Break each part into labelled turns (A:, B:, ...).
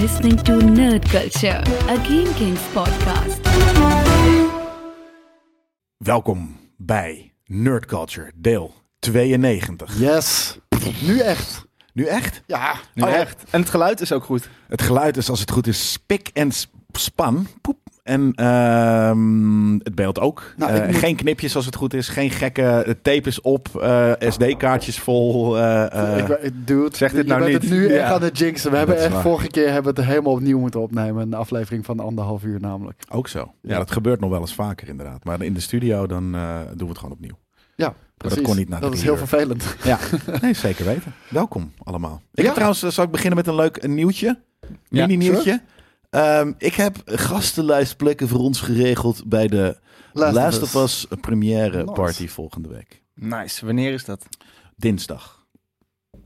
A: listening to Nerd Culture, a Game Kings podcast.
B: Welkom bij Nerd Culture, deel 92.
C: Yes. Nu echt.
B: Nu echt?
C: Ja.
D: Nu
B: Oh ja.
D: echt. En het geluid is ook goed.
B: Het geluid is, als het goed is, spik en sp- span. Poep. En ehm, het beeld ook.
C: Nou,
B: Eh,
C: ik moet-
B: Geen knipjes als het goed is. Geen gekke eh, tape is op. eh, SD-kaartjes vol. eh, eh,
C: ik, ben- dude,
D: zeg dit
C: je
D: nou
C: bent het
D: niet.
C: nu
D: Ja.
C: echt aan het jinxen. We
B: Dat
C: hebben
B: is
C: echt
B: waar.
C: vorige keer hebben we het helemaal opnieuw moeten opnemen. Een aflevering van anderhalf uur namelijk.
B: ook zo. Ja,
C: Ja.
B: dat gebeurt nog wel eens vaker inderdaad. Maar in de studio dan eh, doen we het gewoon opnieuw.
C: Ja,
B: dat
C: precies.
B: kon niet na
C: Dat is
B: drie
C: heel
B: uur.
C: vervelend.
B: Ja, nee, zeker weten. Welkom allemaal. Ik
C: Ja.
B: heb trouwens, eh, zal ik beginnen met een leuk eh, nieuwtje?
D: Ja,
B: Mini-nieuwtje. Ehm, ik heb gastenlijstplekken voor ons geregeld bij de Last, of Us première
C: Nice.
B: party volgende week.
D: Nice. Wanneer is dat?
B: Dinsdag.
C: Ik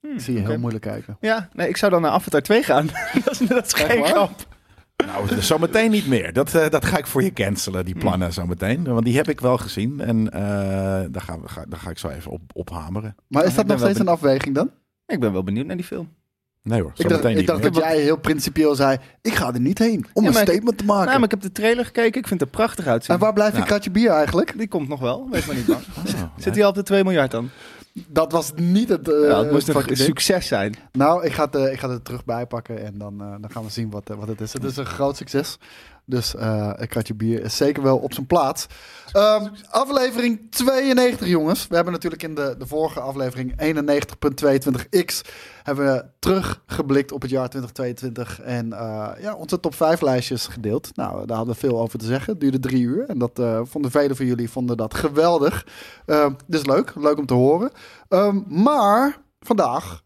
C: zie je
D: Hmm, Oké.
C: heel moeilijk kijken.
D: Ja, nee, ik zou dan naar Avatar 2 gaan. dat, is, dat is geen
C: waar?
D: grap.
B: Nou, zometeen niet meer. Dat, eh, dat ga ik voor je cancelen, die plannen zometeen. Want die heb ik wel gezien. En eh, daar, gaan we, ga, daar ga ik zo even op, ophameren.
C: Maar is
D: ik
C: dat
D: ben
C: nog
D: wel
C: steeds een afweging dan?
D: Ik ben wel benieuwd naar die film.
B: Nee hoor,
C: Ik
B: zometeen
C: dacht,
B: meteen
C: ik
B: niet
C: dacht
B: meer.
C: dat jij heel principieel zei, ik ga er niet heen om
D: Ja,
C: een
D: maar ik-
C: statement te maken.
D: Nou, maar ik heb de trailer gekeken. Ik vind het er prachtig uitzien.
C: En waar blijft
B: Ja.
C: je kratje bier eigenlijk?
D: Die komt nog wel. Wees maar niet bang.
B: Ah,
D: Zit hij al op de 2 miljard dan?
C: Dat was niet het... eh,
D: ja, het moest
C: fucking
D: een
C: ding.
D: succes zijn.
C: Nou, ik ga het, eh, ik ga het er terug bij pakken en dan, eh, dan gaan we zien wat, eh, wat het is. Het is een groot succes. Dus eh een kratje bier is zeker wel op zijn plaats. Ehm, aflevering 92, jongens. We hebben natuurlijk in de, de vorige aflevering 91.22x... hebben we teruggeblikt op het jaar 2022... en eh, ja, onze top 5 lijstjes gedeeld. Nou, daar hadden we veel over te zeggen. Het duurde drie uur en dat eh, vonden velen van jullie vonden dat geweldig. Ehm, dus leuk, leuk om te horen. Ehm, maar vandaag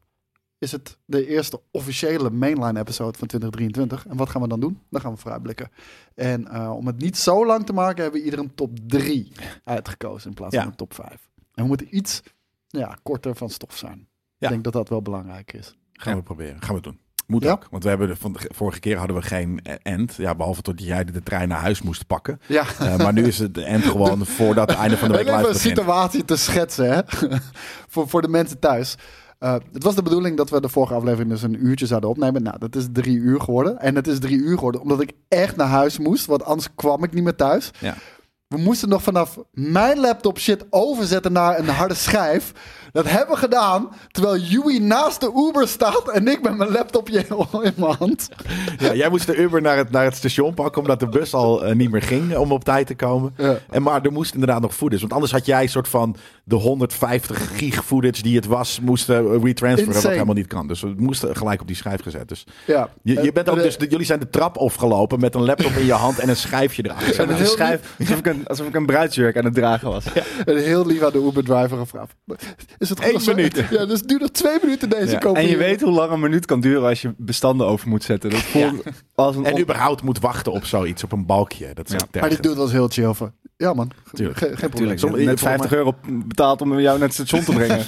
C: is het de eerste officiële mainline episode van 2023. En wat gaan we dan doen? Dan gaan we vooruitblikken. En eh, om het niet zo lang te maken, hebben we ieder een top 3 uitgekozen in plaats
B: Ja.
C: van een top 5. En we moeten iets ja, korter van stof zijn.
B: Ja.
C: Ik denk dat dat wel belangrijk is.
B: Gaan we proberen. Gaan we doen. Moet
C: Ja.
B: ook. Want we hebben de, van de ge- vorige keer hadden we geen eh, end. Ja, behalve tot jij de trein naar huis moest pakken.
C: Ja.
B: Eh, maar nu is het de end gewoon voordat het einde van de week live
C: Even een
B: begint.
C: situatie te schetsen, hè? voor, voor de mensen thuis. Eh, het was de bedoeling dat we de vorige aflevering dus een uurtje zouden opnemen. Nou, dat is drie uur geworden. En het is drie uur geworden omdat ik echt naar huis moest, want anders kwam ik niet meer thuis.
B: Ja.
C: We moesten nog vanaf mijn laptop shit overzetten naar een harde schijf. Dat hebben we gedaan, terwijl Yui naast de Uber staat en ik met mijn laptopje in mijn hand.
B: Ja, jij moest de Uber naar het, naar het station pakken, omdat de bus al eh, niet meer ging om op tijd te komen.
C: Ja.
B: En, maar er moest inderdaad nog footage. Want anders had jij een soort van de 150 gig footage die het was, moesten eh, retransferen. Wat
C: Insane.
B: helemaal niet kan. Dus we moesten gelijk op die schijf gezet. Dus
C: Ja.
B: je, je bent ook
C: Eh,
B: dus, de- jullie zijn de trap afgelopen met een laptop in je hand en een schijfje erachter.
D: Met een
C: heel
D: schijf, alsof, ik een, alsof ik een bruidsjurk aan het dragen was.
C: En heel lief aan de Uber-driver gevraagd. Is het goed
B: Eén
C: als we-
B: minuut.
C: Ja, dus duurt nog twee minuten deze
B: Ja.
C: komen.
D: En je
C: hier.
D: weet hoe lang een minuut kan duren als je bestanden over moet zetten. Dat voelt als een...
B: En
D: on-
B: überhaupt moet wachten op zoiets, op een balkje. Dat is
D: Ja.
B: ook tergend.
C: Maar die dude was heel chill van. Ja man, Ge-
B: Tuurlijk.
C: ge- geen probleem.
D: Tuurlijk, net 50 euro betaald om jou naar het station te brengen.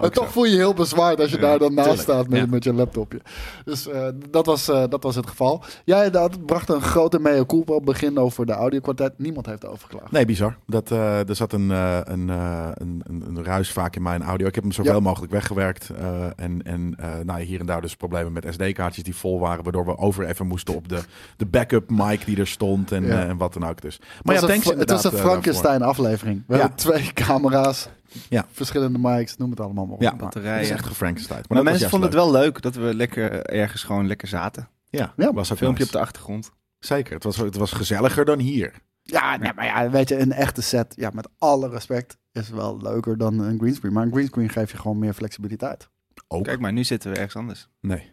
C: Maar toch voel je je heel bezwaard als je daar dan naast
B: tuurlijk.
C: staat met,
B: Ja.
C: met je laptopje. Dus eh, dat, was, eh, dat was het geval. Jij dat bracht een grote mea culpa op het begin over de audiokwaliteit. Niemand heeft overgeklaagd.
B: Nee, bizar. Dat, eh, er zat een, eh, een, eh, een, een, een ruis vaak in mijn audio. Ik heb hem zoveel
C: Ja.
B: mogelijk weggewerkt. eh, en en eh, nou, ja, hier en daar dus problemen met SD-kaartjes die vol waren. Waardoor we over even moesten op de, de backup mic die er stond. En,
C: Ja.
B: eh, en wat dan ook. Dus. Maar
C: Maar
B: ja,
C: het, was
B: thanks
C: een, het
B: inderdaad,
C: was een
B: eh, daarvoor.
C: Frankenstein aflevering. We
B: Ja.
C: hebben twee camera's,
B: Ja.
C: verschillende mics, noem het allemaal maar op.
B: Ja,
C: Maar-
B: Het is
D: Batterijen.
B: echt gefrankenstein.
D: Maar,
B: dat was
D: mensen
B: juist
D: vonden het wel leuk dat we lekker ergens gewoon lekker zaten.
B: leuk. Ja,
C: Ja,
B: was ook
D: Filmpje op
B: nice.
D: de achtergrond.
B: Zeker. Het was, het was gezelliger dan hier.
C: Ja, nee, maar ja, weet je, een echte set, ja, met alle respect, is wel leuker dan een greenscreen. Maar een greenscreen geeft je gewoon meer flexibiliteit.
B: Ook.
D: Kijk maar, nu zitten we ergens anders.
B: Nee.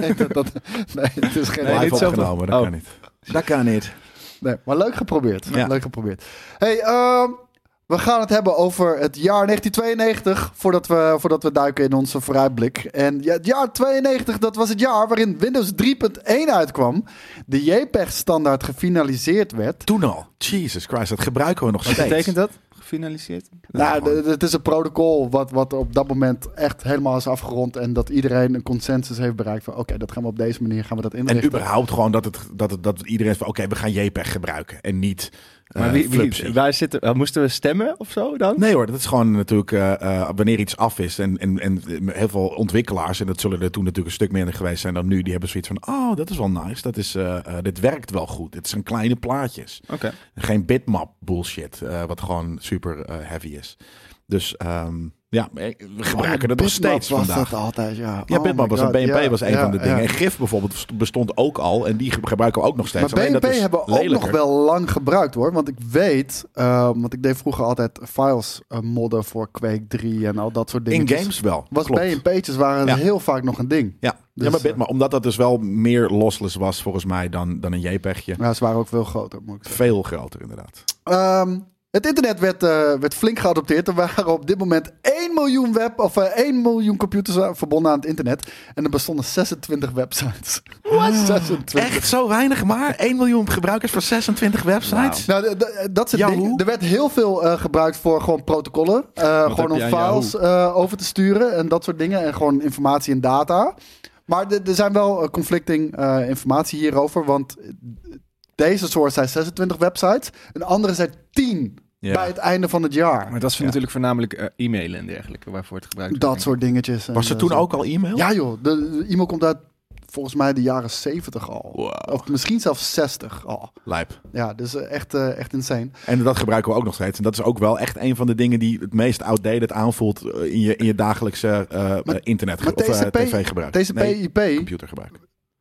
C: nee, dat, dat- nee, het is geen
D: Nee,
B: Live
D: niet zo.
B: opgenomen, dat
D: Oh.
B: kan niet. Dat kan niet.
C: Nee, maar leuk geprobeerd.
B: Ja.
C: Leuk geprobeerd. Hey, ehm, we gaan het hebben over het jaar 1992, voordat we, voordat we duiken in onze vooruitblik. En ja, het jaar 92, dat was het jaar waarin Windows 3.1 uitkwam, de JPEG-standaard gefinaliseerd werd.
B: Toen al. Jesus Christ, dat gebruiken we nog
D: Wat
B: steeds.
D: betekent dat? Gefinaliseerd?
C: Nou,
B: gewoon.
C: d- d- het is een protocol wat, wat op dat moment echt helemaal is afgerond. En dat iedereen een consensus heeft bereikt van... oké, dat gaan we op deze manier gaan we dat
B: En
C: inrichten.
B: überhaupt gewoon dat, het, dat, het, dat iedereen is van... oké, we gaan JPEG gebruiken en niet
D: Maar
B: eh,
D: wie, wie,
B: flupsie.
D: waar zitten, eh, moesten we stemmen of zo dan?
B: Nee hoor, dat is gewoon natuurlijk eh, eh, wanneer iets af is. En, en, en heel veel ontwikkelaars, en dat zullen er toen natuurlijk een stuk minder geweest zijn dan nu, die hebben zoiets van, oh, dat is wel nice. Dat is, eh, eh, dit werkt wel goed. Dit zijn kleine plaatjes.
D: Oké.
B: Geen bitmap bullshit, eh, wat gewoon super eh, heavy is. Dus ehm, ja, we gebruiken dat nog steeds
C: Oh, was
B: vandaag.
C: dat altijd, ja.
B: Ja,
C: Oh my
B: bitmap was een
C: God,
B: BNP
C: ja,
B: was een
C: ja,
B: van de
C: ja.
B: dingen. En GIF bijvoorbeeld bestond ook al en die gebruiken we ook nog steeds.
C: Maar
B: Alleen dat
C: BNP
B: is
C: hebben we ook nog
B: lelijker.
C: wel lang gebruikt hoor. Want ik weet, eh, want ik deed vroeger altijd files eh, modden voor Quake 3 en al dat soort dingen.
B: In games wel,
C: was
B: klopt.
C: BNP'tjes waren
B: Ja.
C: heel vaak nog een ding.
B: Ja,
C: Dus,
B: ja maar
C: eh,
B: Bitmap, omdat dat dus wel meer lossless was volgens mij dan, dan een JPEGje.
C: Ja, ze waren ook veel groter, moet ik zeggen.
B: Veel groter inderdaad.
C: Ehm, het internet werd, eh, werd flink geadopteerd. Er waren op dit moment 1 miljoen web of eh, 1 miljoen computers eh, verbonden aan het internet. En er bestonden 26 websites. 26.
B: Echt zo weinig maar? 1 miljoen gebruikers voor 26 websites?
C: Nou, d- d- dat soort
B: Yahoo?
C: dingen. Er werd heel veel eh, gebruikt voor gewoon protocollen. Eh, gewoon
D: heb
C: om
D: je aan
C: files eh, over te sturen en dat soort dingen. En gewoon informatie en data. Maar d- er zijn wel eh, conflicting eh, informatie hierover. Want deze soort zijn 26 websites. Een andere zijn 10
B: Ja.
C: bij het einde van het jaar.
D: Maar dat zijn natuurlijk voornamelijk eh, e-mailen en dergelijke waarvoor het gebruikt wordt.
C: Dat soort dingetjes. en,
B: Was er
C: eh,
B: toen
C: zo.
B: ook al e-mail?
C: Ja joh, de, de e-mail komt uit volgens mij de jaren 70 al.
B: Wow.
C: Of misschien zelfs 60 al.
B: Lijp.
C: Ja, dus eh, echt, eh, echt insane.
B: En dat gebruiken we ook nog steeds. En dat is ook wel echt een van de dingen die het meest outdated aanvoelt eh, in je, in je dagelijkse eh, eh, internet
C: maar
B: of eh,
C: TCP
B: tv-gebruik. Nee,
C: TCP/IP
B: computergebruik.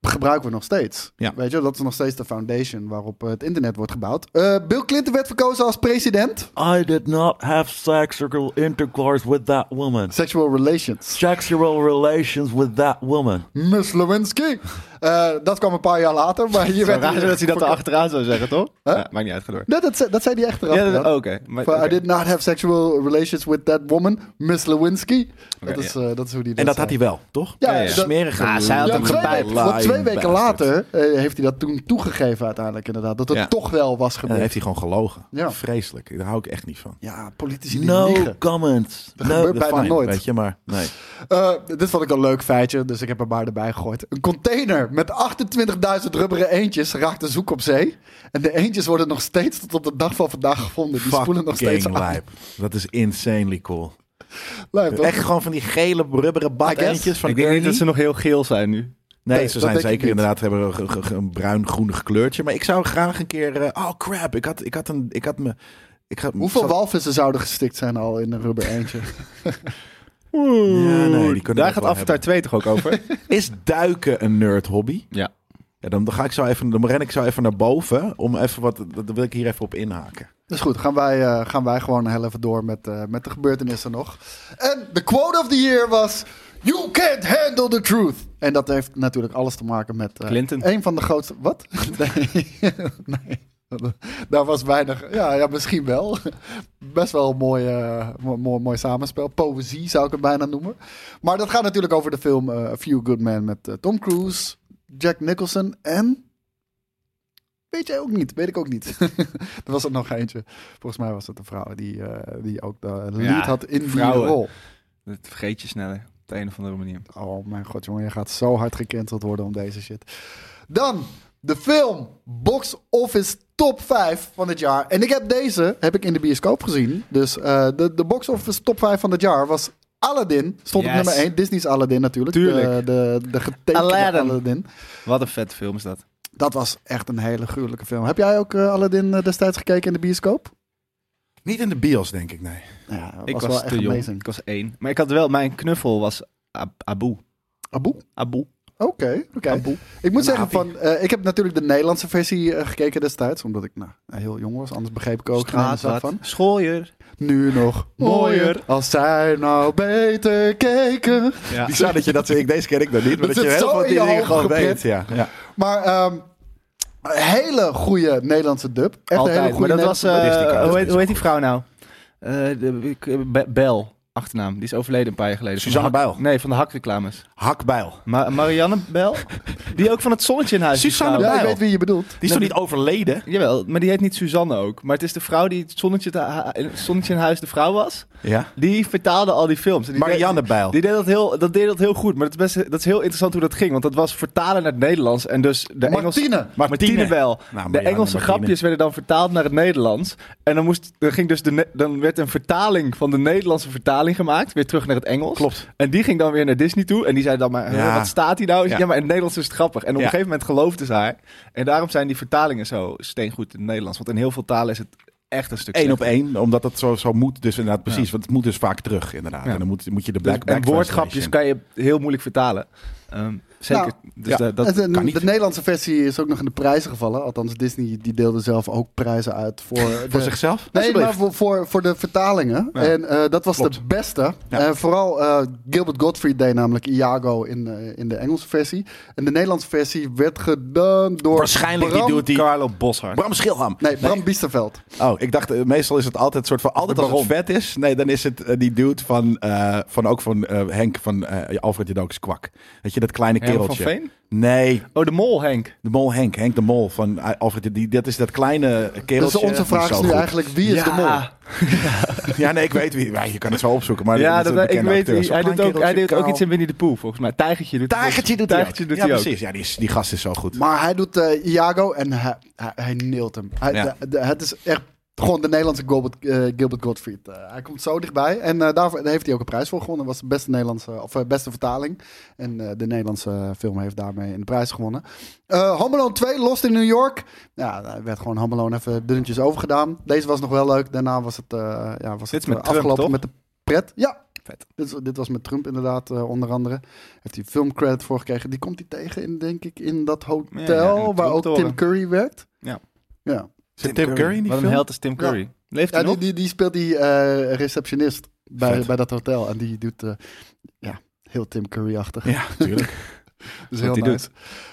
C: gebruiken we nog steeds.
B: Ja.
C: Weet je, wel, dat is nog steeds de foundation waarop eh, het internet wordt gebouwd. Eh, Bill Clinton werd verkozen als president.
E: I did not have sexual intercourse with that woman.
C: Sexual relations.
E: Sexual relations with that woman.
C: Miss Lewinsky. Eh, dat kwam een paar jaar later, maar hier
D: Het
C: werd
D: zou raar zijn dat hij dat
C: verko-
D: erachteraan zou zeggen, toch?
C: Huh?
D: Ja, maakt niet uit, ga door.
C: Nee, dat, ze- dat zei hij echt eraf.
D: Ja, dat- oké. maar-
C: Van,
D: oké.
C: I did not have sexual relations with that woman, Miss Lewinsky.
D: Oké,
C: dat, is,
D: ja.
C: eh, dat is hoe die
B: En dat had
C: zei.
B: hij wel, toch?
C: Ja,
D: Ja, ja.
C: dat-
B: Smerige
D: Ah, zij had
C: ja,
D: hem
C: twee
D: gebijt.
C: weken, want twee
B: Lying
C: weken
B: bastard.
C: later eh, heeft hij dat toen toegegeven uiteindelijk inderdaad. Dat het
B: Ja.
C: toch wel was
B: En dan
C: gebeurd.
B: heeft hij gewoon gelogen.
C: Ja.
B: Vreselijk. Daar hou ik echt niet van.
C: Ja, politici die
E: No
C: liegen.
E: comments. No.
C: gebeurt bijna
B: Fine,
C: nooit.
B: Weet je, maar nee.
C: Eh, dit vond ik een leuk feitje, dus ik heb er maar erbij gegooid. Een container met 28.000 rubberen eendjes raakte zoek op zee. En de eendjes worden nog steeds tot op de dag van vandaag gevonden. Die spoelen nog steeds
B: Fucking
C: aan.
B: lijp. Dat is insanely cool.
C: Lijp, toch?
B: Echt gewoon van die gele rubberen badeentjes van
D: Ik denk niet dat
B: Ernie.
D: ze nog heel geel zijn nu.
B: Nee,
C: Nee,
B: ze
C: dat
B: zijn
C: denk ik
B: zeker
C: niet.
B: inderdaad hebben een, ge- ge- een bruin-groenig kleurtje. Maar ik zou graag een keer... eh, oh crap, ik had, ik had een... Ik had me, ik had,
C: Hoeveel
B: zat-
C: walvissen zouden gestikt zijn al in een rubber eendje?
B: Ja, nee, die kunnen we
D: Daar
B: ook
D: gaat
B: wel
D: Avatar 2 toch ook over?
B: Is duiken een nerd-hobby?
D: ja.
B: Ja, dan, dan ga ik zo even, dan ren ik zo even naar boven. Om even wat, dan wil ik hier even op inhaken.
C: Dus goed, gaan wij, eh, gaan wij gewoon heel even door met, eh, met de gebeurtenissen nog. En de quote of the year was... You can't handle the truth. En dat heeft natuurlijk alles te maken met... eh,
D: Clinton.
C: Een van de grootste... Wat? Nee. nee. Daar was weinig... Ja, ja, misschien wel. Best wel een mooi, eh, mo- mooi, mooi samenspel. Poëzie zou ik het bijna noemen. Maar dat gaat natuurlijk over de film eh, A Few Good Men met eh, Tom Cruise, Jack Nicholson en... Weet jij ook niet, weet ik ook niet. er was er nog eentje. Volgens mij was het een vrouw die, eh, die ook de lead
D: Ja,
C: had in die
D: vrouwen.
C: rol.
D: Dat vergeet je sneller. Op de een of andere manier.
C: Oh mijn god, jongen, je gaat zo hard gecanceld worden om deze shit. Dan de film Box Office Top 5 van het jaar. En ik heb deze heb ik in de bioscoop gezien. Dus eh, de, de Box Office Top 5 van het jaar was Aladdin. Stond op
D: Yes.
C: nummer 1. Disney's Aladdin natuurlijk.
D: Tuurlijk.
C: De, de, de getekende Aladdin.
D: Aladdin. Wat een vet film is dat.
C: Dat was echt een hele gruwelijke film. Heb jij ook eh, Aladdin eh, destijds gekeken in de bioscoop?
B: Niet in de bios, denk ik, nee.
C: Ja, dat
D: Ik Nou was,
C: wel
D: te
C: echt
D: jong.
C: amazing.
D: Ik was één. Maar ik had wel, mijn knuffel was Ab- Abu.
C: Abu?
D: Abu.
C: Oké, oké. Ik moet
B: Een
C: zeggen, van, eh, ik heb natuurlijk de Nederlandse versie eh, gekeken destijds. Omdat ik nou, heel jong was, anders begreep ik er ook geen ene zak van.
D: Schooier.
C: Nu nog mooier.
D: Mooier.
C: Als zij nou beter keken.
D: Ja.
B: Die zei dat je dat... Ik, deze ken ik dan niet, maar dat,
C: Dat zit
B: je heel
C: zo
B: veel
C: in je
B: dingen
C: hoofd
B: gewoon
C: geprint.
B: weet. Ja. Ja.
C: Maar ehm, een hele goede Nederlandse dub. Echt een hele
D: Altijd.
C: goede
D: Maar dat was,
C: Nederlandse
D: eh,
B: Dat is die kaart,
D: hoe,
B: dat
D: heet,
B: is
D: hoe heet die vrouw nou? Eh de, ik- Be- Bel, achternaam. Die is overleden een paar jaar geleden. Van de
B: Suzanne
D: hak-
B: Bijl.
D: Nee, van de hakreclames.
B: Hakbijl.
D: Ma- Marianne Bel? Die ook van het zonnetje in huis is
B: Suzanne
D: gegaan.
C: Ja, ik
B: Bijl.
C: weet wie je bedoelt.
B: Die is toch niet overleden?
D: Jawel, maar die heet niet Suzanne ook. Maar het is de vrouw die het zonnetje, te- ha- in- zonnetje in huis de vrouw was.
B: Ja.
D: Die vertaalde al die films. En Die
B: Marianne
D: deed-
C: Oh.
B: Bijl.
D: Die deed dat heel, dat deed dat heel goed. Maar dat is, best, dat is heel interessant hoe dat ging. Want dat was vertalen naar het Nederlands. En dus de Engelse...
C: Martine.
D: Martine, Bijl.
B: Nou,
D: de
B: Marianne
D: Engelse
B: Martine.
D: grapjes werden dan vertaald naar het Nederlands. En dan, moest, dan, ging dus de, ne- dan werd een vertaling van de Nederlandse vertaling gemaakt. Weer terug naar het Engels.
B: Klopt.
D: En die ging dan weer naar Disney toe. En die zei dan maar,
B: Ja.
D: wat staat hier nou? Ja.
B: Ja.
D: maar in het Nederlands is het grappig. En op
B: Ja.
D: een gegeven moment geloofden ze haar. En daarom zijn die vertalingen zo steengoed in het Nederlands. Want in heel veel talen is het echt een stuk
B: Eén op
D: slechter.
B: één, omdat dat zo, zo moet. Dus inderdaad, precies. Want het moet dus vaak terug, inderdaad.
D: Ja.
B: En dan moet, moet je de
D: Dus-
B: black
D: en woordgrapjes kan je heel moeilijk vertalen. Ehm, zeker.
C: Nou,
B: ja.
D: dus da- dat,
C: de,
B: kan niet.
C: de Nederlandse versie is ook nog in de prijzen gevallen. Althans, Disney die deelde zelf ook prijzen uit voor,
B: Voor
C: de,
B: zichzelf?
C: Nee, maar voor, voor, voor de vertalingen.
D: Ja.
C: En eh, dat was de
B: Klopt.
C: beste.
B: Ja.
C: Eh, vooral eh, Gilbert Gottfried deed namelijk Iago in, eh, in de Engelse versie. En de Nederlandse versie werd gedaan door...
B: Waarschijnlijk
C: Bram-
B: die dude die...
D: Carlo Boshart.
B: Bram Schilham.
C: Nee, Bram Biesterveld.
B: Oh, ik dacht, eh, meestal is het altijd soort van, altijd
D: De
B: als het vet is, nee, dan is het eh, die dude van, eh, van ook van eh, Henk, van eh, Alfred Jadokes Kwak. Weet je, dat kleine
D: Herman
B: kereltje.
D: van Veen?
B: Nee,
D: Oh, de mol Henk.
B: de mol Henk, Henk de mol van eh, Alfred, die, dat is dat kleine
C: Dus
B: kereltje.
C: onze vraag
B: Zo
C: is nu
B: goed.
C: eigenlijk, wie is de mol?
B: Ja, nee, ik weet wie, ja, je kan het zo opzoeken, maar
D: ja,
B: dat is
D: dat,
B: een
D: ik
B: bekende
D: weet
B: acteur.
D: niet.
B: Zo'n
D: Hij
B: klein
D: doet ook, hij
B: kereltje,
D: deed ook
B: kaal.
D: iets in Winnie de Pooh, volgens mij. Tijgertje doet het
B: Tijgertje doet
D: volgens-
B: hij
D: Tijgertje
B: ook.
D: doet
B: Ja,
D: hij ook.
B: precies. Ja, die, is, die gast is zo goed.
C: Maar hij doet eh, Iago en hij, hij, hij neelt hem. Hij,
B: Ja.
C: de- de- het is echt gewoon de Nederlandse Gilbert, eh, Gilbert Gottfried. Eh, hij komt zo dichtbij. En eh, daarvoor heeft hij ook een prijs voor gewonnen. was de beste, Nederlandse, of, eh, beste vertaling. En eh, de Nederlandse film heeft daarmee een prijs gewonnen. Eh Home Alone 2, Lost in New York. Ja, daar werd gewoon Home Alone even dunnetjes overgedaan. Deze was nog wel leuk. Daarna was het, eh, ja, was
D: Dit
C: het
D: is met
C: eh,
D: Trump,
C: afgelopen
D: toch?
C: met de pret. Ja.
D: Vet.
C: Dit, is- dit was met Trump inderdaad, eh, onder andere. Heeft hij filmcredit voor gekregen. Die komt hij tegen, in, denk ik, in dat hotel
D: Ja, ja, in de
C: waar ook
D: Trump-toren.
C: Tim Curry werkt.
D: Ja.
C: ja.
B: Zit Tim Curry in die
D: Wat een
B: film?
D: held is Tim Curry. Leeft hij
C: Ja, die,
D: nog?
C: die, die speelt die eh, receptionist bij,
B: Vet.
C: bij dat hotel. En die doet, eh, ja, heel Tim Curry-achtig.
B: Ja, natuurlijk.
C: Dus heel
D: die
C: nice.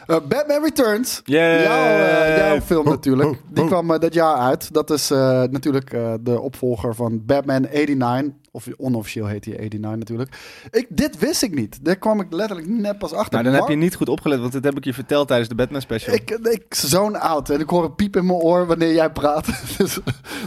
C: Eh, Batman Returns.
D: Yeah.
C: Jouw, eh, jouw film
B: Boe,
C: natuurlijk.
B: boe,
C: Die
B: boe.
C: kwam eh, dat jaar uit. Dat is eh, natuurlijk eh, de opvolger van Batman 89. Of onofficieel heet hij 89 natuurlijk. Ik, dit wist ik niet. Daar kwam ik letterlijk net pas achter.
D: Nou, dan heb
C: Maar
D: je niet goed opgelet, want dit heb ik je verteld tijdens de Batman special.
C: Ik, ik zo'n oud en ik hoor een piep in mijn oor wanneer jij praat. Dus,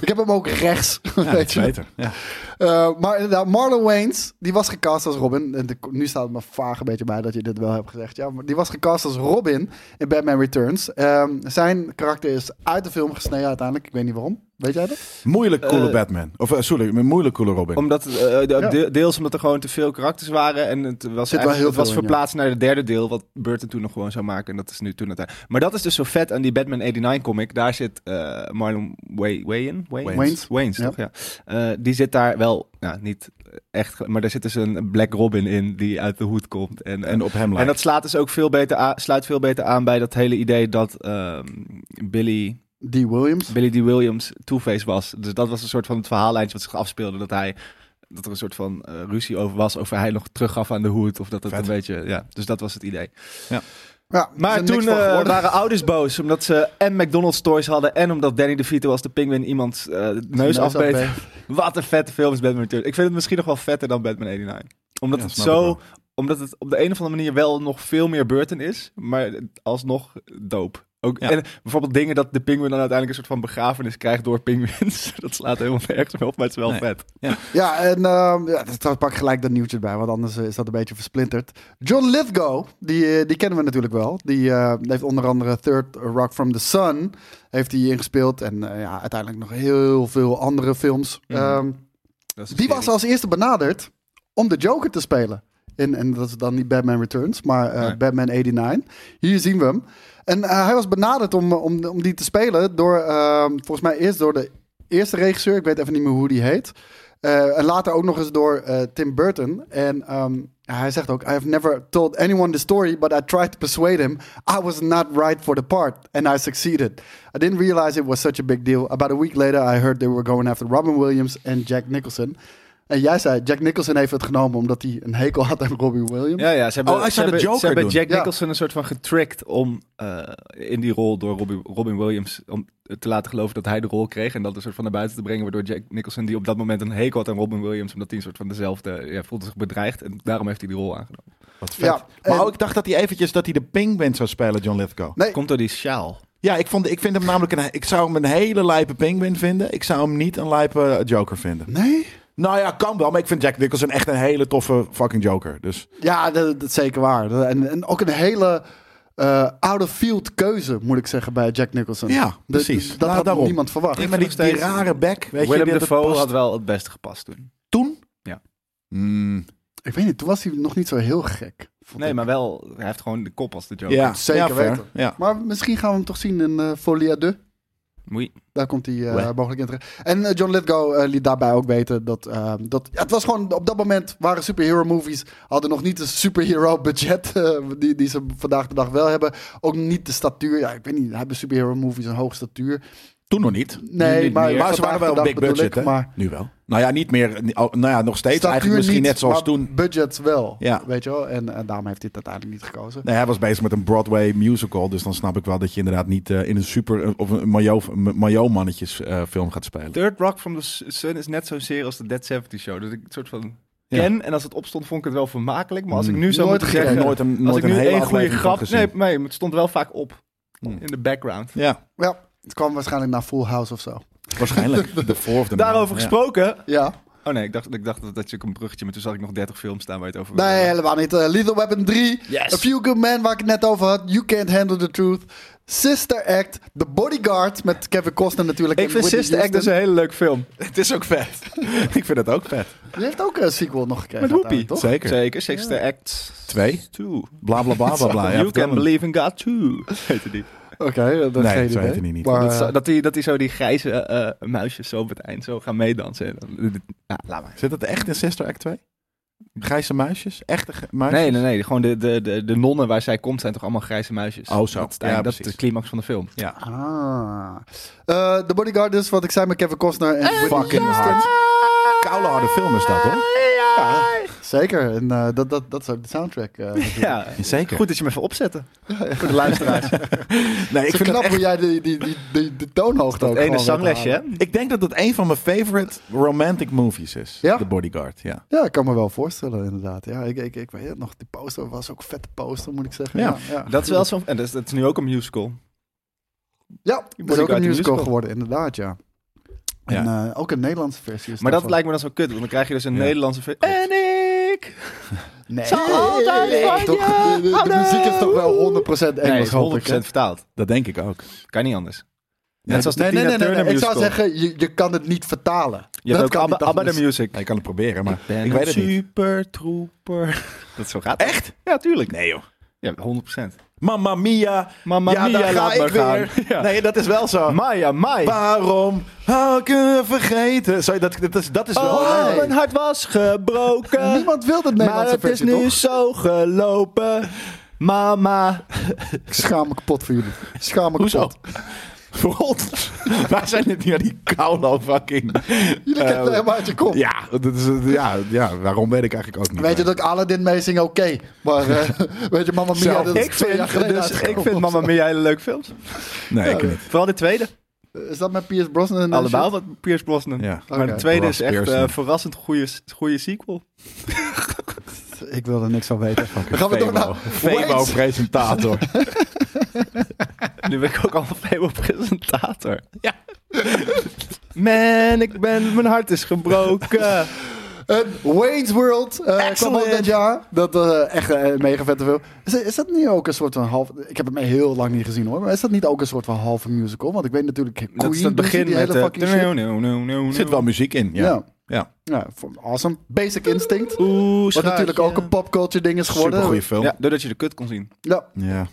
C: ik heb hem ook rechts.
B: Ja, dat
C: weet
B: is
C: je.
B: beter. Ja.
C: Eh, maar inderdaad, Marlon Wayans, die was gecast als Robin. En de- nu staat het me vaag een beetje bij dat je dit wel hebt gezegd. Ja, maar die was gecast als Robin in Batman Returns. Ehm, zijn karakter is uit de film gesneden uiteindelijk. Ik weet niet waarom. Weet jij dat?
B: Moeilijk coole
D: Eh,
B: Batman. Of eh, sorry, moeilijk coole Robin.
D: Omdat, eh, de-
C: Ja.
D: de- deels omdat er gewoon te veel karakters waren. En het was,
C: Zit wel
D: eigenlijk-
C: heel
D: het was
C: veel in, ja.
D: verplaatst naar het derde deel. Wat Burton toen nog gewoon zou maken. En dat is nu toen het. Maar dat is dus zo vet aan die Batman 89 comic. Daar zit eh, Marlon Way, Wayen? Wayans?
C: Wayans.
D: Wayans,
C: Ja.
D: toch? Ja. Eh, die zit daar wel, ja, niet echt. ge- Maar daar zit dus een Black Robin in die uit de hoed komt. En, en,
B: en op hem
D: en
B: lijkt.
D: dat slaat dus ook veel beter aan, sluit veel beter aan bij dat hele idee dat ehm, Billy.
C: D. Williams.
D: Billy D. Williams Two-Face was. Dus dat was een soort van het verhaallijntje wat zich afspeelde. Dat hij dat er een soort van eh, ruzie over was. Of hij nog teruggaf aan de hoed. Of dat het
B: Vet.
D: een beetje... Ja, dus dat was het idee.
C: Ja, er
D: Maar
C: is
D: toen
C: niks van
D: eh,
C: geworden.
D: waren ouders boos. Omdat ze en McDonald's toys hadden. En omdat Danny DeVito als de pinguïn iemand eh, de neus
C: Neus
D: afbeet.
C: afbeet.
D: Wat een vette film is Batman Returns. Ik vind het misschien nog wel vetter dan Batman 89. Omdat
B: Ja,
D: het
B: snap ik
D: zo...
B: wel.
D: Omdat het op de een of andere manier wel nog veel meer Burton is. Maar alsnog doop. Ook,
B: Ja.
D: En bijvoorbeeld dingen dat de pinguïn dan uiteindelijk een soort van begrafenis krijgt door pinguïns. Dat slaat helemaal nergens meer op, maar het is wel
B: Nee.
D: vet.
C: Ja, en ehm ja, dus daar pak ik gelijk dat nieuwtje bij, want anders eh, is dat een beetje versplinterd. John Lithgow, die, eh, die kennen we natuurlijk wel. Die eh, heeft onder andere Third Rock from the Sun heeft hij ingespeeld. En eh, ja, uiteindelijk nog heel veel andere films.
D: Mhm.
C: Ehm, die was als eerste benaderd om de Joker te spelen. In, en dat is dan niet Batman Returns, maar eh,
D: Nee.
C: Batman 89. Hier zien we hem. En eh, hij was benaderd om, eh, om, om die te spelen door, eh, volgens mij eerst door de eerste regisseur. Ik weet even niet meer hoe die heet. Eh, en later ook nog eens door eh, Tim Burton. En ehm, hij zegt ook: I have never told anyone the story, but I tried to persuade him I was not right for the part, and I succeeded. I didn't realize it was such a big deal. About a week later, I heard they were going after Robin Williams en Jack Nicholson. En jij zei: Jack Nicholson heeft het genomen omdat hij een hekel had aan Robin Williams.
D: Ja, ja, ze hebben,
B: Oh, hij
D: ze
B: zou de
D: hebben,
B: Joker
D: ze hebben
B: doen.
D: Jack
C: Ja.
D: Nicholson een soort van getrickt om eh, in die rol door Robin, Robin Williams om te laten geloven dat hij de rol kreeg en dat een soort van naar buiten te brengen, waardoor Jack Nicholson die op dat moment een hekel had aan Robin Williams, omdat hij een soort van dezelfde ja, voelde zich bedreigd en daarom heeft hij die rol aangenomen.
B: Wat vet.
C: Ja, en-
B: maar ook, ik dacht dat hij eventjes dat hij de penguin zou spelen, John Lithgow.
C: Nee,
D: Komt door die sjaal.
B: Ja, ik, vond, ik vind hem namelijk een, ik zou hem een hele lijpe penguin vinden. Ik zou hem niet een lijpe eh, Joker vinden.
C: nee.
B: Nou ja, kan wel. Maar ik vind Jack Nicholson echt een hele toffe fucking Joker. Dus
C: Ja, dat, dat is zeker waar. Dat- En, en ook een hele eh out-of-field keuze, moet ik zeggen, bij Jack Nicholson.
B: Ja,
C: Dat-
B: precies.
C: Dat,
B: Nou,
C: had
B: daarom.
C: niemand verwacht.
B: ik maar die,
D: nog steeds-
B: die rare bek. Weet
D: Willem
B: je, dat
D: Dafoe
B: past
D: had wel het beste gepast toen.
B: toen.
D: Ja.
B: Mm,
C: Ik weet niet, toen was hij nog niet zo heel gek. vond
D: Nee,
C: ik.
D: maar wel, hij heeft gewoon de kop als de Joker.
B: ja, ja,
C: zeker
B: fair.
C: weten.
B: Ja.
C: maar misschien gaan we hem toch zien in eh Folia 2.
D: Moei.
C: Daar komt hij eh,
B: Ouais.
C: mogelijk in terecht. En eh, John Lithgow eh, liet daarbij ook weten dat... eh, dat ja, het was gewoon... Op dat moment waren superhero movies... hadden nog niet een superhero budget... eh, die, die ze vandaag de dag wel hebben. Ook niet de statuur. Ja, ik weet niet. Hebben superhero movies een hoog statuur?
B: Toen nog niet.
C: Nee,
D: niet
C: maar,
D: meer.
B: Maar ze waren
C: vandaag de
B: wel
C: dag
B: big
C: bedoel
B: budget,
C: ik,
B: hè?
C: Maar
B: Nu wel. Nou ja, niet meer. oh, Nou ja, nog steeds eigenlijk misschien
C: niet,
B: net zoals
C: maar
B: toen.
C: budget wel.
B: Ja.
C: Weet je wel? En eh, daarom heeft hij het uiteindelijk niet gekozen.
B: Nee, Nou hij was bezig met een Broadway musical. Dus dan snap ik wel dat je inderdaad niet eh, in een super... Of een Mayo- Mayo mannetjes eh, film gaat spelen.
D: Third Rock from the Sun is net zozeer als de Dead 70 Show. Dat ik het soort van
B: Ja.
D: ken. En als het opstond, vond ik het wel vermakelijk. Maar als ik
B: Mm.
D: nu zou
C: Nooit
D: moeten
C: gekeken.
D: zeggen...
B: Nooit een,
D: als
B: nooit
D: ik
B: een
D: nu
B: hele
D: één goede
B: aflevering van
D: grap...
B: gezien.
D: Nee, nee, het stond wel vaak op.
B: Hmm.
D: In de background.
B: Ja,
C: Ja, het kwam waarschijnlijk naar Full House of zo.
B: waarschijnlijk. De voor of de na.
D: Daarover
B: Ja.
D: gesproken...
C: Ja.
D: Oh nee, ik dacht, ik dacht dat, dat je ook een bruggetje... Maar toen zag ik nog 30 films staan waar je het over
C: Nee,
D: wilde.
C: helemaal niet. Eh, Lethal Weapon 3.
D: Yes.
C: A Few Good Men, waar ik het net over had. You Can't Handle the Truth. Sister Act. The Bodyguard. Met Kevin Costner natuurlijk.
D: Ik
C: en
D: vind
C: Whitney
D: Sister Act dus
C: Houston.
D: een hele leuke film.
B: Het is ook vet. ik vind het ook vet.
C: Die heeft ook een sequel nog gekregen.
D: Met Whoopi.
C: uiteindelijk,
B: Zeker.
C: toch?
D: Zeker, Sister Act...
B: Twee.
D: Two.
B: Bla, bla, bla, bla, bla. Ja,
D: you
B: vertel
D: can
B: hem.
D: believe in God too. Heette die.
C: Oké, eh, dat
B: Nee,
C: geen
B: zo
C: idee.
B: heette die niet.
C: Maar,
D: Dat, zo-
C: eh,
D: dat, die, dat die zo die grijze eh, muisjes zo op het eind zo gaan meedansen. En dan- Nou, laat maar.
B: Zit dat echt in Sister Act 2? Grijze muisjes? Echte ge- muisjes?
D: Nee, nee, nee. Gewoon de, de, de, de nonnen waar zij komt zijn toch allemaal grijze muisjes.
B: Oh, zo.
D: Dat, is het
B: Ja,
D: einde- dat is
B: precies.
D: de climax van de film.
B: Ja.
C: Ah. Eh, The Bodyguard dus, wat ik zei met Kevin Costner.
D: Eh,
C: En Whitney
B: Fucking
C: Houston.
B: hard. Koude harde film is dat, hoor.
C: Ja, zeker. En eh, dat, dat, dat is ook de soundtrack. eh, natuurlijk.
D: Ja,
B: Zeker.
D: goed dat je me even opzetten. Voor de luisteraars.
B: Nee, ik
C: Ik
B: vind
C: knap
B: het echt...
C: hoe jij die, die, die, die, de toonhoogte
D: Dat
C: ook
D: ene
C: gewoon weet te
D: zanglesje, hè?
C: halen.
B: Ik denk dat het een van mijn favorite romantic movies is.
C: Ja?
B: The Bodyguard, ja.
C: Ja, ik kan me wel voorstellen, inderdaad. Ja, ik, ik, ik weet het nog. Die poster was ook vette poster, moet ik zeggen.
B: Ja,
D: Dat is wel zo'n... En dat is, dat is nu ook een musical.
C: Ja, dat is ook
D: Bodyguard
C: een musical
D: musical.
C: geworden, inderdaad, ja. En eh, ook een Nederlandse versie. Is
D: Maar dat
C: daarvan.
D: lijkt me dan zo kut. Want dan krijg je dus een
B: Ja.
D: Nederlandse... ver- En ik!
C: Nee,
D: Zal altijd
C: nee,
D: van
C: nee, toch,
D: je
C: de, de- de
D: houden.
C: muziek is toch wel 100%
D: Nee,
C: Engels, hoop ik,
D: is 100%
C: hè?
D: vertaald.
B: Dat denk ik ook.
D: Kan niet anders.
B: Nee,
D: Net zoals de
C: Nee, nee,
D: Tina
C: nee, nee,
D: Turner
C: nee. Ik zou
D: musical.
C: zeggen, je, je kan het niet vertalen.
D: Je hebt
C: dat
D: ook
C: kan
D: ABBA,
C: niet, dat
D: ABBA
C: is-
D: de Music.
B: Ik kan het proberen, maar ik,
D: ben
B: weet het niet.
D: super trooper. Dat zo gaat Echt? Ja, tuurlijk.
B: Nee, joh.
D: Ja, 100%.
B: Mamma mia.
D: Mama
B: ja, daar ga ik weer. Nee, dat is wel zo.
D: Maya, Maya.
B: Waarom had ik hem vergeten? Sorry, dat, dat is, dat is wel...
D: Oh,
C: nee.
D: mijn hart was gebroken.
C: Niemand wil dat
D: maar
C: Nederlandse
D: het is
C: versie,
D: nu
C: toch?
D: zo gelopen. Mama.
C: Ik schaam me kapot voor jullie. Ik Schaam me
B: Hoezo?
C: kapot.
B: Voor ons. Wij zijn net niet aan die koude fucking...
C: Jullie kennen
B: Eh,
C: het helemaal uit je kop.
B: Ja, dat is, ja, ja, waarom weet ik eigenlijk ook niet.
C: Weet je dat ik Aladdin meezing oké. Maar eh, weet je, Mamma Mia,
B: Zelf.
C: dat is
D: Ik
C: twee jaar
D: vind,
C: geleden
D: dus, ik
C: uitgekomen.
D: vind Mama Mia hele leuke films.
B: Nee, ik niet.
D: Vooral de tweede.
C: Is dat met Piers Brosnan? en
D: Allemaal wat Pierce Brosnan.
B: Ja.
D: Maar de
C: Oké.
D: tweede
B: Ross
D: is echt
B: Pearson.
D: eh, verrassend goede, goede sequel.
C: shit? Ik wil er niks van weten. Dan gaan we door
B: Febo.
C: naar
B: Febo
C: Wait.
B: presentator.
D: Nu ben ik ook al veel presentator. Ja. Man, ik ben, mijn hart is gebroken.
C: En eh, Wayne's World eh kwam
D: Excellent.
C: ook dit jaar. Dat eh echt eh, een mega vette film. Is, is dat niet ook een soort van half... Ik heb hem heel lang niet gezien hoor. Maar is dat niet ook een soort van halve musical? Want ik weet natuurlijk... Queen
D: Dat is het
C: doen ze
D: begin
C: die
D: met...
C: hele
D: eh,
C: fucking shit.
B: Er zit wel muziek in, ja.
C: Ja.
B: ja.
C: Ja, awesome. Basic Instinct.
D: Oeh,
C: Wat
D: schaakje.
C: natuurlijk ook een popculture ding is geworden.
B: Supergoeie film.
D: Ja,
B: Ja.
D: doordat je de kut kon zien.
B: Nee,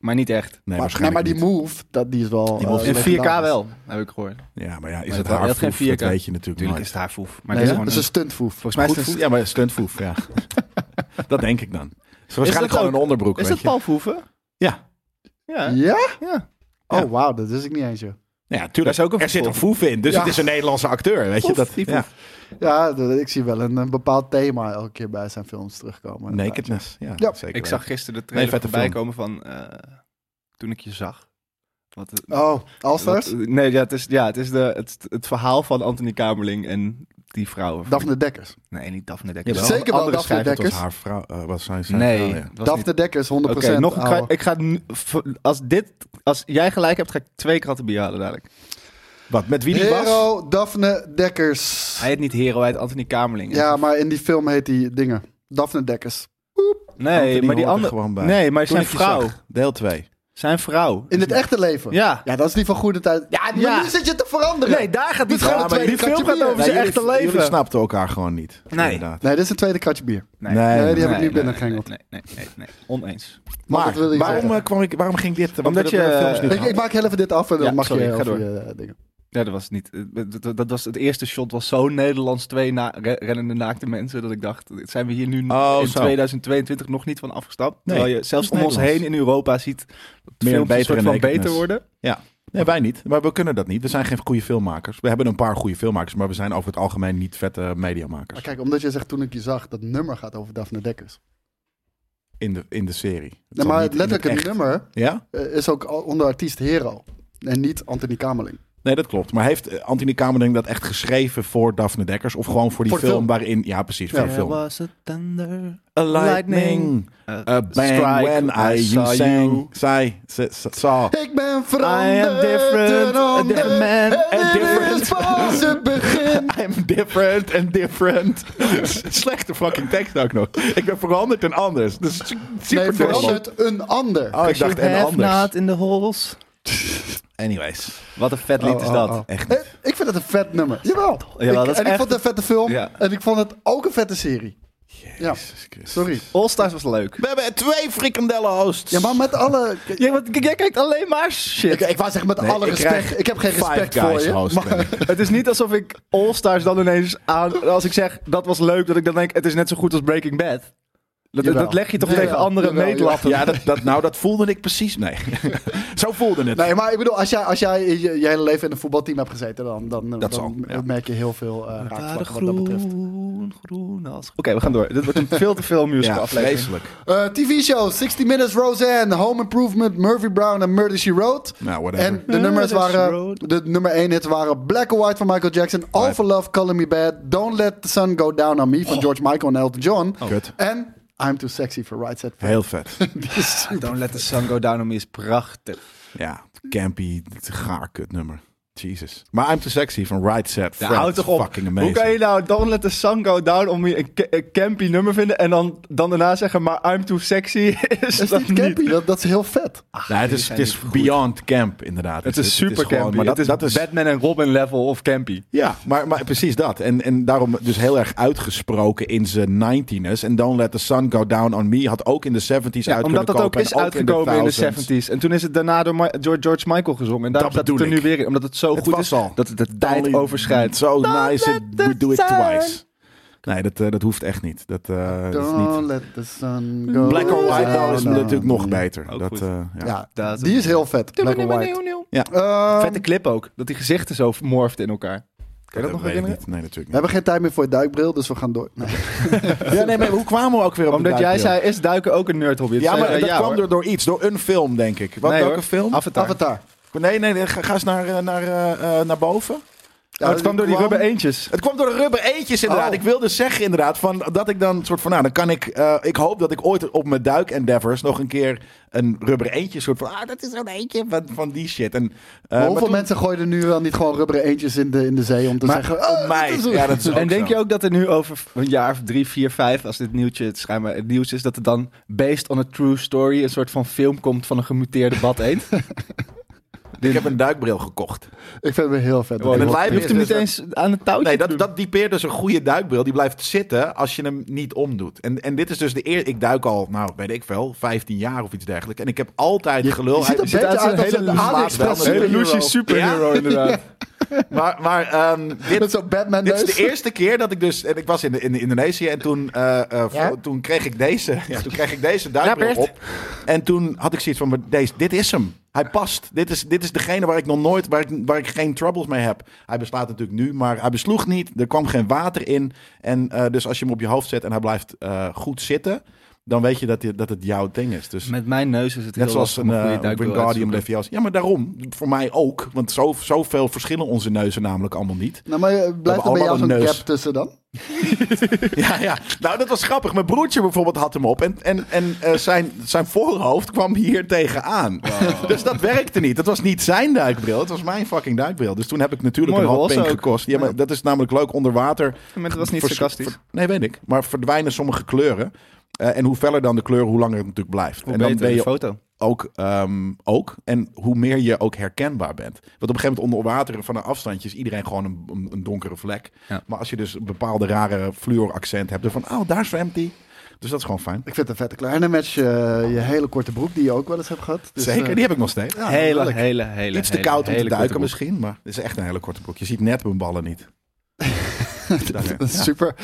D: Maar niet echt.
C: Maar, nee,
B: waarschijnlijk
C: maar die
B: niet.
C: move, dat, die is wel...
B: Die move
C: eh,
D: In 4K
C: legendarisch.
D: wel, heb ik gehoord.
B: Ja, maar ja, is
D: Maar
B: het
D: dat
B: haar
D: had geen
B: foef? Dat
D: 4K.
B: weet je natuurlijk
D: Natuurlijk is
B: nooit.
D: het haar foef. Maar
C: Nee,
D: het
C: hè?
D: is gewoon
C: dat is
D: een...
C: een stuntfoef.
D: Volgens mij is
B: Goed
D: het
B: foef, ja,
D: een-
B: maar stuntfoef, ja. dat denk ik dan. Het is
D: dat
B: waarschijnlijk gewoon
D: ook-
B: een onderbroek,
D: Is
B: weet
D: dat
B: je.
D: Paul Foeven?
B: Ja.
D: Ja.
C: Ja?
D: Ja.
B: Ja.
C: Oh, wauw, dat wist ik niet eens, joh.
B: Nou Ja,
D: Daar
B: tuurlijk.
D: is ook een
B: er zit een foef in, dus
C: Ja.
B: het is een Nederlandse acteur, weet je.
D: Foef,
B: Dat,
D: die
B: ja.
C: Ja, dat- ik zie wel een, een bepaald thema elke keer bij zijn films terugkomen.
B: Nakedness, ja,
C: Ja.
B: zeker.
D: Ik zag gisteren de trailer
B: Nee, vette
D: voorbij
B: film.
D: komen van... eh, Toen ik je zag. Wat,
C: Oh, Allstars?
D: Wat- nee, ja, het is, ja, het is de, het, het verhaal van Anthony Kamerling en die vrouwen.
C: Daphne Dekkers.
D: Nee, niet Daphne Dekker.
B: Jawel.
D: Een
C: Zeker wel
D: andere
C: Daphne
D: schrijver.
B: Dat was
C: Dekkers.
B: haar vrouw, eh, wat zijn zijn
D: Nee,
B: vrouw, ja.
D: was
C: Daphne
D: niet-
C: Dekkers, 100%.
D: Oké, nog een
C: ouwe.
D: krat- ik ga nu, v- als dit, als jij gelijk hebt, ga ik twee kratten bier halen dadelijk.
B: Wat, met wie die was?
C: Hero Daphne Dekkers.
D: Hij heet niet Hero, hij heet Anthony Kamerling.
C: Ja, maar in die film heet die dingen. Daphne Dekkers.
D: nee,
B: Anthony
D: maar die
B: hoort er
D: andere...
B: gewoon bij.
D: Nee, maar
B: Toen
D: zijn
B: ik je
D: vrouw.
B: zag, Deel 2.
D: Zijn vrouw.
C: In het echte leven.
D: Ja.
C: Ja, dat is die van goede tijd. Ja, maar
D: Ja.
C: nu zit je te veranderen.
D: Nee, daar
C: Dit
D: gaat die
C: is gewoon
D: vrouw.
C: een tweede
D: Die film
C: katje
D: gaat over
C: bier.
D: zijn
B: jullie-
D: echte
B: Jullie
D: leven.
B: snapten elkaar gewoon niet.
D: Nee.
B: Inderdaad.
C: Nee, dit is een tweede kratje bier.
B: Nee,
C: die heb ik
D: Nee,
C: nu
D: nee,
C: binnengehengeld.
D: Nee, nee, nee, nee. Oneens.
C: Maar
B: Maar
C: wat wil je
B: waarom,
C: zeggen?
B: eh, kwam ik, waarom ging dit? Want
D: Omdat
B: we hebben
D: je-
B: de films niet
D: Ik-
C: Ik,
B: gehad.
C: ik maak heel even dit af en dan
D: Ja,
C: mag
D: sorry,
C: je
D: ga
C: over
D: door.
C: je, eh, dingen.
D: Ja, dat was niet. eh, Dat, dat- dat was het eerste shot was zo Nederlands twee na, re- rennende naakte mensen dat ik dacht, zijn we hier nu
B: Oh,
D: in
B: zo.
D: 2022 nog niet van afgestapt?
B: Nee,
D: Terwijl je zelfs
B: dat
D: om
B: is
D: ons heen
B: Nederlands.
D: in Europa ziet dat
B: Meer
D: films een
B: beter
D: soort
B: in
D: van
B: nakedness.
D: beter worden.
B: Nee, wij niet. Maar we kunnen dat niet. We zijn geen goede filmmakers. We hebben een paar goede filmmakers, maar we zijn over het algemeen niet vette mediamakers.
C: Maar kijk, omdat je zegt toen ik je zag, dat nummer gaat over Daphne Dekkers.
B: In, de, in de serie. Het
C: Nee,
B: zal
C: maar
B: niet in
C: letterlijk het,
B: echt-
C: nummer
B: Ja?
C: eh, is ook al onder artiest Hero. En niet Anthony Kamerling.
B: Nee, dat klopt. Maar heeft eh, Anthony Kamerling dat echt geschreven voor Daphne Dekkers? Of gewoon voor die
C: Voor de
B: film,
C: film.
B: waarin... Ja, precies, voor de
D: There
B: film.
D: was a thunder,
B: A
D: lightning,
B: A bang
D: strike,
B: when I, you
D: I saw
B: sang.
D: you.
B: Zij, ze, ze- saw.
C: Ik ben veranderd.
D: different,
C: een
D: a
C: ander,
D: different man, a
C: eh, en dit
D: different-
C: is pas het begin.
B: I'm different and different. Slechte fucking tekst ook nog. Ik ben veranderd en anders. Dus super
C: Nee, verandert een ander.
B: Oh, ik dacht en anders.
D: in the halls.
B: Anyways.
D: Wat een vet lied is
C: Oh,
D: dat.
C: oh, oh.
B: Echt
C: Eh, Ik vind het een vet nummer. Jawel.
D: Jawel,
C: Ik-
D: dat is
C: en ik
D: echt-
C: vond het een vette film.
D: Ja.
C: En ik vond het ook een vette serie. Ja, sorry.
D: All Stars was leuk.
B: We hebben twee frikandellen hosts.
C: Ja, maar met alle...
D: Jij, wat, jij kijkt alleen maar shit.
C: Ik, ik wou zeggen met
B: Nee,
C: alle
B: ik
C: respect.
B: krijg
C: Ik heb geen
B: Five
C: respect
B: Guys
C: voor je.
B: host
C: maar-
B: ben ik.
D: Het is niet alsof ik All Stars dan ineens aan... Als ik zeg, dat was leuk, dat ik dan denk, het is net zo goed als Breaking Bad. Dat,
C: Jawel.
D: dat leg je toch
C: Jawel,
D: tegen andere
C: jawel,
D: meetlappen.
B: Ja, dat, dat, nou, dat voelde ik precies. Nee. Zo voelde het.
C: Nee, maar ik bedoel, als jij, als jij je, je hele leven in een voetbalteam hebt gezeten, dan, dan, dan
B: zal, ja.
C: merk je heel veel eh
D: Aardig
C: raakvlakken wat dat betreft.
D: groen, groen als... Oké, we gaan door. Dit wordt een veel te veel musical
B: ja,
D: aflevering.
B: vreselijk.
C: Eh, TV-shows, 60 Minutes, Roseanne, Home Improvement, Murphy Brown en Murder, She Wrote.
B: Nou, whatever.
C: En de nummers
D: Murder, She
C: waren,
D: Wrote.
C: de nummer 1 hits waren Black or White van Michael Jackson, All for Love, Color Me Bad, Don't Let the Sun Go Down on
B: Oh.
C: Me van George Michael en Elton John.
B: Kut.
C: En I'm Too Sexy for Right Set
B: Heel vet.
D: Don't let the sun go down on me is prachtig.
B: Ja, campy, gaar kut nummer. Jesus. Maar I'm Too Sexy van Right Set
D: Ja,
B: Fred.
D: hou toch op.
B: Fucking amazing.
D: Hoe kan je nou Don't let the sun go down on me een, ca- een campy nummer vinden... en dan, dan daarna zeggen, maar I'm too sexy is,
C: Is
D: dat
C: niet campy? Dat, dat is heel vet.
B: Nee, het is,
D: zijn
B: het is
D: niet goed.
B: beyond camp, inderdaad.
D: Het is super
B: gewoon-
D: campy.
B: Maar dat,
D: het is,
B: dat is
D: Batman en Robin level of campy.
B: Ja, maar, maar precies dat. En, en daarom dus heel erg uitgesproken in zijn 19ers. En Don't Let the Sun Go Down on Me had ook in de 70s uit kunnen
D: omdat dat ook
B: kopen en
D: is uitgekomen in de,
B: 1000s.
D: 70s. En toen is het daarna door Ma- George, George Michael gezongen. En daar
B: Dat
D: staat het er
B: bedoel
D: nu
B: ik.
D: weer in. Omdat het zo
B: Het
D: goed
B: was
D: is
B: al.
D: dat het de tijd
B: Only-
D: overschrijdt.
B: So nice,
D: let
B: it, we
D: the
B: do it
D: sun-
B: twice. Nee, dat, eh, dat hoeft echt niet. Dat, eh, dat is
C: Don't
B: niet...
C: let the sun go
B: Black or White
C: down
B: nou, is
C: on
B: natuurlijk nog
C: me.
B: beter.
D: Mm, Ook
B: Dat,
D: goed.
B: eh, ja.
C: Ja,
D: Dat is
C: die
D: een-
C: is heel vet. Black or White. Ehm,
D: Vette clip ook. Dat die gezichten zo morfden in elkaar. Kan je dat nog
B: weet ik
D: herinneren?
B: niet. Nee, natuurlijk
C: we
B: niet.
C: hebben geen tijd meer voor het duikbril, dus we gaan door. Nee.
B: Ja, nee, maar hoe kwamen we ook weer op
D: Omdat
B: de
D: jij
B: duikbril?
D: zei, is duiken ook een nerdhobby? Toen
B: Ja,
D: zei
B: maar
D: ik,
B: dat kwam
D: hoor.
B: door, door iets. Door een film, denk ik. Wat,
D: Nee,
B: welke
D: hoor.
B: film?
D: Avatar.
B: Eh,
C: Avatar.
B: Nee, nee, nee, Ga, ga eens naar, eh, naar, eh, eh, naar boven.
D: Oh, het kwam door die
C: kwam-
D: rubber eentjes.
B: Het kwam door de rubber eentjes inderdaad.
C: Oh.
B: Ik wilde zeggen inderdaad van, dat ik dan soort van... Nou, dan kan ik... eh, ik hoop dat ik ooit op mijn duik endeavors nog een keer een rubber eentje soort van... Ah, dat is zo'n eentje van, van die shit. En, eh,
C: Maar
B: maar
C: hoeveel
B: toen-
C: mensen gooiden nu wel niet gewoon rubberen eentjes in de, in de zee om te
B: Maar
C: zeggen...
B: op
C: "Oh,
B: mij.
C: dit is een-"
B: Ja, dat is ook
D: En denk
B: zo.
D: je ook dat er nu over een jaar of drie, vier, vijf, als dit nieuwtje het schijnbaar het nieuws is, dat er dan based on a true story een soort van film komt van een gemuteerde bad eend?
B: Ik heb een duikbril gekocht.
C: Ik vind het heel vet.
B: Wow,
C: Dat
B: het
C: ik-
B: lijkt-
D: Je hoeft hem
B: is
D: niet
B: dat-
D: eens aan het touwtje
B: Nee,
D: te
B: dat,
D: doen.
B: dat typeert dus een goede duikbril. Die blijft zitten als je hem niet omdoet. En, en dit is dus de eer. Ik duik al, nou weet ik veel, 15 jaar of iets dergelijks. En ik heb altijd gelul.
C: je ziet
B: Hij-
C: een beetje
D: uit
C: uit als
D: zo'n
C: een
D: hele
C: AliExpress
B: dat-
D: Hele
C: superhero.
D: Lucy superhero, inderdaad.
B: Maar, maar ehm, dit,
C: Met zo'n Batman
B: Dit is
C: neus.
B: de eerste keer dat ik dus... En ik was in, in Indonesië en toen, eh, eh, vo-
C: Ja?
B: toen kreeg ik deze, ja, toen kreeg ik deze duikbril
D: Ja, Bert.
B: op. En toen had ik zoiets van, maar deze, dit is hem. Hij past. Dit is, dit is degene waar ik nog nooit, waar ik, waar ik geen troubles mee heb. Hij beslaat natuurlijk nu, maar hij besloeg niet. Er kwam geen water in. En eh, dus als je hem op je hoofd zet en hij blijft eh, goed zitten... dan weet je dat, die- dat het jouw ding is. Dus
D: Met mijn neus is het
B: net
D: heel
B: zoals
D: lastig om
B: een
D: goede
B: eh
D: duikbril uit te
B: Wingardium
D: zoeken.
B: Leviosa. Ja, maar daarom, voor mij ook. Want zo, zoveel verschillen onze neuzen namelijk allemaal niet.
C: Nou, maar eh, blijft er bij
B: allemaal
C: jou
B: een
C: zo'n
B: neus.
C: gap tussen dan?
B: Ja, ja. Nou, dat was grappig. Mijn broertje bijvoorbeeld had hem op. En, en, en eh, zijn, zijn voorhoofd kwam hier tegenaan. Dus dat werkte niet. Dat was niet zijn duikbril. Het was mijn fucking duikbril. Dus toen heb ik natuurlijk
D: Mooi
B: een
D: roze
B: handpink
D: ook.
B: gekost. Ja, maar dat is namelijk leuk onder water.
D: Maar het was niet
B: Vers-
D: sarcastisch.
B: ver- nee, weet ik. Maar verdwijnen sommige kleuren. Eh, en hoe feller dan de kleur, hoe langer het natuurlijk blijft.
D: Hoe
B: en dan
D: beter
B: ben
D: de
B: je
D: foto.
B: ook, ehm, ook. En hoe meer je ook herkenbaar bent. Want op een gegeven moment onder water van een afstandje is iedereen gewoon een, een, een donkere vlek.
D: Ja.
B: Maar als je dus een bepaalde rare fluoraccent hebt, dan van, oh, daar zwemt hij. Dus dat is gewoon fijn.
C: Ik vind het een vette kleine match. eh, je hele korte broek die je ook wel eens hebt gehad. Dus,
B: Zeker,
C: eh,
B: die heb ik nog steeds.
C: ja,
D: hele,
C: heerlijk.
D: hele, hele,
B: Iets te
D: hele,
B: koud om te
D: hele korte
B: duiken
D: broek.
B: misschien, maar het is echt een hele korte broek. Je ziet net mijn ballen niet. Daar, ja.
C: Dat is Super.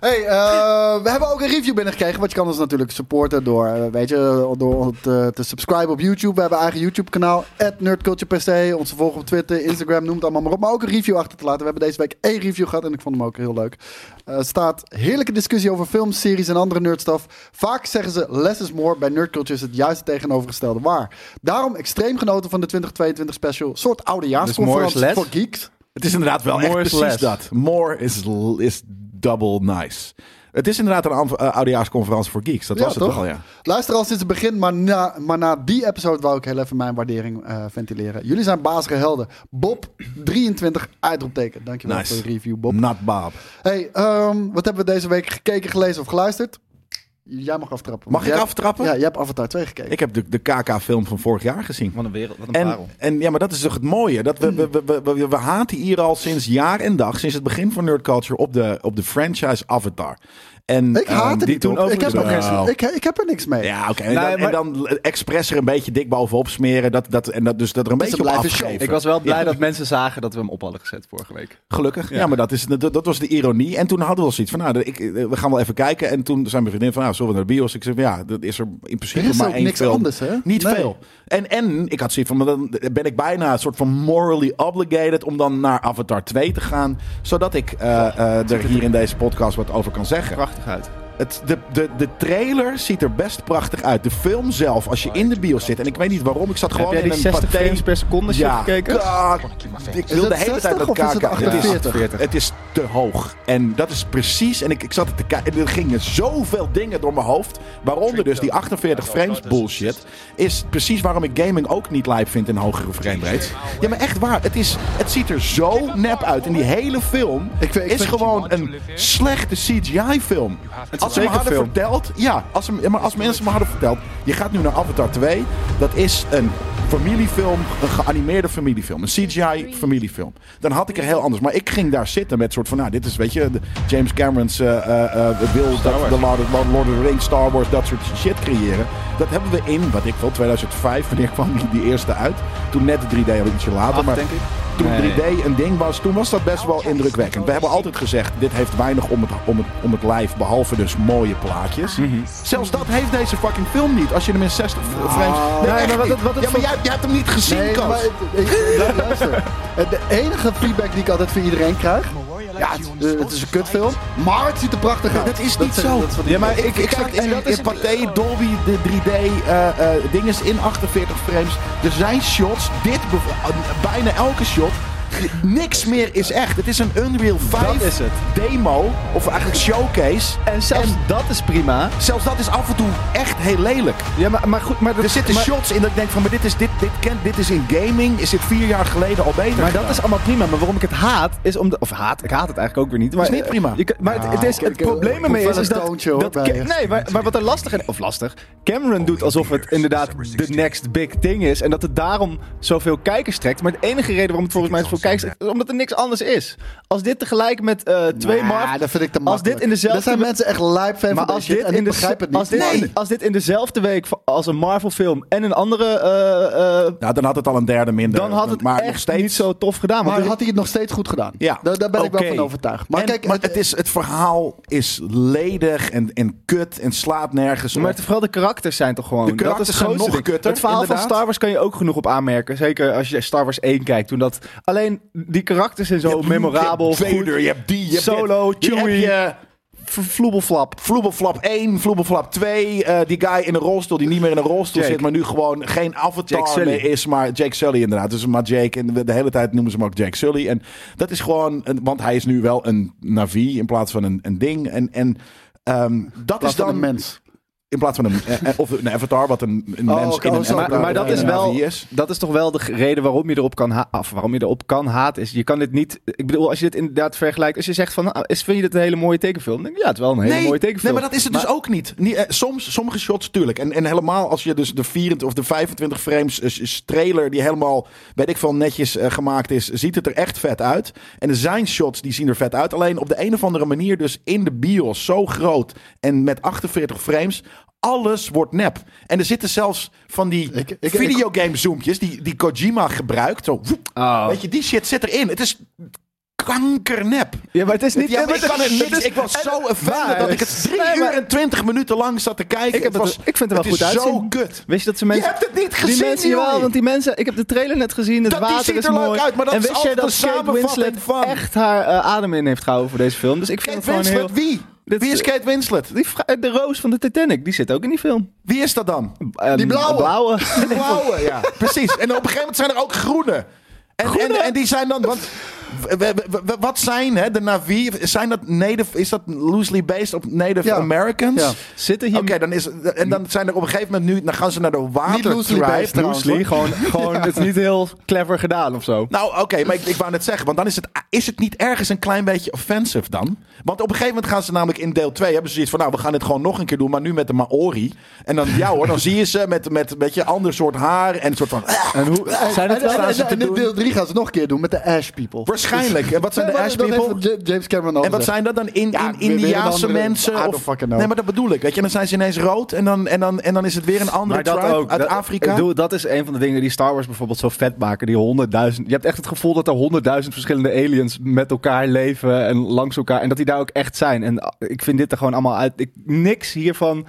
C: Hey, eh, we hebben ook een review binnengekregen. Want je kan ons natuurlijk supporten door, eh, weet je, door het, eh, te subscriben op YouTube. We hebben een eigen YouTube-kanaal, NerdCulturePC. Ons volgen op Twitter, Instagram, noem het allemaal maar op. Maar ook een review achter te laten. We hebben deze week één review gehad en ik vond hem ook heel leuk. Eh, Er staat heerlijke discussie over films, series en andere nerdstuff. Vaak zeggen ze less is more. Bij nerdculture is het juist het tegenovergestelde waar. Daarom extreem genoten van de 2022 special. Soort oudejaarsconferentie
D: Dus more is
C: voor
D: less?
C: geeks.
B: Het is inderdaad wel
D: More
B: echt
D: is
B: precies
D: less.
B: dat. More is, l- is double nice. Het is inderdaad een aanv- eh, oudejaarsconferentie voor geeks. Dat
C: Ja,
B: was het
C: toch?
B: toch al, ja.
C: Luister al sinds het begin, maar na, maar na die episode wou ik heel even mijn waardering eh, ventileren. Jullie zijn bazige helden. Bob, 23, uitroepteken. Dankjewel
B: Nice.
C: voor de review, Bob.
B: Not Bob.
C: Hey, ehm, wat hebben we deze week gekeken, gelezen of geluisterd? Jij mag aftrappen.
B: Mag
C: Jij
B: ik
C: hebt-
B: aftrappen?
C: Ja, je hebt Avatar 2 gekeken.
B: Ik heb de, de KK-film van vorig jaar gezien.
D: Wat een wereld, wat een
B: En,
D: parel.
B: en ja, maar dat is toch het mooie. Dat we, we, we, we, we- we haten hier al sinds jaar en dag, sinds het begin van Nerd Culture, op de, op de franchise Avatar. En,
C: Ik haat
B: ehm,
C: het
B: die
C: niet,
B: toen
C: hoor. ik heb, er
B: overigens-
C: geen-
B: Nou.
C: ik, ik heb er niks mee.
B: Ja, oké. En,
D: Nee,
B: dan- en dan expres er een beetje dik bovenop smeren. Dat, dat, en dat, dus dat er een
C: Dus
B: beetje op
C: het blijft een show.
B: afgeven.
D: Ik was wel blij dat mensen zagen dat we hem op hadden gezet vorige week.
B: Gelukkig. Ja, maar dat, is, dat, dat was de ironie. En toen hadden we al zoiets van, nou, ik, we gaan wel even kijken. En toen zei mijn vriendin van, nou, zullen we naar de bios? Ik zei, van, ja, dat is er in principe
C: Er is
B: maar
C: ook
B: één
C: niks
B: film.
C: anders, hè?
B: Niet
C: Nee.
B: veel. En, en ik had zoiets van, maar dan ben ik bijna een soort van morally obligated om dan naar Avatar 2 te gaan. Zodat ik eh, eh, er hier in deze podcast wat over kan zeggen.
D: Prachtig uit.
B: Het, de, de, de trailer ziet er best prachtig uit. De film zelf, als je in de bios zit. En ik weet niet waarom, ik zat gewoon
D: Heb jij
B: in
D: die
B: een
D: 60
B: pathé.
D: frames per seconde shit
B: Ja.
D: gekeken?
B: Ah, ik wil
C: het
B: de hele
C: 60
B: tijd dat
C: of is het
B: kaken. Het is
C: 48?
D: 40.
B: het is te hoog. En dat is precies. En ik, ik zat er te kijken. Er gingen zoveel dingen door mijn hoofd. Waaronder dus die 48 frames bullshit. Is precies waarom ik gaming ook niet live vind in hogere frame rates. Ja, maar echt waar. Het, is, het ziet er zo nep uit. En die hele film
C: Ik vind- ik
B: is
C: vind-
B: gewoon een slechte CGI-film. Als ze me
D: zeker
B: hadden
D: film.
B: verteld. Ja, als ze, ja, maar als mensen me hadden verteld. Je gaat nu naar Avatar 2. Dat is een familiefilm. Een geanimeerde familiefilm. Een CGI-familiefilm. Dan had ik er heel anders. Maar ik ging daar zitten met soort van. Nou, dit is, weet je. de- James Cameron's eh, eh, eh, wil dat de Lord, of- Lord of the Rings, Star Wars, dat soort shit creëren. Dat hebben we in, wat ik wil, 2005. Wanneer kwam die, die eerste uit? Toen net de 3D, een ietsje later.
D: Acht,
B: maar
D: denk ik.
B: toen
D: Nee.
B: 3D een ding was, toen was dat best wel indrukwekkend. We hebben altijd gezegd, dit heeft weinig om het, om het, om het lijf, behalve dus mooie plaatjes.
D: Mhm.
B: Zelfs dat heeft deze fucking film niet, als je hem in 60 fr- frames... Nee,
D: Ah. maar
B: echt
D: wat
B: niet.
D: het- wat het
B: ja, maar
D: voor-
B: jij, jij hebt hem niet gezien,
C: Nee,
B: Koos.
C: maar het- ik- lu- luister. Het- De enige feedback die ik altijd van iedereen krijg. Ja, het, eh, het is een kutfilm. Maar het ziet er prachtig uit.
B: Dat is niet
C: zijn-
B: zo.
C: dat is wat
B: ja, maar
C: denk.
B: ik, ik zat in, in Pathé, Dolby, de 3D, eh eh dinges in 48 frames. Er zijn shots, dit bev- eh, bijna elke shot. Niks meer is echt. Het is een Unreal 5
D: is het.
B: demo, of eigenlijk showcase.
D: En zelfs dat is prima.
B: Zelfs dat is af en toe echt heel lelijk.
D: Ja, maar, maar goed, maar dat,
B: Er zitten
D: maar,
B: shots in dat ik denk van, maar dit is, dit, dit, kent, dit is in gaming, is dit vier jaar geleden al beter
D: maar dat
B: gedaan.
D: is allemaal prima. Maar waarom ik het haat, is om de, Of haat, ik haat het eigenlijk ook weer niet. Maar,
B: is niet prima.
D: Je kan- maar het, het, is,
C: ik-
D: het
C: ik-
D: probleem
C: ik
D: ermee
C: hoef
D: is,
C: wel
D: is
C: een
D: dat...
C: toontje, hoor,
D: dat
C: bij
D: Ca-
C: je.
D: nee, maar, maar wat er lastig... en- Of lastig. Cameron doet alsof het inderdaad de next big thing is. En dat het daarom zoveel kijkers trekt. Maar de enige reden waarom het volgens mij zoveel kijkers trekt... is omdat er niks anders is. Als dit tegelijk met eh, twee
C: Nou,
D: Marvel...
C: dat vind ik te
D: Als
C: makkelijk.
D: dit in dezelfde...
C: Er zijn mensen echt live fan
D: Maar
C: van
D: als
C: deze
D: dit,
C: shit en
D: in
C: ik
D: de,
C: begrijp het niet.
D: Als, dit,
C: Nee. Ah,
D: als dit in dezelfde week va- als een Marvel film en een andere, eh, eh,
B: Nou, dan had het al een derde minder. eh,
D: dan had het
B: maar nog
D: echt
B: steeds
D: niet zo tof gedaan. Want
C: Maar
D: er-
C: had hij het nog steeds goed gedaan?
B: Ja,
C: Daar, daar ben ik wel
B: oké.
C: van overtuigd. Maar
B: En-
C: kijk,
B: maar het, is, het verhaal is ledig en, en kut en slaat nergens op.
D: maar het- vooral de karakters zijn toch gewoon...
B: De karakters
D: het grootste
B: zijn nog
D: ding.
B: kutter,
D: Het verhaal
B: inderdaad.
D: van Star Wars kan je ook genoeg op aanmerken. Zeker als je Star Wars 1 kijkt. Toen dat, alleen die karakters zijn
B: Je
D: zo
B: hebt Luke,
D: memorabel.
B: Je hebt Vader,
D: goed.
B: je hebt die, je hebt
D: Solo,
B: dit. Hier
D: Chewie.
B: heb je
C: v- vloebelflap.
B: Vloebelflap 1, Vloebelflap 2. eh, die guy in een rolstoel die niet meer in een rolstoel
D: Jake.
B: zit, maar nu gewoon geen
D: Jake
B: avatar
D: Sully.
B: meer is. Maar Jake Sully inderdaad. Dus maar Jake. En de de hele tijd noemen ze hem ook Jake Sully. En dat is gewoon... een- Want hij is nu wel een Navi in plaats van een, een ding. En, en ehm, dat
C: Dat
B: is
C: is dan een
B: dan...
C: mens.
B: In plaats van een, eh, eh, of een avatar, wat een, een
C: Oh,
B: mens
C: oké,
B: in
C: oh,
B: een
C: zo.
B: avatar
D: Maar, maar dat
B: wat
D: is
B: een
D: wel,
B: Navi is.
D: dat is toch wel de g- reden waarom je erop kan, ha of waarom je erop kan haten. Is, je kan dit niet, ik bedoel, als je dit inderdaad vergelijkt, als je zegt van, ah, is, vind je dit een hele mooie tekenfilm? Dan denk ik, ja, het is wel een hele mooie
B: nee,
D: tekenfilm.
B: maar dat is het dus ook niet. Nie- eh, soms, sommige shots, tuurlijk. En, en helemaal als je dus de 24 of de 25 frames eh, s- s- trailer, die helemaal, weet ik veel, netjes eh, gemaakt is, ziet het er echt vet uit. En er zijn shots die zien er vet uit. Alleen op de een of andere manier, dus in de bios, zo groot en met 48 frames. Alles wordt nep. En er zitten zelfs van die
C: Ik- ik- ik-
B: videogame-zoompjes die, die Kojima gebruikt. Zo, woep.
D: Oh.
B: Weet je, die shit zit erin. Het is kankernep.
D: Ja, maar het is niet...
B: Ja, maar
D: het
B: ik
D: is-
B: kan er
D: het
B: niks.
D: is-
B: Ik was
D: en-
B: zo offended
D: maar-
B: dat ik het drie
D: Nee, maar-
B: uur en twintig minuten lang zat te kijken.
D: Ik, heb het,
B: was,
D: ik vind het wel goed
B: is
D: uitzien.
B: zo kut.
D: Weet je dat ze
B: Je
D: mensen...
B: hebt het niet
D: die
B: gezien,
D: mensen, jawel,
B: joh.
D: want die mensen... Ik heb de trailer net gezien, het
B: Dat- die
D: water
B: ziet
D: is
B: er leuk
D: mooi.
B: uit, maar dat
D: en
B: is
D: wist jij
B: altijd
D: dat
B: een
D: Kate
B: samenvatting
D: Winslet
B: van.
D: echt haar eh, adem in heeft gehouden voor deze film? Dus ik vind
B: Kate
D: het gewoon
B: Winslet,
D: heel...
B: wie?
D: Dit-
B: Wie is Kate Winslet?
D: Die vrou- de roos van de Titanic, die zit ook in die film.
B: Wie is dat dan?
D: Ehm,
B: Die blauwe.
D: blauwe.
B: De blauwe, ja. Precies. En op een gegeven moment zijn er ook groene. En, En, en die zijn dan... Want, w- w- w- wat zijn hè, de Navi? Zijn dat native, is dat loosely based op Native
C: Ja.
B: Americans?
C: Ja.
D: Zitten hier
B: Oké, dan is, en dan zijn er op een gegeven moment nu... Dan gaan ze naar de water
C: loosely based,
B: tribe.
C: trouwens,
D: Bruce Lee, gewoon, gewoon het is niet heel clever gedaan of zo.
B: Nou, oké, maar ik, ik wou net zeggen, want dan is het, is het niet ergens een klein beetje offensive dan? Want op een gegeven moment gaan ze namelijk in deel 2 hebben ze zoiets van, nou, we gaan dit gewoon nog een keer doen, maar nu met de Maori. En dan, ja hoor, dan zie je ze met, met een beetje ander soort haar en een soort van... eh,
D: En hoe, zijn
C: En,
D: het wel?
C: en, en,
B: ze te
C: en in
B: doen?
C: deel 3 gaan ze het nog een keer doen met de Ash People.
B: waarschijnlijk. En wat zijn
C: Nee,
B: de
C: maar
B: Ash
C: dat heeft
B: People?
C: J- James Cameron al
B: En wat
C: gezegd.
B: zijn dat dan? In,
C: Ja,
B: in,
C: weer- weer een
B: Indiaanse
C: andere- I
B: mensen?
C: don't
B: Of,
C: fucking know.
B: nee, maar dat bedoel ik. Weet je, en dan zijn ze ineens rood en dan, en dan, en dan is het weer een andere tribe uit
D: dat-
B: Afrika.
D: Ik bedoel, dat is een van de dingen die Star Wars bijvoorbeeld zo vet maken. Die honderdduizend. Je hebt echt het gevoel dat er honderdduizend verschillende aliens met elkaar leven en langs elkaar. En dat die daar ook echt zijn. En ah, ik vind dit er gewoon allemaal uit. Ik, niks hiervan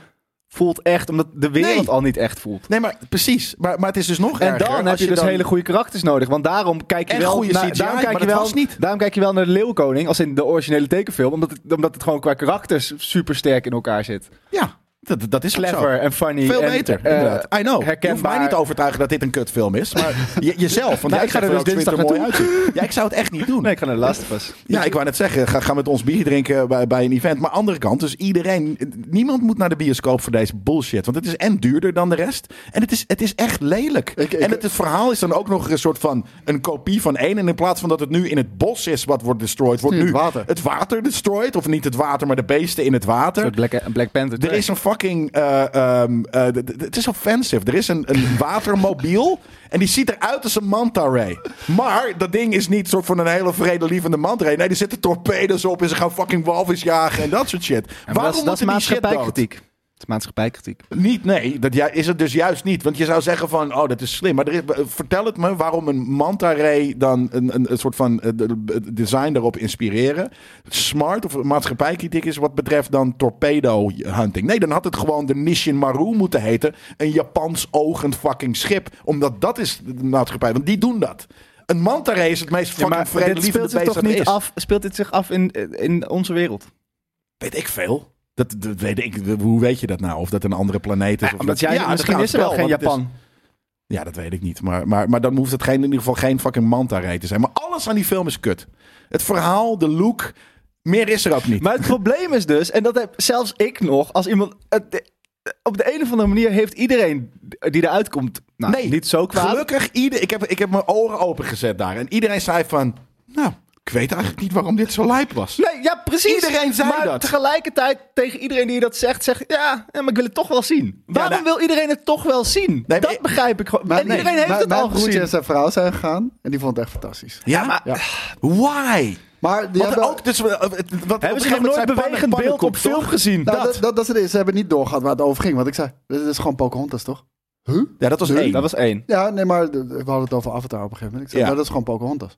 D: voelt echt, omdat de wereld
B: Nee.
D: al niet echt voelt.
B: Nee, maar precies. Maar, maar het is dus nog
D: En
B: erger.
D: dan
B: als
D: heb je dus
B: dan-
D: hele goede karakters nodig. Want daarom kijk je
B: En
D: wel
B: goede
D: naar-
B: CGI,
D: daarom kijk
B: maar
D: je
B: dat
D: wel,
B: was niet.
D: Daarom kijk je wel naar de Leeuwkoning als in de originele tekenfilm. Omdat het, omdat het gewoon qua karakters super sterk in elkaar zit.
B: Ja, dat, dat is ook zo.
D: Clever en funny.
B: Veel
D: en,
B: beter,
D: eh,
B: inderdaad. I know. Je hoeft
D: herkenbaar.
B: mij niet te overtuigen dat dit een kutfilm is. Maar je- jezelf. Want
D: Nou,
B: jij
D: ik ga
B: zegt
D: er
B: wel,
D: dus
B: ik vind het er
D: dinsdag
B: mooi uitzien. Ja, ik zou het echt niet doen.
D: Nee, ik ga naar de Last of Us.
B: Ja, ik wou net zeggen, ga, ga met ons bier drinken bij, bij een event. Maar andere kant, dus iedereen... Niemand moet naar de bioscoop voor deze bullshit. Want het is en duurder dan de rest. En het is, het is echt lelijk.
C: Ik- ik-
B: en het, het verhaal is dan ook nog een soort van... Een kopie van één. En in plaats van dat het nu in het bos is wat wordt destroyed... Wordt
C: nu
B: nu
C: het water.
B: het water destroyed. Of niet het water, maar de beesten in het water.
D: Een soort Black, Black Panther.
B: Er is een fucking. eh, ehm, eh, d- d- het is offensive. Er is een, een watermobiel. En die ziet eruit als een manta ray. Maar dat ding is niet soort van een hele vredelievende manta ray. Nee, er zitten torpedo's op. En ze gaan fucking walvis jagen en dat soort shit. Waarom
D: dat, dat is
B: moeten die shit dood?
D: maatschappijkritiek. Het is maatschappijkritiek.
B: Niet, nee. Dat ju- is het dus juist niet. Want je zou zeggen van, oh, dat is slim. Maar er is, vertel het me waarom een manta ray dan een, een, een soort van eh, de- de- design daarop inspireren. Smart of maatschappijkritiek is wat betreft dan torpedo hunting. Nee, dan had het gewoon de Nishin Maru moeten heten. Een Japans ogend fucking schip. Omdat dat is de maatschappij. Want die doen dat. Een manta ray is het meest fucking ja,
D: dit
B: vredelievende
D: speelt zich
B: beest
D: toch
B: dat er
D: niet
B: is.
D: af, speelt dit zich af in, in onze wereld?
B: Weet ik veel. Dat, dat weet ik. Hoe weet je dat nou? Of dat een andere planeet is? of
D: Omdat
B: dat,
D: jij,
B: Ja,
D: misschien
B: dat
D: is er wel
B: kan
D: geen
B: want het is-
D: Japan.
B: Ja, dat weet ik niet. Maar, maar, maar dan hoeft het geen, in ieder geval geen fucking manta ray te zijn. Maar alles aan die film is kut. Het verhaal, de look, meer is er ook niet.
D: Maar het probleem is dus, en dat heb zelfs ik nog, als iemand... het- op de een of andere manier heeft iedereen die eruit komt, nou,
B: Nee,
D: niet zo kwaad.
B: Gelukkig, ieder, ik, heb, ik heb mijn oren opengezet daar. En iedereen zei van, nou, ik weet eigenlijk niet waarom dit zo lijp was.
D: Nee, ja, precies.
B: Iedereen zei
D: maar
B: dat.
D: tegelijkertijd tegen iedereen die dat zegt, zegt ja, ja, maar ik wil het toch wel zien. Waarom
B: nou-
D: wil iedereen het toch wel zien?
B: maar
D: dat
B: ik-
D: begrijp ik gewoon.
C: Maar
D: en
C: nee,
D: iedereen heeft
C: mijn-
D: het
C: mijn
D: al
C: broertje
D: gezien.
C: en zijn vrouw zijn gegaan en die vond het echt fantastisch.
B: Ja?
D: maar-
B: Why?
C: Maar die
B: Want
C: hebben,
B: ook, dus, eh, wat, op een gegeven
D: Hebben ze nog
B: moment
D: nooit
B: zei Pan-
D: bewegend beeld op
B: Pannenkoek,
D: film
B: toch?
D: gezien?
C: nou, dat. Dat, dat is het eerste. Ze hebben niet doorgehad waar het over ging. Want ik zei, dit is gewoon Pocahontas, toch? Huh?
B: Ja, dat was één.
D: was één.
C: Ja, nee, maar d- we hadden het over Avatar op een gegeven moment. Ik zei,
B: Ja.
C: nou, dat is gewoon Pocahontas.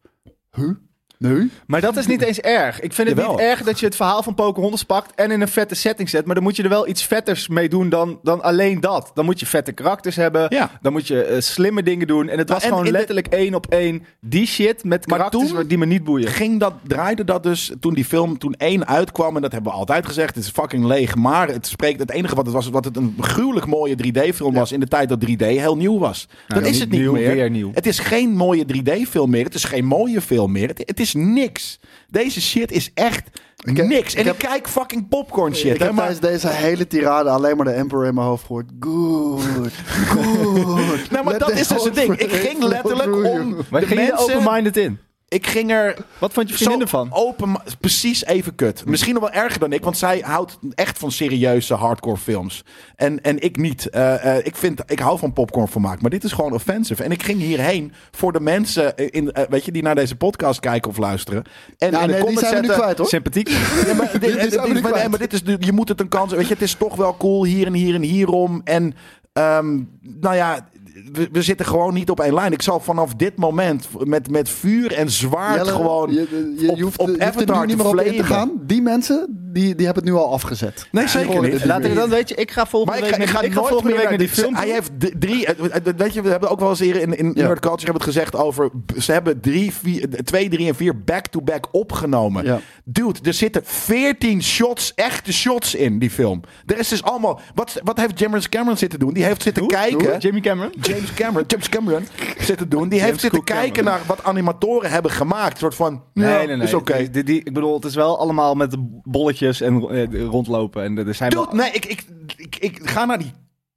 C: Huh? Nu?
D: Maar dat is niet eens erg. Ik vind het
B: Jawel.
D: niet erg dat je het verhaal van Pocahontas pakt en in een vette setting zet. Maar dan moet je er wel iets vetters mee doen dan, dan alleen dat. Dan moet je vette karakters hebben.
B: Ja.
D: Dan moet je eh, slimme dingen doen. En het
B: Maar
D: was
B: en
D: gewoon
B: in de-
D: letterlijk één op één die shit met
B: Maar
D: karakters
B: toen-
D: waar- die me niet boeien.
B: Ging dat, draaide dat dus toen die film, toen één uitkwam, en dat hebben we altijd gezegd, het is fucking leeg, maar het spreekt het enige wat het was, wat het een gruwelijk mooie 3D-film was in de tijd dat 3D heel nieuw was. dat
D: ja,
B: is
D: niet
B: het niet
D: nieuw,
B: meer.
D: weer nieuw.
B: Het is geen mooie 3D-film meer, het is geen mooie film meer, het, het is niks. Deze shit is echt
C: Ik heb-
B: niks. En
C: ik
B: ik,
C: heb-
B: kijk fucking popcorn shit,
C: ik
B: hè,
C: heb
B: maar...
C: tijdens deze hele tirade alleen maar de Emperor in mijn hoofd gehoord. Good, good.
B: Nou, maar
C: Let
B: dat
C: the
B: is dus het ding.
C: hope
B: Ik ging letterlijk
C: through you.
B: om
D: Maar
B: de
D: ging je er
B: mensen...
D: open-minded in?
B: Ik ging er
D: Wat vond je
B: zo Oh,
D: vriendin ervan?
B: open... Precies even kut. Misschien nog wel erger dan ik, want zij houdt echt van serieuze hardcore films. En, en ik niet. Eh, eh, ik, vind, ik hou van popcornvermaak, maar dit is gewoon offensive. En ik ging hierheen voor de mensen in, eh, weet je, die naar deze podcast kijken of luisteren. En in
C: Nou,
B: de
C: nee, die
B: comments
C: zijn we nu
B: zetten...
C: kwijt hoor.
D: Sympathiek.
B: Ja, maar, dit,
C: Dit is
B: dit-
C: ook
B: dit-
C: niet
B: maar,
C: kwijt.
B: nee, maar dit is, je moet het een kans. Weet je, het is toch wel cool hier en hier en hierom. En ehm, nou ja, we, we zitten gewoon niet op één lijn. Ik zal vanaf dit moment met, met vuur en zwaard
C: Jelle,
B: gewoon.
C: je, je, je
B: op-
C: hoeft,
B: op
C: je hoeft er
B: Avatar
C: nu niet
B: te
C: meer op in te
B: flamen.
C: gaan. Die mensen, die, die hebben het nu al afgezet.
B: Nee,
C: Die horen
B: zeker
C: dit
B: niet.
D: Laten we
C: meer.
D: dan, weet je, ik ga volgende
B: Maar ik
D: week
B: ga, ik ga
D: naar die- ik ga
B: nooit
D: volgende
B: meer naar
D: week naar
B: dit-
D: die film.
B: Hij
D: toe.
B: heeft d- drie. eh, eh, eh, Weet je, we hebben ook wel eens hier in, in
C: Ja.
B: Nerd Culture hebben het gezegd over. Ze hebben drie, vier, eh, twee, drie en vier back-to-back opgenomen.
C: Ja.
B: Dude, er zitten 14 shots, echte shots in die film. Er is dus allemaal. Wat, wat heeft James Cameron zitten doen? Die heeft zitten kijken.
D: Jimmy Cameron.
B: James Cameron, James Cameron zitten doen. Die heeft
D: James
B: zitten
D: Cook Cameron.
B: kijken naar wat animatoren hebben gemaakt. Een soort van. Nee, nee, nee. Is oké.
D: Die- die- die- Ik bedoel, het is wel allemaal met bolletjes en eh, rondlopen. En er zijn wel-
B: Dude, nee, ik, ik, ik, ik ga naar die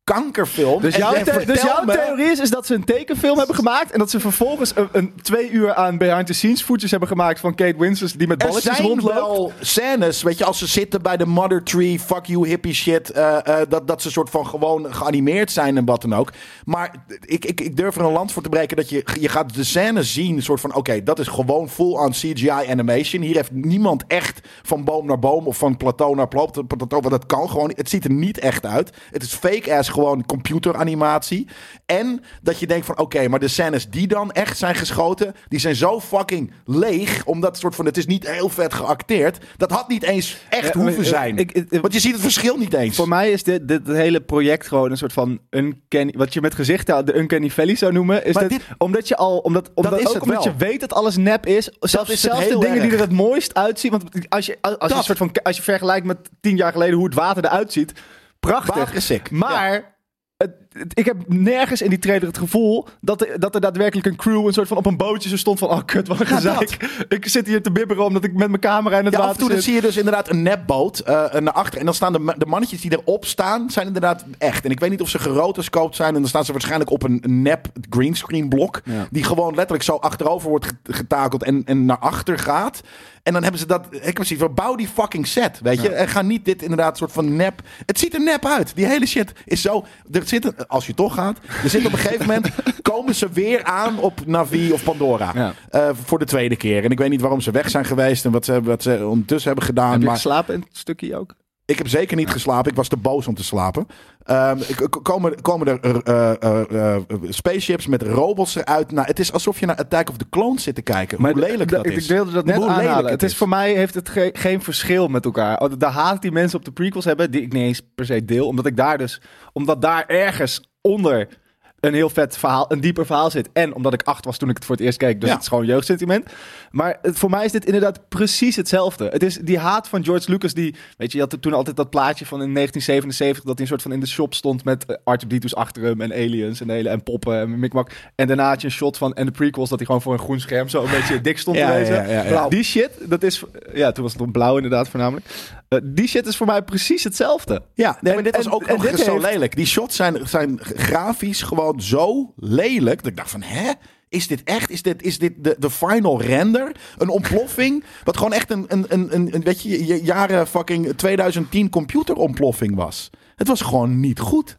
B: kankerfilm.
D: Dus
B: en
D: jouw,
B: jij
D: the- dus
B: vertelt
D: jouw
B: me-
D: theorie is, is dat ze een tekenfilm hebben gemaakt en dat ze vervolgens een, een twee uur aan behind-the-scenes footage hebben gemaakt van Kate Winslet die met
B: Er
D: balletjes
B: zijn
D: rondloopt.
B: wel scènes, weet je, als ze zitten bij de Mother Tree, fuck you hippie shit, eh, eh, dat, dat ze soort van gewoon geanimeerd zijn en wat dan ook. Maar ik, ik, ik durf er een land voor te breken dat je, je gaat de scène zien, soort van, oké, dat is gewoon full-on CGI animation. Hier heeft niemand echt van boom naar boom of van plateau naar pla- plateau, want dat kan gewoon, het ziet er niet echt uit. Het is fake-ass gewoon computeranimatie. En dat je denkt van, oké, maar de scènes die dan echt zijn geschoten, die zijn zo fucking leeg, omdat soort van, het is niet heel vet geacteerd. Dat had niet eens echt
D: Ja,
B: hoeven
D: eh,
B: zijn.
D: ik- ik- ik-
B: Want je ziet het verschil niet eens.
D: Voor mij is dit, dit hele project gewoon een soort van uncanny, wat je met gezichten de uncanny valley zou noemen. Is
B: Maar
D: dit,
B: dit-
D: omdat je al, omdat, omdat,
B: is
D: ook
B: het
D: omdat
B: wel.
D: je weet dat alles nep is, zelfs,
B: is het
D: zelfs de
B: heel
D: dingen die er
B: erg.
D: het mooist uitzien. Want als je, als, je,
B: Dat.
D: een soort van, als je vergelijkt met tien jaar geleden hoe het water eruit ziet, prachtig.
B: Water is sick.
D: Maar het, het- ik heb nergens in die trailer het gevoel dat er, dat er daadwerkelijk een crew een soort van op een bootje zo stond van oh kut, wat een gezeik. ik zit hier te bibberen omdat ik met mijn camera in het
B: Ja, af en
D: water
B: toe dan
D: zit.
B: zie je dus inderdaad een nepboot eh naar achter. En dan staan de, ma- de mannetjes die erop staan, zijn inderdaad echt. En ik weet niet of ze gerotoscoopt zijn. En dan staan ze waarschijnlijk op een nep greenscreen blok. Die gewoon letterlijk zo achterover wordt get- getakeld en, en naar achter gaat. En dan hebben ze dat... Ik heb zoiets van, bouw die fucking set, weet je. En ga niet dit inderdaad soort van nep... Het ziet er nep uit. Die hele shit is zo... Er zit een- als je toch gaat, er zit op een gegeven moment... komen ze weer aan op Navi of Pandora.
D: Ja.
B: Eh, voor de tweede keer. En ik weet niet waarom ze weg zijn geweest en wat ze, wat ze ondertussen hebben gedaan.
D: Heb je
B: maar
D: geslapen in het stukje ook?
B: ik heb zeker niet geslapen. Ik was te boos om te slapen. Ehm, ik- ik- komen, komen er eh, eh, eh, spaceships met robots eruit? Nou, het is alsof je naar Attack of the Clones zit te kijken. Hoe lelijk
D: d-
B: dat
D: ik,
B: is.
D: Ik wilde dat net
B: Hoe lelijk
D: aanhalen. Het
B: het
D: is
B: is.
D: voor mij heeft het ge- geen verschil met elkaar. Oh, De, de haat die mensen op de prequels hebben, die ik niet eens per se deel, omdat ik daar dus, omdat daar ergens onder een heel vet verhaal, een dieper verhaal zit. En omdat ik acht was toen ik het voor het eerst keek, dus
B: Ja.
D: het is gewoon jeugdsentiment. Maar het, voor mij is dit inderdaad precies hetzelfde. Het is die haat van George Lucas die, weet je, je had toen altijd dat plaatje van in 1977 dat hij een soort van in de shop stond met eh, R2D2's achter hem en aliens en de hele en poppen en mikmak. En daarna had je een shot van en de prequels dat hij gewoon voor een groen scherm zo een beetje dik stond
B: Ja,
D: te
B: ja,
D: lezen.
B: ja, ja, ja.
D: Die shit, dat is, ja, toen was het nog blauw inderdaad voornamelijk. Eh, die shit is voor mij precies hetzelfde.
B: Ja, nee,
D: En-
B: maar dit was
D: en-
B: ook
D: en
B: nog
D: dit
B: eens zo
D: heeft-
B: lelijk. Die shots zijn, zijn grafisch gewoon zo lelijk. Dat ik dacht van, hè? Is dit echt? Is dit, is dit de, de final render? Een ontploffing? Wat gewoon echt een, een, een, een, een, weet je, je- jaren fucking 2010 computerontploffing was. Het was gewoon niet goed.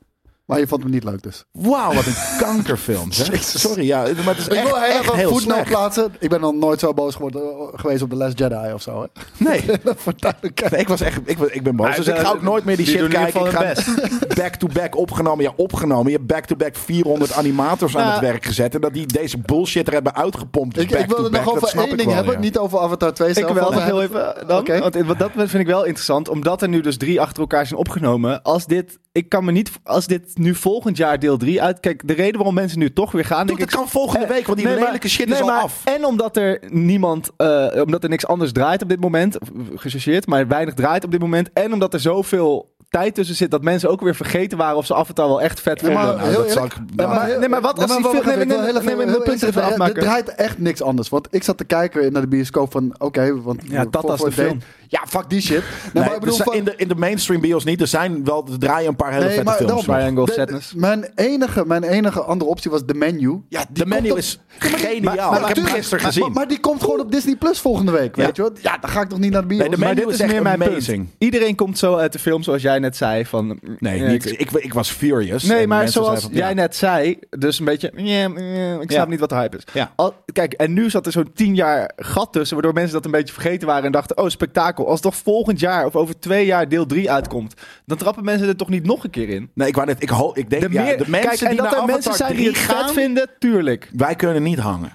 C: Maar je vond hem niet leuk dus.
B: Wauw, wat een kankerfilm. zeg.
C: Jezus.
B: Sorry, ja, maar het is
C: ik
B: echt,
C: wil
B: echt
C: heel even een
B: heel
C: voetnoot
B: slecht.
C: plaatsen. Ik ben nog nooit zo boos geworden, eh, geweest op The Last Jedi of zo. Hè?
B: Nee.
C: Voor duidelijkheid.
B: Nee, ik was echt, ik, was- ik ben boos.
D: Maar
B: dus
D: de-
B: ik ga ook nooit meer die
D: Nou, die
B: shit
D: doen in ieder
B: kijken. Ik
D: geval
B: ga back-to-back opgenomen. Ja, opgenomen. Je hebt back-to-back 400 animators aan het werk gezet. En dat die deze bullshit er hebben uitgepompt.
C: Nou,
B: Dus
C: Ik, ik
B: back-to-back,
C: wil het nog
B: dat
C: over
B: snap
C: één
B: ik
C: ding
B: wel,
C: hebben,
B: ja.
C: niet over Avatar 2
D: Ik
C: zelf.
D: wel
C: want
D: nog
C: we
D: heel
C: hebben-
D: even dan.
C: Oké.
D: Want in- want dat vind ik wel interessant. Omdat er nu dus drie achter elkaar zijn opgenomen. Als dit, ik kan me niet, als dit nu volgend jaar deel 3 uit... Kijk, de reden waarom mensen nu toch weer gaan...
B: Doe,
D: denk
B: dat
D: ik,
B: kan volgende
D: Eh,
B: week, want die
D: nee, maar-
B: lelijke shit
D: nee,
B: is al
D: maar-
B: af.
D: En omdat er niemand, eh, omdat er niks anders draait op dit moment, of, eh, gechargeerd, maar weinig draait op dit moment. En omdat er zoveel tijd tussen zit dat mensen ook weer vergeten waren of ze Avatar wel echt vet
C: Ja, maar
D: vonden.
B: Nou,
C: heel
B: dat zal
C: eerlijk,
B: ik-
D: Ja, maar- nee, maar wat als die
C: wacht
D: film-
C: even,
D: nee,
C: ik
D: nee,
C: wil heel
D: nee,
C: even-
D: nee, mijn
C: heel eerlijk
D: punt even
C: zeggen,
D: afmaken.
C: Er draait echt niks anders. Want ik zat te kijken naar de bioscoop van, oké, want...
D: Ja, dat
C: voor-
D: was
C: voor
D: de
C: het
D: film.
C: date- Ja, fuck die shit. Nee,
B: Nee,
C: maar ik bedoel,
B: dus
C: van-
B: in, de, in de mainstream bios niet. Er zijn wel, er draaien een paar hele
C: Nee,
B: vette
C: maar
B: films.
C: daarom-
B: nog.
D: Triangle of
C: de-
D: Sadness.
C: mijn, enige, mijn enige andere optie was de menu. Ja,
B: De menu
C: komt op-
B: is geniaal.
C: Maar
B: Ik heb hem
C: natuurlijk-
B: gisteren
C: maar-
B: gezien.
C: Maar, maar die komt gewoon op Disney Plus volgende week,
B: Ja.
C: weet je wel. Ja, dan ga ik toch niet naar de bios.
B: Nee, de
D: Maar
B: menu
D: dit
B: is
D: is
B: echt
D: meer mijn
B: amazing.
D: punt. Iedereen komt zo uit de film, zoals jij net zei. Van,
B: Nee,
D: eh,
B: niet,
D: ik-
B: ik, ik was furious.
D: Nee,
B: En
D: maar
B: mensen
D: zoals
B: zeiden van,
D: jij
B: ja.
D: net zei, dus een beetje, "Nee, nee, ik
B: Ja.
D: snap niet wat de hype is.
B: Ja.
D: Al- kijk, en nu zat er zo'n tien jaar gat tussen, waardoor mensen dat een beetje vergeten waren en dachten, oh, spektakel. Als toch volgend jaar of over twee jaar deel 3 uitkomt, dan trappen mensen er toch niet nog een keer in?
B: Nee, ik, wou net, ik, ho- ik denk, ja, de mensen
D: kijk, en
B: die
D: dat
B: naar
D: er mensen
B: Avatar
D: zijn die
B: 3
D: het vet
B: gaan,
D: vinden, tuurlijk.
B: wij kunnen niet hangen.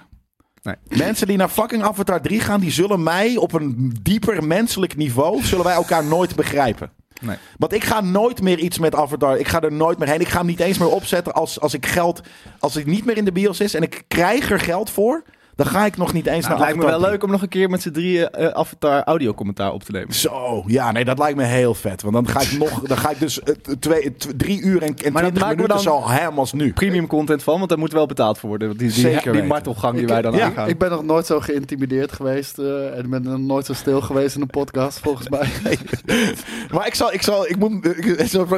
D: Nee.
B: Mensen die naar fucking Avatar 3 gaan, die zullen mij op een dieper menselijk niveau, zullen wij elkaar nooit begrijpen.
D: Nee.
B: Want ik ga nooit meer iets met Avatar. Ik ga er nooit meer heen. Ik ga hem niet eens meer opzetten als, als ik geld, als ik niet meer in de bios is en ik krijg er geld voor, dan ga ik nog niet eens
D: Nou, het
B: naar
D: lijkt me
B: Avatar
D: wel
B: 3.
D: leuk om nog een keer met z'n drieën eh, Avatar audio-commentaar op te nemen.
B: Zo, ja, nee, dat lijkt me heel vet. Want dan ga ik nog, dan ga ik dus eh, twee, tw- drie uur en, en 20
D: Maar dat maken we
B: minuten
D: dan-
B: zo hem als nu.
D: Premium content van, want daar moet wel betaald voor worden. want Die, die,
B: Zeker
D: die,
B: weten.
D: martelgang die
C: Ik-
D: wij dan
B: ja,
D: aangaan.
C: Ik ben nog nooit zo geïntimideerd geweest eh, en ben nog nooit zo stil geweest in een podcast, volgens mij.
B: Maar ik zal, ik zal, ik moet, ik,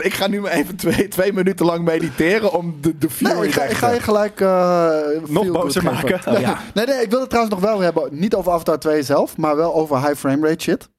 B: ik ga nu maar even twee, twee minuten lang mediteren om de, de fury
C: Nee, ik ga,
B: weg
C: ik
B: te-
C: ga je gelijk eh, feel-good
D: bozer
C: geven.
D: maken.
C: Nee,
B: Oh, Ja.
C: nee, nee, ik wil het trouwens nog wel hebben. Niet over Avatar 2 zelf, maar wel over high frame rate shit.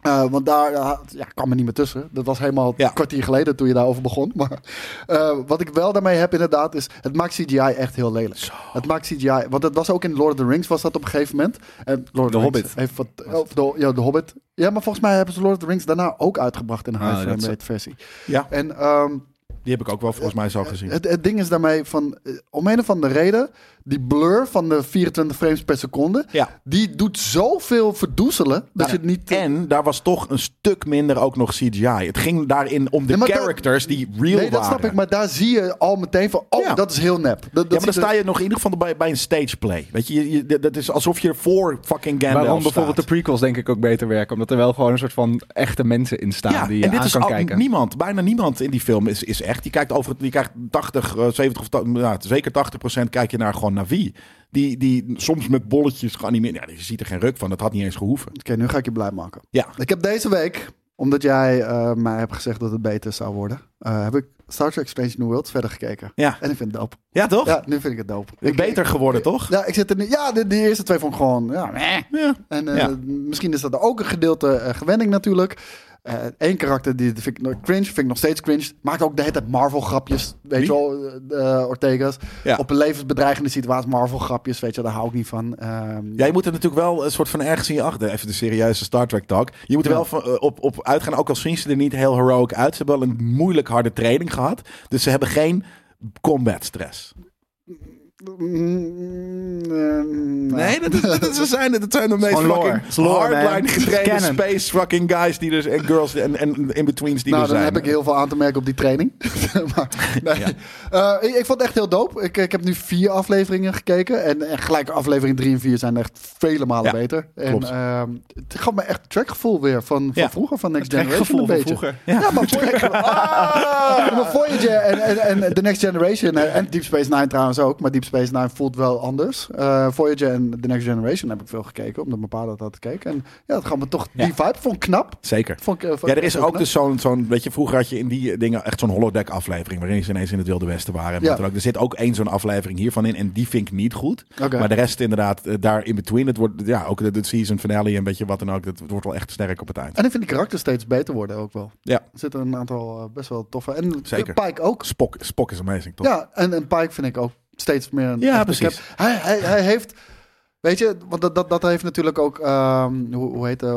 C: Eh, want daar eh, ja, kwam er niet meer tussen. Dat was helemaal
B: Ja.
C: een kwartier geleden toen je daarover begon. Maar eh, wat ik wel daarmee heb inderdaad is... Het maakt CGI echt heel lelijk. Het maakt CGI... Want het was ook in Lord of the Rings was dat op een gegeven moment. En Lord of the
D: Hobbit.
C: Rings Heeft wat, of de, ja, de Hobbit. Ja, maar volgens mij hebben ze Lord of the Rings daarna ook uitgebracht in een
D: Ah,
C: high
D: dat
C: frame
D: is-
C: rate versie.
B: Ja.
C: En... ehm,
B: Die heb ik ook wel volgens mij zo gezien.
C: het, het ding is daarmee van, eh, om een of andere reden, die blur van de 24 frames per seconde,
B: Ja.
C: die doet zoveel verdoezelen dat je het niet...
B: En daar was toch een stuk minder ook nog CGI. Het ging daarin om de
C: Nee, maar daar-
B: characters die real
C: nee, dat
B: waren.
C: snap ik, maar daar zie je al meteen van, oh,
B: Ja.
C: dat is heel nep. Dat, dat
B: ja, maar dan
C: ziet er-
B: sta je nog in ieder geval bij, bij een stageplay. Weet je, je, je- dat is alsof je voor fucking Gandalf
D: Waarom bijvoorbeeld de
B: staat.
D: prequels denk ik ook beter werken. Omdat er wel gewoon een soort van echte mensen in staan
B: ja,
D: die je
B: en dit
D: aan
B: is
D: kan
B: al-
D: kijken.
B: niemand, bijna niemand in die film is, is echt. Je kijkt over, het- je krijgt 80, eh, 70 of ta- ja, zeker 80 kijk je naar gewoon naar wie. Die, die soms met bolletjes geanimeerd. Ja, je ziet er geen ruk van. Dat had niet eens gehoeven.
C: Oké, nu ga ik je blij maken.
B: Ja.
C: Ik heb deze week, omdat jij eh, mij hebt gezegd dat het beter zou worden, eh, heb ik Star Trek Strange New Worlds verder gekeken.
B: Ja.
C: En ik vind het dope.
B: Ja, toch?
C: Ja, nu vind ik het dope. Ik-
B: Beter geworden, toch?
C: Ja, ik zit er nu. Ja, de, de eerste twee vond ik gewoon. Ja, meh.
B: Ja.
C: En eh,
B: Ja.
C: misschien is dat ook een gedeelte eh, gewenning natuurlijk. Eén karakter die die vind ik nog cringe, vind ik nog steeds cringe. Maakt ook de hele tijd Marvel-grapjes, weet
B: Wie?
C: je wel, eh, de Ortega's.
B: Ja.
C: Op een levensbedreigende situatie, Marvel-grapjes, weet je, daar hou ik niet van. Ehm,
B: Ja, je moet er natuurlijk wel een soort van ergens in je achter. Even de serieuze Star Trek talk. Je moet er
C: Ja.
B: wel van, eh, op, op uitgaan, ook al zien ze er niet heel heroic uit. Ze hebben wel een moeilijk harde training gehad. Dus ze hebben geen combat stress.
C: mm, ehm,
B: Nee, dat, is, dat, is- ze zijn, dat zijn de meest
D: gewoon lore.
B: fucking
D: Het is lore, man.
B: hardline getrainde
D: Canon.
B: space fucking guys die dus, en girls en, en in-betweens die
C: nou,
B: er
C: dan
B: zijn.
C: heb ik heel veel aan te merken op die training. maar, nee. Eh, ik, ik vond het echt heel dope. Ik, ik heb nu vier afleveringen gekeken. En, en gelijk aflevering drie en vier zijn echt vele malen
B: Ja,
C: beter. En,
B: klopt.
C: ehm, het gaf me echt trackgevoel weer van, van
B: Ja.
C: vroeger, van Next
D: Het
C: Generation een
D: trackgevoel
C: beetje.
D: van
C: Ja. maar Voyager, ah! maar Voyager en, en, en The Next Generation en, en Deep eh, Space Nine trouwens ook. Maar Deep Deep Space Nine voelt wel anders. Eh, Voyager en The Next Generation heb ik veel gekeken, omdat mijn pa dat had gekeken. En ja, dat gaat me toch, die vibe vond ik knap.
B: Zeker.
C: Vond ik, eh, vond
B: Ja,
C: ik
B: er is
C: heel
B: ook
C: knap.
B: dus zo'n, zo'n, weet je, vroeger had je in die eh, dingen echt zo'n holodeck aflevering, waarin ze ineens in het Wilde Westen waren. En
C: Ja.
B: wat dan ook. Er zit ook één zo'n aflevering hiervan in en die vind ik niet goed.
C: Oké.
B: Maar de rest inderdaad, eh, daar in between, het wordt, ja, ook de, de season finale en weet je wat dan ook, dat wordt wel echt sterk op het eind.
C: En ik vind die karakter steeds beter worden ook wel.
B: Ja.
C: Er zitten een aantal eh, best wel toffe. En
B: Zeker.
C: Pike ook.
B: Spock, Spock is amazing, toch?
C: Ja, en, en Pike vind ik ook steeds meer een.
B: Ja,
C: echte
B: precies.
C: cap. Hij, hij, hij heeft. Weet je, want dat, dat, dat heeft natuurlijk ook. ehm, hoe, hoe heet het?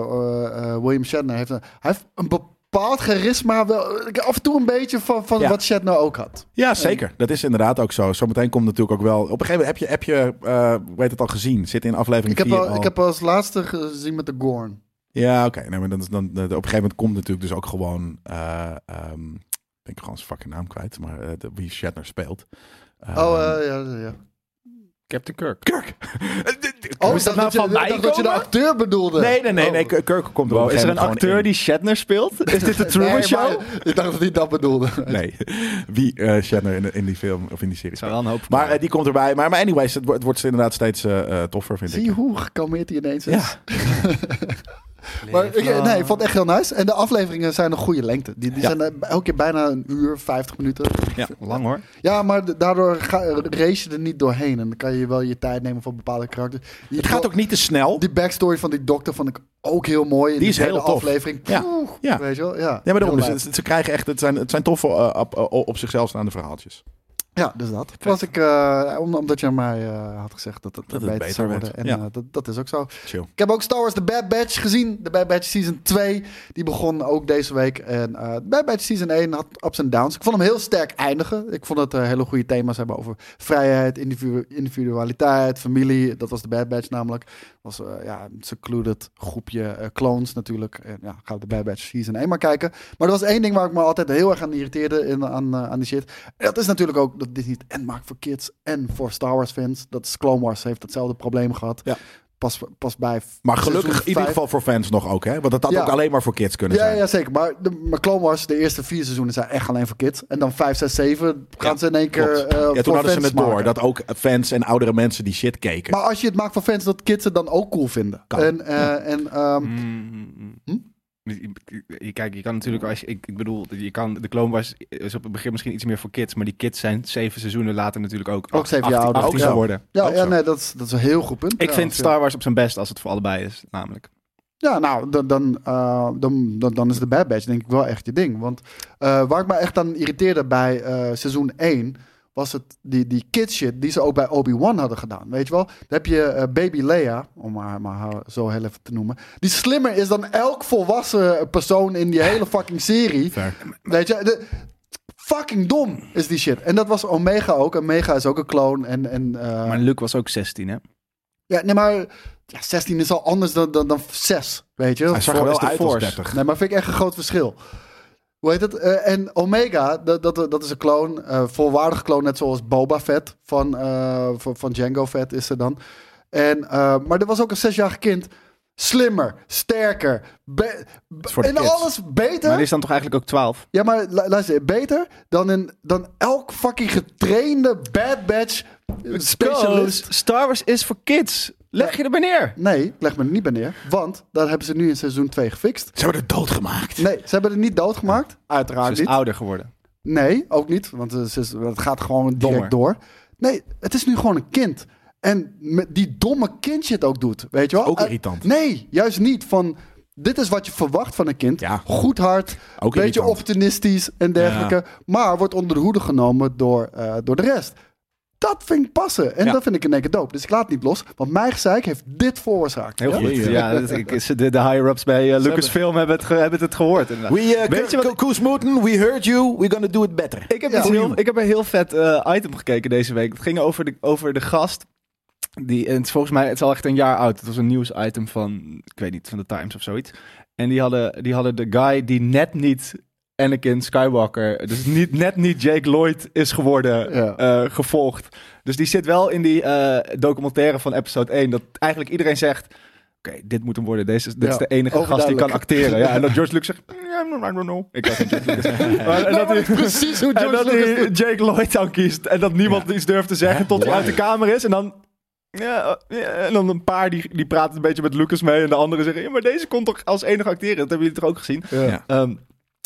C: William Shatner. Heeft een, hij heeft een bepaald charisma. Wel, ik- af en toe een beetje van, van
B: Ja.
C: wat Shatner ook had.
B: Ja, zeker. Dat is inderdaad ook zo. Zometeen komt natuurlijk ook wel. Op een gegeven moment heb je, heb je eh, hoe heet het al gezien? Zit in aflevering
C: Ik heb,
B: 4
C: al, ik heb als laatste gezien met de Gorn.
B: Ja, oké. Nee, maar dan, dan, dan- op een gegeven moment komt natuurlijk dus ook gewoon. eh, ehm, ik ben gewoon zijn fucking naam kwijt, maar eh, de- wie Shatner speelt. Ehm,
C: Oh, eh, ja, ja, ja.
D: Captain Kirk.
B: Kirk!
C: Oh,
B: is dat nou
C: dacht je,
B: van mij
C: dacht dat je de
B: komen?
C: acteur bedoelde.
B: Nee, nee, nee, nee.
C: Oh.
B: Kirk komt op
D: Wow, is er een
B: gegeven moment gewoon
D: acteur
B: in.
D: die Shatner speelt? Is dit de Truman
C: Nee,
D: Show?
C: maar Ik dacht dat hij dat bedoelde.
B: Nee, wie eh Shatner in, in die film of in die serie speelt.
D: Zou wel een hoop.
B: Maar eh, die komt erbij. Maar, maar anyways, het, wordt- het wordt inderdaad steeds eh, eh, toffer, vind
C: Zie
B: ik.
C: je hoe gekalmeerd hij ineens is?
B: Ja.
C: Maar ik, nee, ik vond het echt heel nice. En de afleveringen zijn een goede lengte. Die, die
B: Ja.
C: zijn eh, elke keer bijna een uur, 50 minuten.
D: lang hoor.
C: Ja, maar d- daardoor ga, race je er niet doorheen. En dan kan je wel je tijd nemen voor bepaalde karakters. Die-
B: Het gaat ook niet te snel.
C: Die backstory van die dokter vond ik ook heel mooi. In
B: Die is
C: de derde
B: heel tof.
C: aflevering.
B: Ja.
C: Poeh,
B: Ja.
C: Weet je wel? Ja,
B: Ja, maar daarom,
C: Heel
B: dus
C: nice.
B: het- ze krijgen echt, het zijn, het zijn toffe eh, op, op- op zichzelf staande verhaaltjes.
C: Ja, dus dat. Was ik, eh, om- omdat je aan mij eh, had gezegd dat het,
B: Dat het
C: beter,
B: beter
C: zou
B: werd.
C: worden. En
B: Ja.
C: eh, dat, dat is ook zo.
B: Chill.
C: Ik heb ook Star Wars The Bad Batch gezien. De Bad Batch Season 2. Die begon ook deze week. En eh, The Bad Batch Season 1 had ups en downs. Ik vond hem heel sterk eindigen. Ik vond dat er hele goede thema's hebben over vrijheid, individu- individualiteit, familie. Dat was The Bad Batch namelijk. was eh, ja, een secluded groepje eh, clones natuurlijk. En, ja, gaan we de Bad Batch Season 1 maar kijken. Maar er was één ding waar ik me altijd heel erg aan irriteerde in, aan, eh, aan die shit. En dat is natuurlijk ook dat dit niet en maakt voor kids en voor Star Wars fans. Dat is Clone Wars heeft datzelfde probleem gehad.
B: Ja.
C: Pas, pas bij
B: Maar gelukkig
C: seizoen
B: in ieder
C: vijf.
B: geval voor fans nog ook, hè? Want dat had
C: Ja.
B: ook alleen maar voor kids kunnen
C: Ja,
B: zijn.
C: ja, zeker. Maar, de, maar Clone Wars, de eerste vier seizoenen zijn echt alleen voor kids. En dan vijf, zes, zeven gaan
B: Ja,
C: ze in één keer
B: Klopt.
C: eh voor
B: ja, toen hadden ze
C: fans
B: het door
C: maken.
B: dat ook fans en oudere mensen die shit keken.
C: Maar als je het maakt voor fans, dat kids het dan ook cool vinden.
B: Kan. Mm.
C: En, eh, en ehm,
D: Mm,
C: Hm?
D: Dus Je- Kijk, je kan natuurlijk, als je, ik, ik bedoel, je kan, de Clone Wars is op het begin misschien iets meer voor kids, maar die kids zijn zeven seizoenen later natuurlijk ook, acht-
C: zeven jaar
D: achttien-
C: ouder.
D: achttien
B: Ook zo.
D: geworden.
C: ja,
B: ook
C: ja
B: zo.
C: nee, dat is, dat is een heel goed punt.
D: Ik vind
C: trouwens, ja.
D: Star Wars op zijn best als het voor allebei is, namelijk.
C: Ja, nou, dan, dan, eh, dan, dan, dan is de Bad Batch denk ik wel echt je ding. Want eh, waar ik me echt aan irriteerde bij eh, seizoen 1... was het die, die kid shit die ze ook bij Obi-Wan hadden gedaan. Weet je wel? Dan heb je eh, baby Leia, om haar maar haar zo heel even te noemen... die slimmer is dan elk volwassen persoon in die hele fucking serie.
B: Fair.
C: Weet je? De, fucking dom is die shit. En dat was Omega ook. Omega is ook een clone en... en eh,
D: Maar Luke was ook 16, hè?
C: ja, nee, maar ja, 16 is al anders dan, dan, dan 6, weet je?
B: Hij zag er
D: Voor
B: wel
D: is de
B: uit als
D: Force.
B: 30.
C: Nee, maar vind ik echt een groot verschil. Hoe heet het? Eh, en Omega, dat, dat, dat is een kloon. eh volwaardig kloon, net zoals Boba Fett van, eh, van, van Django Fett is ze dan. En, eh, maar er was ook een zesjarig kind. Slimmer, sterker, be-
B: is voor de
C: in
B: kids.
C: alles beter.
D: Maar die is dan toch eigenlijk ook 12?
C: Ja, maar lu- luister, beter dan, in, dan elk fucking getrainde Bad Batch specialist.
D: Goes, Star Wars is voor kids. Leg je er maar neer.
C: Nee, leg me er niet bij neer. Want dat hebben ze nu in seizoen 2 gefixt.
B: Ze hebben het doodgemaakt.
C: Nee, ze hebben het niet doodgemaakt. Uiteraard
D: Ze is
C: niet.
D: ouder geworden.
C: Nee, ook niet. Want eh, ze is- het gaat gewoon direct
D: Dommer.
C: door. Nee, het is nu gewoon een kind. En met die domme kindshit ook doet. Weet je wel?
B: Ook
C: Eh,
B: irritant.
C: nee, juist niet. Van, dit is wat je verwacht van een kind.
B: Ja.
C: Goed hard.
B: Ook
C: beetje
B: irritant.
C: opportunistisch en dergelijke. Maar wordt onder de hoede genomen door, eh, door de rest. Dat vind ik passen. En
B: Ja.
C: dat vind ik in één keer dope. Dus ik laat het niet los. Want mijn gezeik heeft dit veroorzaakt.
D: Heel
B: Ja?
D: goed.
B: Jee,
D: Ja, dat- ik, ze- de, de higher-ups bij eh, Lucasfilm hebben het, ge- hebben het gehoord. inderdaad.
B: We, eh,
D: Weet je
B: K-
D: wat-
B: K- Koos Mooten, we heard you, we're gonna do it better.
D: Ik heb,
C: Ja.
D: iets heel, ik heb een heel vet eh, item gekeken deze week. Het ging over de, over de gast. Die, en het, is volgens mij, het is al echt een jaar oud. Het was een nieuwsitem van, ik weet niet, van de Times of zoiets. En die hadden, die hadden de guy die net niet Anakin Skywalker, dus niet, net niet Jake Lloyd is geworden,
C: Ja.
D: eh, gevolgd. Dus die zit wel in die eh, documentaire van episode 1. Dat eigenlijk iedereen zegt, oké, dit moet hem worden. Deze is, dit is
C: Ja,
D: de enige gast die kan
C: overduidelijk.
D: acteren. Ja, en dat George Lucas zegt, "Yeah, I don't know. Ik was een George Lucas. Nou, Maar- en dat hij-
C: Precies hoe
D: en
C: George
D: dat
C: Lucas
D: hij Jake Lloyd dan kiest. En dat niemand iets durft te zeggen tot hij uit de kamer is. En dan, ja, eh, ja, en dan een paar die, die praten een beetje met Lucas mee. En de anderen zeggen, ja, maar deze kon toch als enige acteren. Dat hebben jullie toch ook gezien?
C: Ja.
B: Ja. Oh,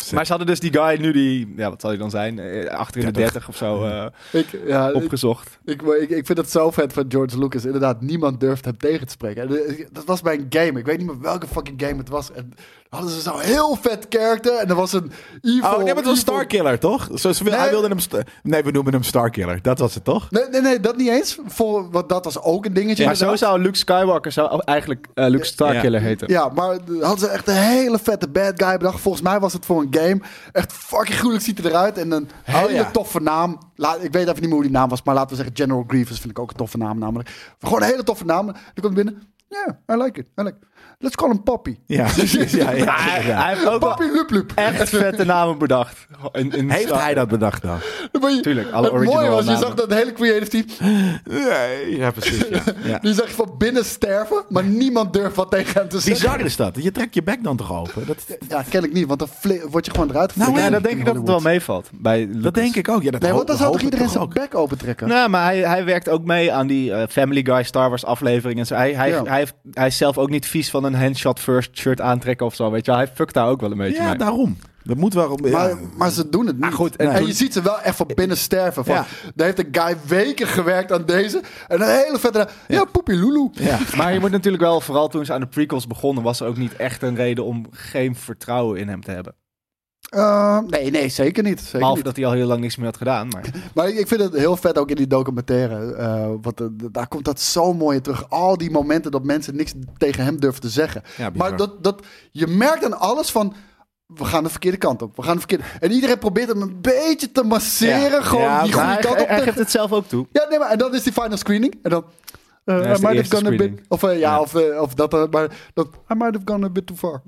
D: Ehm, maar ze hadden dus die guy nu die, ja, wat zal hij dan zijn? Eh, Achter in de
B: 30.
D: 30 of zo eh,
C: Ik, ja, ik,
D: opgezocht.
C: ik, ik, ik vind het zo vet van George Lucas. Inderdaad, niemand durft hem tegen te spreken. En, eh, Dat was bij een game. Ik weet niet meer welke fucking game het was. En hadden ze zo'n heel vet character. En er was een evil...
B: Oh, nee, maar het was
C: evil-
B: Starkiller, toch? Zo, ze wil-
C: Nee.
B: Hij wilde hem... sta- nee, we noemen hem Starkiller. Dat was het, toch?
C: Nee, nee, nee, dat niet eens. Voor, want dat was ook een dingetje.
D: Maar zo
C: inderdaad.
D: zou Luke Skywalker zou eigenlijk eh, Luke Starkiller heten.
C: Ja, maar hadden ze echt een hele vette bad guy bedacht. Volgens mij was het voor een game. Echt fucking gruwelijk ziet hij eruit. En een hele
B: ja.
C: toffe naam. La- ik weet even niet meer hoe die naam was. Maar laten we zeggen General Grievous vind ik ook een toffe naam namelijk. Gewoon een hele toffe naam. Dan komt hij binnen. Ja, I like it. I like it. Let's call him Poppy.
B: Ja, precies. Ja, ja,
D: Hij,
B: ja.
D: hij heeft ook wel
C: Poppy Lup Lup.
D: echt vette namen bedacht. In, in
B: Heeft hij dat bedacht dan?
C: Maar je-
D: Tuurlijk, alle
C: het mooie
D: original
C: was, je
D: namen.
C: zag dat hele creative team,
B: Nee, ja, precies. Ja. Ja.
C: die zag je van binnen sterven, maar niemand durft wat tegen hem te zeggen.
B: Bizar is dat. Je trekt je bek dan toch open? Dat,
C: Ja, kennelijk niet, want dan fli- word je gewoon eruit
B: Nou,
D: Ja,
C: geflikkerd
D: dat
C: in
D: denk ik dat het wel
C: Hollywood.
D: meevalt. Bij
B: dat denk ik ook. Ja, dat
C: Nee, want dan
B: hoop-
C: zou toch
B: hoop ik
C: iedereen
B: toch
C: zijn
B: ook.
C: bek open trekken?
D: Nou, maar hij, hij werkt ook mee aan die eh, Family Guy Star Wars aflevering en zo. Hij, hij,
C: Ja.
D: hij, heeft- hij is zelf ook niet vies van een handshot first shirt aantrekken of zo. Weet je, wel. hij fuckt daar ook wel een beetje
B: Ja,
D: mee.
B: daarom. Dat moet wel... ja.
C: Maar, maar ze doen het niet.
D: goed, en
C: en
D: toen-
C: je ziet ze wel echt van binnen sterven. Van,
B: Ja.
C: Daar heeft een guy weken gewerkt aan deze. En een hele vette... Ja, poepie lulu.
B: ja.
D: Maar je moet natuurlijk wel, vooral toen ze aan de prequels begonnen, was er ook niet echt een reden om geen vertrouwen in hem te hebben.
C: Eh, nee, nee, zeker niet. Zeker
D: Behalve
C: niet.
D: dat hij al heel lang niks meer had gedaan. Maar...
C: Maar ik, ik vind het heel vet ook in die documentaire. eh, want eh, d- daar komt dat zo mooi in terug. Al die momenten dat mensen niks tegen hem durven te zeggen.
B: Ja, bizar.
C: maar dat, dat, je merkt aan alles van... We gaan de verkeerde kant op. We gaan de verkeerde... En iedereen probeert hem een beetje te masseren.
B: Ja.
C: Gewoon
B: Ja,
C: die
B: maar
C: goede
D: hij,
C: kant op.
D: hij
C: te-
D: geeft het zelf ook toe.
C: Ja, nee, maar en dan is die final screening. En dan. eh,
D: is de
C: I might have
D: eerste
C: gone a bit.
D: screening.
C: Of eh, ja, Of, eh, of dat. eh, maar dat. I might have gone a bit too far.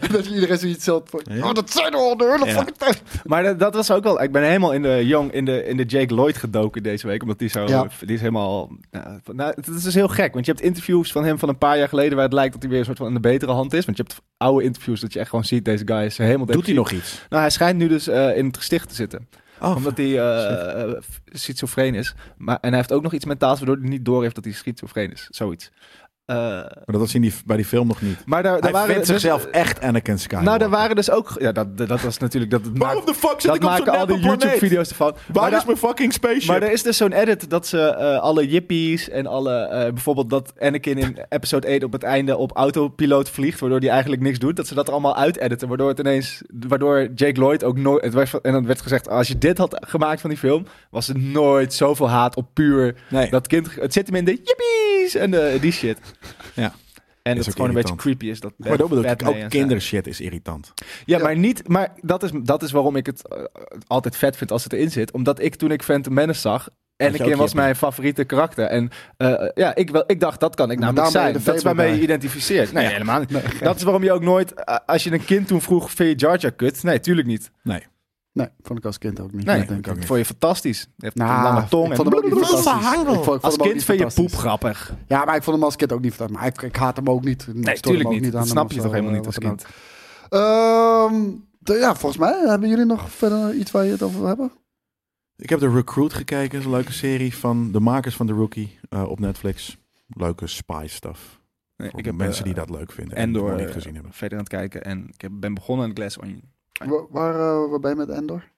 C: En dat iedereen zoiets zelt van. Oh, dat zijn er al de hele
B: Ja.
C: fucking tijd.
D: Maar dat, dat was ook wel. Ik ben helemaal in de jong, in de, in de Jake Lloyd gedoken deze week. Omdat die zo.
C: Ja.
D: Die is helemaal. Nou, nou, het is dus heel gek. Want je hebt interviews van hem van een paar jaar geleden. waar het lijkt dat hij weer een soort van aan de betere hand is. Want je hebt oude interviews dat je echt gewoon ziet. deze guy is helemaal.
B: Doet hij
D: depressief.
B: nog iets?
D: Nou, hij schijnt nu dus eh, in het gesticht te zitten.
B: Oh,
D: omdat hij eh, eh, schizofreen is. Maar, en hij heeft ook nog iets mentaals. waardoor hij niet doorheeft dat hij schizofreen is. Zoiets. Eh,
B: maar dat was in die, bij die film nog niet.
D: maar daar, daar
B: Hij
D: waren.
B: vindt
D: dus-
B: zichzelf echt Anakin Skywalker.
D: nou, daar waren dus ook. Ja, dat, dat was natuurlijk. Dat het
B: Waarom
D: maakt-
B: de fuck zit
D: dat
B: ik op zo'n
D: maken al die
B: neppe planeet?
D: YouTube-video's ervan. Maar
B: Waar
D: daar-
B: is mijn fucking spaceship?
D: Maar er is dus zo'n edit dat ze eh, alle jippies en alle... eh, bijvoorbeeld dat Anakin in episode 8 op het einde op autopiloot vliegt... waardoor hij eigenlijk niks doet. Dat ze dat er allemaal uit-editen. Waardoor het ineens... Waardoor Jake Lloyd ook nooit... Het werd, en dan werd gezegd, als je dit had gemaakt van die film... was er nooit zoveel haat op puur
B: Nee.
D: dat kind. Het zit hem in de jippies en eh, die shit.
B: Ja.
D: En
B: ook
D: dat het gewoon
B: irritant.
D: een beetje creepy is. Dat
B: Maar dat bedoel ik,
D: Batman
B: ook
D: en zo.
B: kindershit is irritant.
D: Ja,
C: Ja.
D: maar niet. Maar dat is, dat is waarom ik het eh, altijd vet vind als het erin zit. Omdat ik toen ik Phantom Menace zag.
B: je
D: En ik
B: ook
D: was
B: jippie.
D: mijn favoriete karakter. En eh, ja, ik, wel, ik dacht, dat kan ik
C: Maar
D: namelijk
C: daar ben je Nou, de
D: zijn. Dat is
C: Fable
D: waarmee je
C: bij.
D: identificeert. Nee, helemaal niet. Dat is waarom je ook nooit... eh, Als je een kind toen vroeg, vind je Jar Jar kut? Nee, tuurlijk niet.
B: Nee.
C: Nee, vond ik als kind ook niet.
D: Nee,
C: denk
D: dat
C: ik.
D: vond je fantastisch. Je hebt
C: Nou,
D: een lange tong.
C: ik
D: en
C: vond hem ook niet
D: blablabla.
C: fantastisch. Ik vond- ik vond hem
D: Als
C: ook
D: kind
C: niet
D: vind je
C: fantastisch.
D: poep grappig.
C: Ja, maar ik vond hem als kind ook niet fantastisch. Maar ik, ik haat hem ook niet. Ik
D: Nee,
C: stoor hem
D: tuurlijk
C: ook
D: niet.
C: aan
D: Dat
C: hem
D: snap
C: of
D: je
C: zo,
D: toch helemaal
C: eh,
D: niet als
C: wat dan ook.
D: kind.
C: Ehm, d- ja, volgens mij hebben jullie nog verder iets waar je het over wil hebben.
B: Ik heb de Recruit gekeken. Dat is een leuke serie van de makers van The Rookie eh, op Netflix. Leuke spy stuff.
D: Nee,
B: Voor mensen die dat leuk vinden en,
D: eh, Endor,
B: door niet
D: eh,
B: gezien hebben.
D: verder aan het kijken. En ik heb- ben begonnen aan Glass Onion.
C: Wa- Waar, eh, waar ben je met Endor?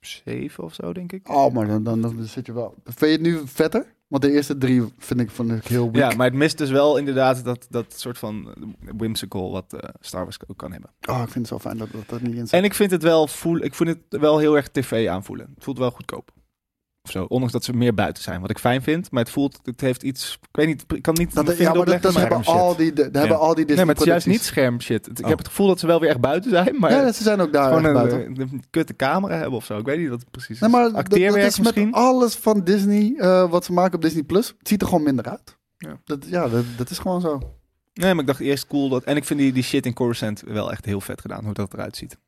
D: 7 of zo, denk ik.
C: Oh, maar dan, dan, dan zit je wel. Vind je het nu vetter? Want de eerste drie vind ik, vond ik heel weak.
D: Ja, maar het mist dus wel inderdaad dat, dat soort van whimsical wat eh, Star Wars ook kan hebben.
C: Oh, ik vind het zo fijn dat dat, dat niet in zit.
D: En ik vind het wel voel, ik vind het wel heel erg tv aanvoelen. Het voelt wel goedkoop. Of zo, ondanks dat ze meer buiten zijn, wat ik fijn vind. Maar het voelt, het heeft iets, ik weet niet, ik kan het niet
C: Dat,
D: mijn
C: ja,
D: vinger
C: maar dat,
D: opleggen,
C: dat hebben
B: schermshit.
C: al die, de, hebben al die Disney
D: Nee, maar het is juist niet
C: producties.
D: scherm shit. Het- Ik
B: Oh.
D: heb het gevoel dat ze wel weer echt buiten zijn, maar
C: Ja, dat ze zijn ook daar
D: gewoon
C: echt
D: een, eh,
C: buiten.
D: een- een kutte camera hebben of zo. Ik weet niet wat het precies
C: Nee,
D: is.
C: maar dat-
D: Acteerwerk
C: dat is met
D: misschien?
C: alles van Disney, eh, wat ze maken op Disney+, Plus, het ziet er gewoon minder uit.
D: Ja.
C: Dat, ja, dat, dat is gewoon zo.
D: Nee, maar ik dacht eerst cool dat... En ik vind die, die shit in Coruscant wel echt heel vet gedaan, hoe dat eruit ziet.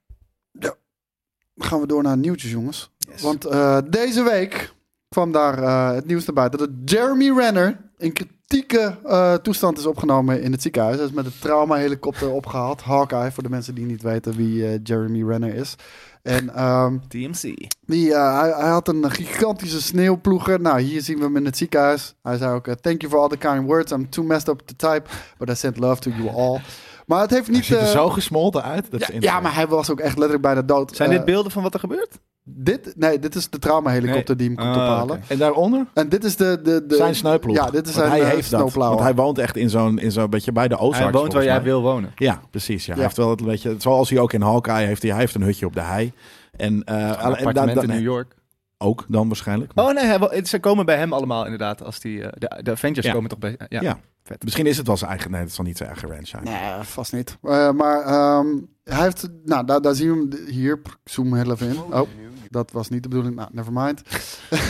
C: gaan we door naar nieuwtjes, jongens.
D: Yes.
C: Want eh, deze week kwam daar eh, het nieuws naar buiten dat Jeremy Renner in k- kritieke eh, toestand is opgenomen in het ziekenhuis. Hij is met een trauma-helikopter opgehaald. Hawkeye, voor de mensen die niet weten wie eh, Jeremy Renner is. En ehm,
D: TMC.
C: die, eh, hij, hij had een gigantische sneeuwploeger. Nou, hier zien we hem in het ziekenhuis. Hij zei ook, eh, thank you for all the kind words. I'm too messed up to type, but I sent love to you all. Maar het heeft
B: Hij
C: niet...
B: ziet er
C: eh,
B: zo gesmolten uit. Dat
C: ja,
B: is
C: ja, maar hij was ook echt letterlijk bijna dood.
D: Zijn
C: Eh,
D: dit beelden van wat er gebeurt?
C: dit? Nee, dit is de trauma-helikopter die hem komt
D: Ah,
C: ophalen.
D: oké.
B: En daaronder?
C: En dit is de... de, de
B: zijn sneuploeg.
C: Ja, dit
B: Want
C: is zijn
B: hij
C: eh,
B: heeft dat.
C: snowplower.
B: Want hij woont echt in zo'n, in zo'n beetje bij de Ozarks.
D: Hij woont waar
B: volgens
D: jij
B: mij.
D: wil wonen.
B: Ja, precies. Ja. Hij
C: Ja.
B: heeft wel het beetje, zoals hij ook in Hawkeye heeft, hij, hij heeft een hutje op de hei. En, eh en
D: Een appartement
B: dan-
D: in New York.
B: Ook dan waarschijnlijk.
D: Oh nee, hij wil- het- ze komen bij hem allemaal inderdaad. Als die, eh, de, de Avengers
B: Ja.
D: komen toch bij... Ja.
B: Ja. Misschien is het wel zijn eigen. Nee, dat zal niet zijn eigen ranch zijn.
C: Nee, vast niet. Eh, maar ehm, hij heeft... Nou, daar, daar zien we hem d- hier. Pr- Zoom heel even in. Oh, dat was niet de bedoeling. Nou, never mind.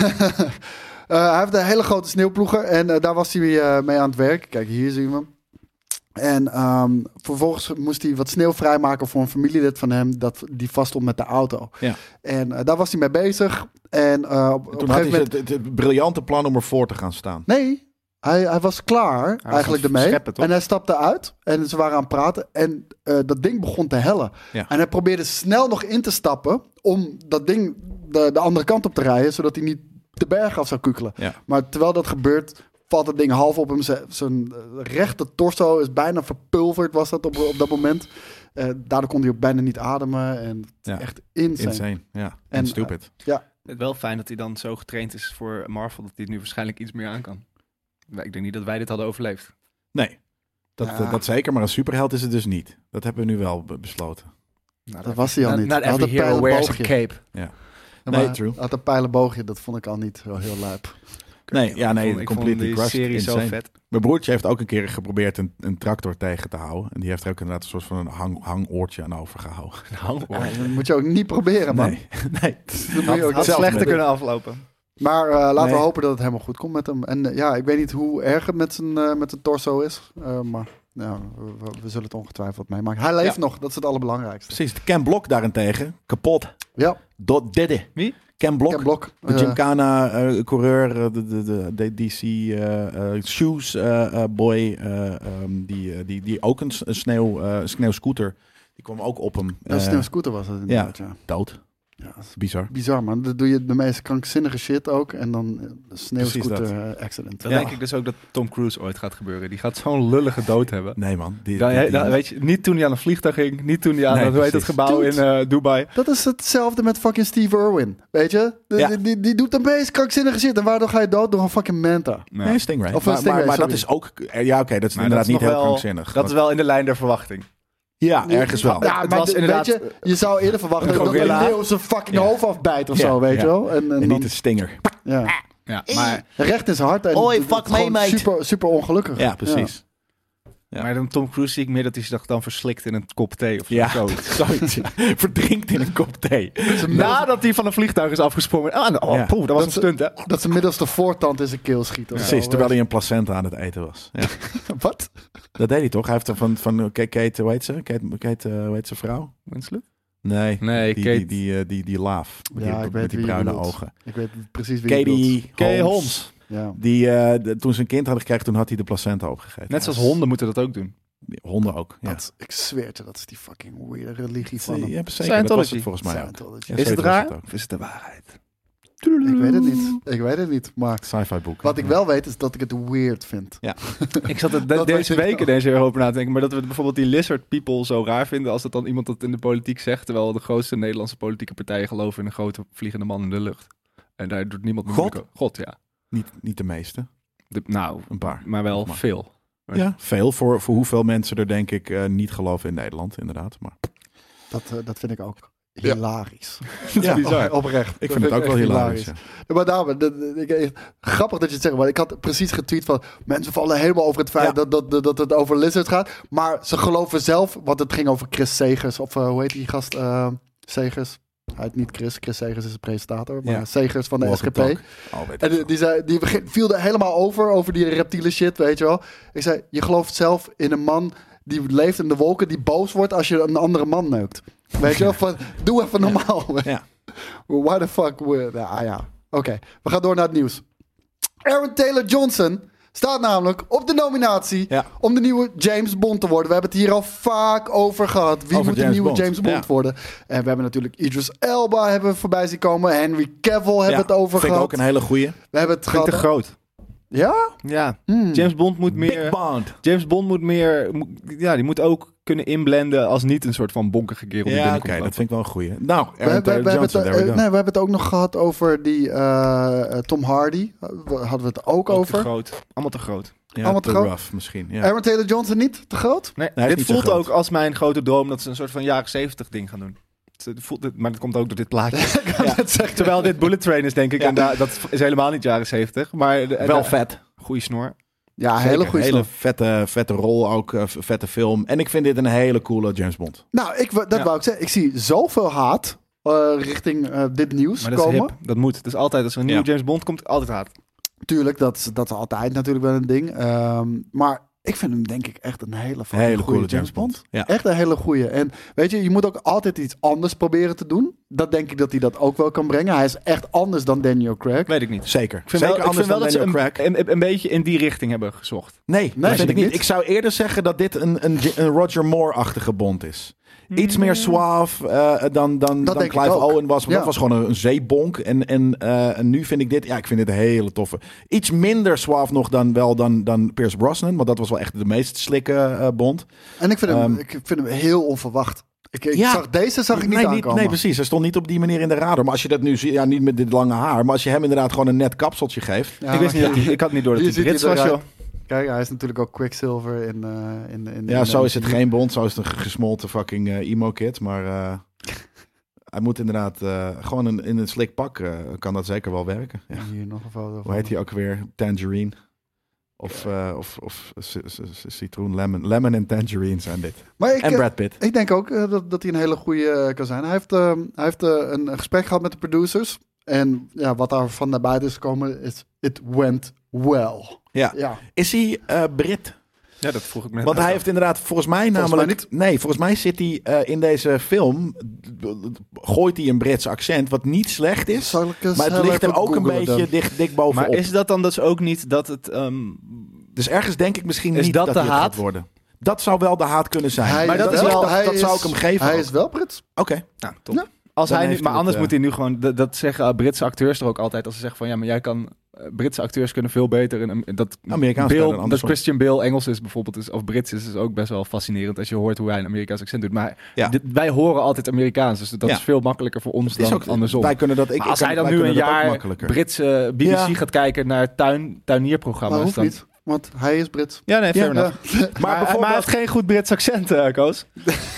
C: Eh, hij heeft een hele grote sneeuwploeger. En eh, daar was hij eh, mee aan het werk. Kijk, hier zien we hem. En ehm, vervolgens moest hij wat sneeuw vrijmaken voor een familielid van hem... Dat, die vaststond met de auto.
B: Ja.
C: En eh, daar was hij mee bezig. En eh, op, op een
B: Toen
C: gegeven
B: had hij
C: moment...
B: het, het, het briljante plan om ervoor te gaan staan.
C: Nee, hij, hij was klaar eigenlijk
D: aan het
C: ermee.
D: scheppen, toch?
C: en hij stapte uit en ze waren aan het praten. En eh, dat ding begon te hellen.
B: Ja.
C: En hij probeerde snel nog in te stappen om dat ding de, de andere kant op te rijden. Zodat hij niet de berg af zou kukelen.
B: Ja.
C: Maar terwijl dat gebeurt, valt het ding half op hem. Z- Zijn eh, rechte torso is bijna verpulverd, was dat op, op dat moment. Eh, daardoor kon hij ook bijna niet ademen. En
B: Ja.
C: echt insane.
B: Insane. Ja. En,
C: En, eh,
B: stupid.
D: Het wel fijn dat hij dan zo getraind is voor Marvel... dat hij het nu waarschijnlijk iets meer aan kan. Maar Ik denk niet dat wij dit hadden overleefd.
B: nee. Dat,
C: Ja.
B: eh, dat zeker, maar een superheld is het dus niet. Dat hebben we nu wel be- besloten.
C: Dat was hij al
D: Not-
C: niet.
D: Not
C: Hij had
D: every
C: een
D: hero wears a
C: pijlenboogje.
D: cape.
C: Ja,
B: Nee,
C: maar
B: true.
C: hij Had een pijlenboogje, dat vond ik al niet heel, heel lijp.
B: Nee, ja, nee,
D: Ik vond- ik vond
B: completely
D: die
B: crushed,
D: serie zo
B: insane.
D: vet.
B: Mijn broertje heeft ook een keer geprobeerd een, een tractor tegen te houden. En die heeft er ook inderdaad een soort van een hang, hangoortje aan overgehouden.
C: Ja, dat moet je ook niet proberen, man.
B: Nee, nee.
C: Dat moet je ook
D: Had
B: zelf
D: slechter
B: met-
D: kunnen aflopen.
C: Maar eh, laten
B: Nee.
C: we hopen dat het helemaal goed komt met hem. En eh, ja, ik weet niet hoe erg het met zijn, eh, met zijn torso is. eh, maar nou, we, we zullen het ongetwijfeld meemaken. Hij leeft
B: Ja.
C: nog, dat is het allerbelangrijkste.
B: Precies. Ken Blok daarentegen, kapot.
C: Ja,
B: Dot didde.
D: Wie?
B: Ken Blok.
C: Ken Blok.
B: De
C: eh,
B: Gymkhana-coureur, eh, de, de, de, de DC eh, eh, Shoes eh, eh, boy, eh, ehm, die, eh, die, die ook een, s- een sneeuw, eh, sneeuwscooter, die kwam ook op hem
C: een
B: eh,
C: sneeuwscooter was het inderdaad, ja.
B: dood.
C: Ja, dat is
B: Bizar.
C: Bizar, man. Dan doe je de meest krankzinnige shit ook. En dan eh, een sneeuwscooter eh, accident.
D: Dan
B: Ja.
D: denk ik dus ook dat Tom Cruise ooit gaat gebeuren. Die gaat zo'n lullige dood hebben.
B: Nee man. Die,
D: Dan,
B: die- die-
D: dan- weet je, niet toen hij aan een vliegtuig ging. Niet toen hij aan
B: Nee,
D: dat, hoe heet het
B: precies.
D: gebouw in
C: Dude.
D: eh, Dubai.
C: Dat is hetzelfde met fucking Steve Irwin. Weet je? De-
B: Ja.
C: die, die, die doet de meest krankzinnige shit. En waardoor ga je dood? Door een fucking manta.
D: Nou,
B: Nee, Stingray.
C: Of
B: maar,
C: een
B: maar-
C: Stingray,
B: maar dat
C: sorry.
B: is ook... eh, Ja, oké, dat is
D: maar
B: inderdaad
D: dat
B: niet
D: is nog
B: heel
D: wel-
B: krankzinnig.
D: Dat is wel in de lijn der verwachting.
B: Ja, ergens wel.
C: Ja,
D: Het
C: maar
D: was
C: de-
D: inderdaad-
C: weet je, je zou eerder verwachten dat een
D: gorilla.
C: leeuw zijn fucking
B: eh, Ja.
C: hoofd afbijt of
B: Ja,
C: zo, weet
B: ja.
C: je wel. En, en
B: En
C: dan,
B: niet Ah, een stinger.
C: ja.
D: Ja, maar,
C: Recht in zijn hart. En
E: Oi,
C: d- d-
E: fuck
C: gewoon
E: me, mate.
C: Super, super ongelukkig.
B: Ja, precies. Ja.
D: maar dan Tom Cruise zie ik meer dat hij zich dan verslikt in een kop thee of
B: Ja,
D: zo.
B: zoiets. Verdrinkt in een kop thee.
D: Nadat hij van een vliegtuig is afgesprongen. Ah, nou, oh,
B: Ja.
D: poeh, dat was
C: Dat
D: een stunt, hè?
C: Dat ze middelste voortand in zijn keel schiet. of zo,
B: Precies,
C: weet
B: terwijl
C: je.
B: hij een placenta aan het eten was. Ja.
C: Wat?
B: Dat deed hij toch? Hij heeft er van, van Kate, Kate, hoe heet ze? Kate, Kate eh, hoe heet ze vrouw?
D: Winslet?
B: Nee,
D: Nee,
B: die,
D: Kate-
B: die, die, eh, die, die laaf. Met die,
C: Ja, ik
B: met
C: weet
B: die
C: wie je
B: bruine
C: bedoelt.
B: ogen.
C: Ik weet precies wie je bedoelt.
B: Katie,
D: Kay
B: Holmes.
D: Holmes.
C: Ja.
B: Die, eh, de- toen ze een kind hadden gekregen, toen had hij de placenta opgegeten.
D: Net zoals honden moeten dat ook doen.
B: Die Honden ook, ja.
C: Dat, ik zweer je, dat is die fucking weirde religie van
B: Ja,
C: hem.
B: zeker. Dat was
D: Scientology.
B: het volgens mij ook.
C: Scientology.
B: Ja,
D: Is
B: zeker was
D: het raar?
B: ook.
D: Of is het de waarheid?
C: Ik weet het niet. Ik weet het niet. Maar
B: Sci-fi boek.
C: wat ik wel weet is dat ik het weird vind.
D: Ik zat er de-
C: Dat
D: deze
C: weet ik
D: week
C: wel.
D: ineens heel over na te denken. Maar dat we bijvoorbeeld die lizard people zo raar vinden. als dat dan iemand dat in de politiek zegt. Terwijl de grootste Nederlandse politieke partijen geloven in een grote vliegende man in de lucht. En daar doet niemand meer
B: God?
D: moeilijk over. God, ja.
B: Niet, niet de meeste,
D: De- nou,
B: een paar.
D: maar wel
B: Maar-
D: veel.
B: Ja, veel voor, voor hoeveel mensen er denk ik eh, niet geloven in Nederland, inderdaad. Maar
C: Dat, eh, dat vind ik ook
B: Ja.
C: hilarisch.
B: ja,
D: bizar.
C: Oprecht.
B: ik
C: Dat
B: vind het ook wel
C: echt
B: hilarisch. ja.
C: Ja, maar daarom, dat- dat- ik- ik- grappig dat je het zegt, maar ik had precies getweet van... mensen vallen helemaal over het feit
B: Ja.
C: dat, dat, dat, dat het over lizards gaat. Maar ze geloven zelf, want het ging over Chris Segers. Of eh, hoe heet die gast? eh Segers. Hij heet niet Chris, Chris Segers is de presentator. Maar
B: Ja.
C: Segers van de
B: Walk
C: SGP.
B: and talk. Oh, weet ik
C: En die,
B: veel.
C: die, zei, die begin- viel er helemaal over, over die reptiele shit, weet je wel. Ik zei, je gelooft zelf in een man die leeft in de wolken, die boos wordt als je een andere man neukt. Weet je wel, van, doe even normaal.
B: Ja.
C: Why the fuck? we- nou, ah ja, oké. We gaan door naar het nieuws. Aaron Taylor Johnson staat namelijk op de nominatie
B: Ja.
C: om de nieuwe James Bond te worden. We hebben het hier al vaak over gehad. Wie
B: Over
C: moet de
B: James
C: nieuwe
B: Bond,
C: James Bond
B: ja.
C: worden? En we hebben natuurlijk Idris Elba hebben we voorbij zien komen. Henry Cavill hebben we het over
B: vind
C: gehad.
B: ik ook een hele goeie.
C: We hebben het
D: Vind ik te
C: gehad.
D: groot.
C: Ja?
D: Ja.
C: Hmm.
D: James Bond moet meer...
B: Big Bond.
D: James Bond moet meer... moet- ja, die moet ook kunnen inblenden als niet een soort van bonkige kerel die
B: Ja, oké,
D: binnenkomt.
B: dat
D: lopen.
B: vind ik wel een goeie. Nou,
C: We, we-
B: Aaron
C: we- we hebben het,
B: Taylor-Johnson,
C: eh,
B: there we
C: nee,
B: go.
C: we hebben het ook nog gehad over die eh, eh, Tom Hardy. Hadden we het ook
D: Ook Te
C: over.
D: groot. Allemaal te groot.
B: Ja,
C: allemaal te
B: te
C: groot.
B: rough misschien. Ja.
C: Aaron Taylor Johnson niet te groot?
D: Nee,
B: hij is
D: dit
B: niet zo
D: voelt
B: groot.
D: ook als mijn grote droom dat ze een soort van jaren zeventig ding gaan doen. Het voelt- het- Maar dat komt ook door dit plaatje. Ja. Terwijl dit Bullet Train is, denk ik.
B: Ja.
D: En daar- dat is helemaal niet jaren zeventig. Maar de-
B: wel
D: de-
B: vet.
D: Goeie snor.
C: Ja,
B: Zeker,
C: hele goede
B: hele vette, vette rol ook, eh, v- vette film. En ik vind dit een hele coole James Bond.
C: Nou, ik, wou- dat
D: Ja.
C: wou ik zeggen. Ik zie zoveel haat eh, richting eh, dit nieuws
D: Maar dat is
C: komen.
D: hip. Dat moet. Dat is altijd, als er een nieuwe
B: Ja.
D: James Bond komt, altijd haat.
C: Tuurlijk, dat, is- dat is altijd natuurlijk wel een ding. Ehm, maar ik vind hem denk ik echt een hele,
B: Hele
C: hele
B: coole
C: goede James
B: James
C: Bond.
B: Bond. Ja.
C: Echt een hele goede. En weet je, je moet ook altijd iets anders proberen te doen. Dat denk ik dat hij dat ook wel kan brengen. Hij is echt anders dan Daniel Craig.
D: Weet ik niet.
B: Zeker.
D: Ik vind
B: Zeker
D: wel, ik
B: anders
D: vind wel
B: dan
D: dat ze
B: Daniel Craig.
D: een, een, een beetje in die richting hebben gezocht.
B: Nee,
C: Nee,
B: dat vind ik
C: niet.
B: niet. Ik zou eerder zeggen dat dit een, een, J- een Roger Moore-achtige Bond is. Iets meer suave eh, dan, dan, dan
C: denk ik
B: Clive
C: ook.
B: Owen was. want
C: Ja.
B: Dat was gewoon een, een zeebonk. En, en, eh, en nu vind ik dit... Ja, ik vind dit een hele toffe. Iets minder suave nog dan, wel dan, dan Pierce Brosnan. Want dat was wel echt de meest slikke eh, Bond.
C: En ik vind, hem,
B: Ehm,
C: ik vind hem heel onverwacht. Ik, ik
B: Ja.
C: zag, deze zag ik niet
B: nee,
C: aankomen.
B: nee, precies. Hij stond niet op die manier in de radar. Maar als je dat nu ziet... Ja, niet met dit lange haar. Maar als je hem inderdaad gewoon een net kapseltje geeft...
C: Ja,
D: ik,
C: maar
D: wist niet dat
C: kijk,
D: hij- ik had niet door dat
C: Hier
D: hij
C: zit hij
D: Brits was,
C: eruit.
D: joh.
C: Kijk, hij is natuurlijk ook Quicksilver in... eh, in, in
B: Ja,
C: in-
B: zo is het geen Bond. Zo is het een gesmolten fucking eh, emo-kid. Maar eh, hij moet inderdaad eh, gewoon een, in een slik pak. eh, kan dat zeker wel werken. Ja.
C: Hier nog een foto
B: Hoe
C: van.
B: heet hij ook weer? Tangerine. Of, eh, of, of c- c- c- citroen, lemon. Lemon en tangerine zijn dit.
C: Maar ik,
B: En
C: eh,
B: Brad Pitt.
C: Ik denk ook eh, dat, dat hij een hele goede eh, kan zijn. Hij heeft, eh, hij heeft eh, een gesprek gehad met de producers. En ja, wat daar van naar buiten is gekomen is... It went well.
B: Ja.
C: Ja,
B: Is hij eh, Brit?
D: Ja, dat vroeg ik me
B: Want hij heeft inderdaad volgens mij namelijk...
C: mij niet.
B: Nee, volgens mij zit hij eh, in deze film... gooit hij een Brits accent, wat niet slecht is.
C: Zal ik eens
B: Maar het
C: heel
B: ligt er
C: even
B: ook een
C: googlen
B: beetje
C: dan?
B: dicht, dik bovenop.
D: Maar is dat dan dus ook niet dat het... ehm,
B: Dus ergens denk ik misschien
D: Is
B: niet
D: dat
B: dat,
D: de
B: hij het
D: haat?
B: gaat worden. Dat zou wel de haat kunnen zijn.
C: Hij
B: maar dat, is
C: wel-
B: wel,
C: hij
B: dat zou ik
C: is-
B: hem geven.
C: Hij
B: ook.
C: is wel Brits.
B: Oké.
D: nou, top.
C: Ja.
D: Als
B: Dan
D: hij nu,
B: heeft
D: maar
B: hij
D: anders
B: het, eh,
D: moet hij nu gewoon... Dat, dat zeggen eh, Britse acteurs er ook altijd. Als ze zeggen van... Ja, maar jij kan... eh, Britse acteurs kunnen veel beter... En, dat
B: Amerikaans kan
D: Bill,
B: dan
D: dat
B: andersom.
D: Christian Bale Engels is bijvoorbeeld... Is, of Brits is, is ook best wel fascinerend... als je hoort hoe hij een Amerikaans accent doet. Maar
B: Ja.
D: dit- wij horen altijd Amerikaans. Dus dat
B: Ja.
D: is veel makkelijker voor ons
B: Het is
D: dan
B: ook
D: andersom.
B: Wij kunnen dat. Ik,
D: Maar als
B: ik-
D: hij dan
B: wij
D: nu een
B: kunnen dat ook
D: jaar
B: makkelijker.
D: Britse BBC
B: Ja.
D: gaat kijken naar tuin,
C: Maar
D: tuinierprogramma's...
C: hoeft
D: dan,
C: niet, want hij is Brits.
D: Ja, nee, fair
C: Ja,
D: enough. Maar, maar,
B: bijvoorbeeld-
D: hij heeft geen goed Brits accent, eh, Koos.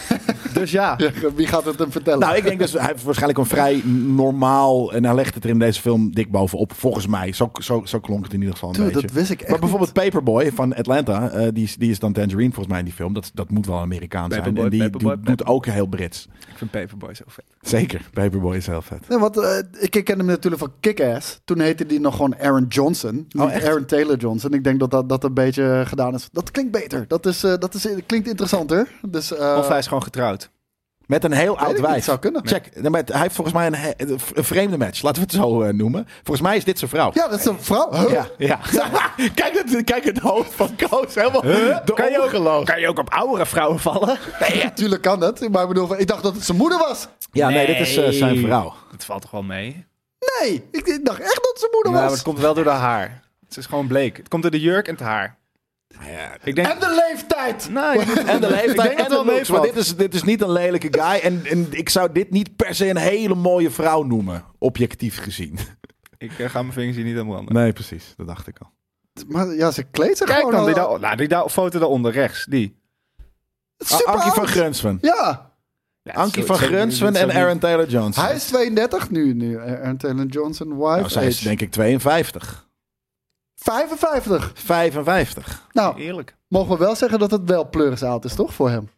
D: dus ja.
C: Ja, Wie gaat het hem vertellen?
B: Nou, ik denk dus hij heeft waarschijnlijk een vrij normaal en hij legt het er in deze film dik bovenop. Volgens mij, zo, zo, zo klonk het in ieder geval een
C: Dude,
B: beetje.
C: dat wist ik echt
B: maar bijvoorbeeld Paperboy van Atlanta, eh, die, is, die is dan Tangerine volgens mij in die film. Dat, dat moet wel Amerikaans zijn.
D: Paperboy,
B: en die
D: Paperboy,
B: doet, doet ook heel Brits.
D: Ik vind Paperboy zo vet.
B: Zeker, Paperboy is heel vet.
C: Nee, want eh, ik ik ken hem natuurlijk van Kick-Ass. Toen heette die nog gewoon Aaron Johnson.
B: Oh,
C: niet
B: echt?
C: Aaron Taylor Johnson. Ik denk dat, dat dat een beetje eh, gedaan is. Dat klinkt beter. Dat, is, eh, dat is, klinkt interessanter. Dus, eh,
D: of hij is gewoon getrouwd.
B: Met een heel oud
C: ik niet,
B: wijf.
C: zou kunnen.
B: Check, nee, maar hij heeft volgens mij een, he- een vreemde match. Laten we het zo eh, noemen. Volgens mij is dit zijn vrouw.
C: Ja, dat is een vrouw. Huh?
B: Ja, ja. kijk, het, kijk het hoofd van Koos. Helemaal de
D: Kan je ook-
B: ongeloof.
D: Kan je ook op oudere vrouwen vallen?
C: Nee, ja, tuurlijk kan dat. Maar ik bedoel, ik dacht dat het zijn moeder was.
B: Ja, nee, dit is eh, zijn vrouw.
D: Dat valt toch wel mee?
C: Nee, ik, ik dacht echt dat het zijn moeder
D: maar
C: was.
D: het komt wel door de haar. Het is gewoon bleek. Het komt door de jurk en het haar. Ik denk...
C: En de leeftijd.
D: Nou, je moet-
B: En de
D: Ik denk
B: leeftijd
D: dat
B: en
D: het wel
B: de looks. Maar
D: meevalt.
B: dit is, dit is niet een lelijke guy. En, en ik zou dit niet per se een hele mooie vrouw noemen. Objectief gezien.
D: Ik eh, ga mijn vingers hier niet aan branden.
B: Nee, precies. Dat dacht ik al.
C: Maar ja, ze kleedt zich
D: Kijk
C: gewoon
D: dan,
C: al-
D: die daar, nou, die daar, foto daaronder, rechts, die.
C: super
B: Ah, Ankie van
C: oud.
B: Grunsven.
C: Ja,
D: Ja,
B: Ankie
D: zo-
B: van
D: zo-
B: Grunsven
D: zo-
B: en
D: zo-
B: Aaron Taylor-Johnson.
C: hij is 32 nu. nu. Aaron Taylor Johnson, wife.
B: Nou, zij is
C: age.
B: denk ik 52.
C: 55.
B: 55.
C: Nou,
D: Eerlijk.
C: mogen we wel zeggen dat het wel pleurisauto is, toch, voor hem?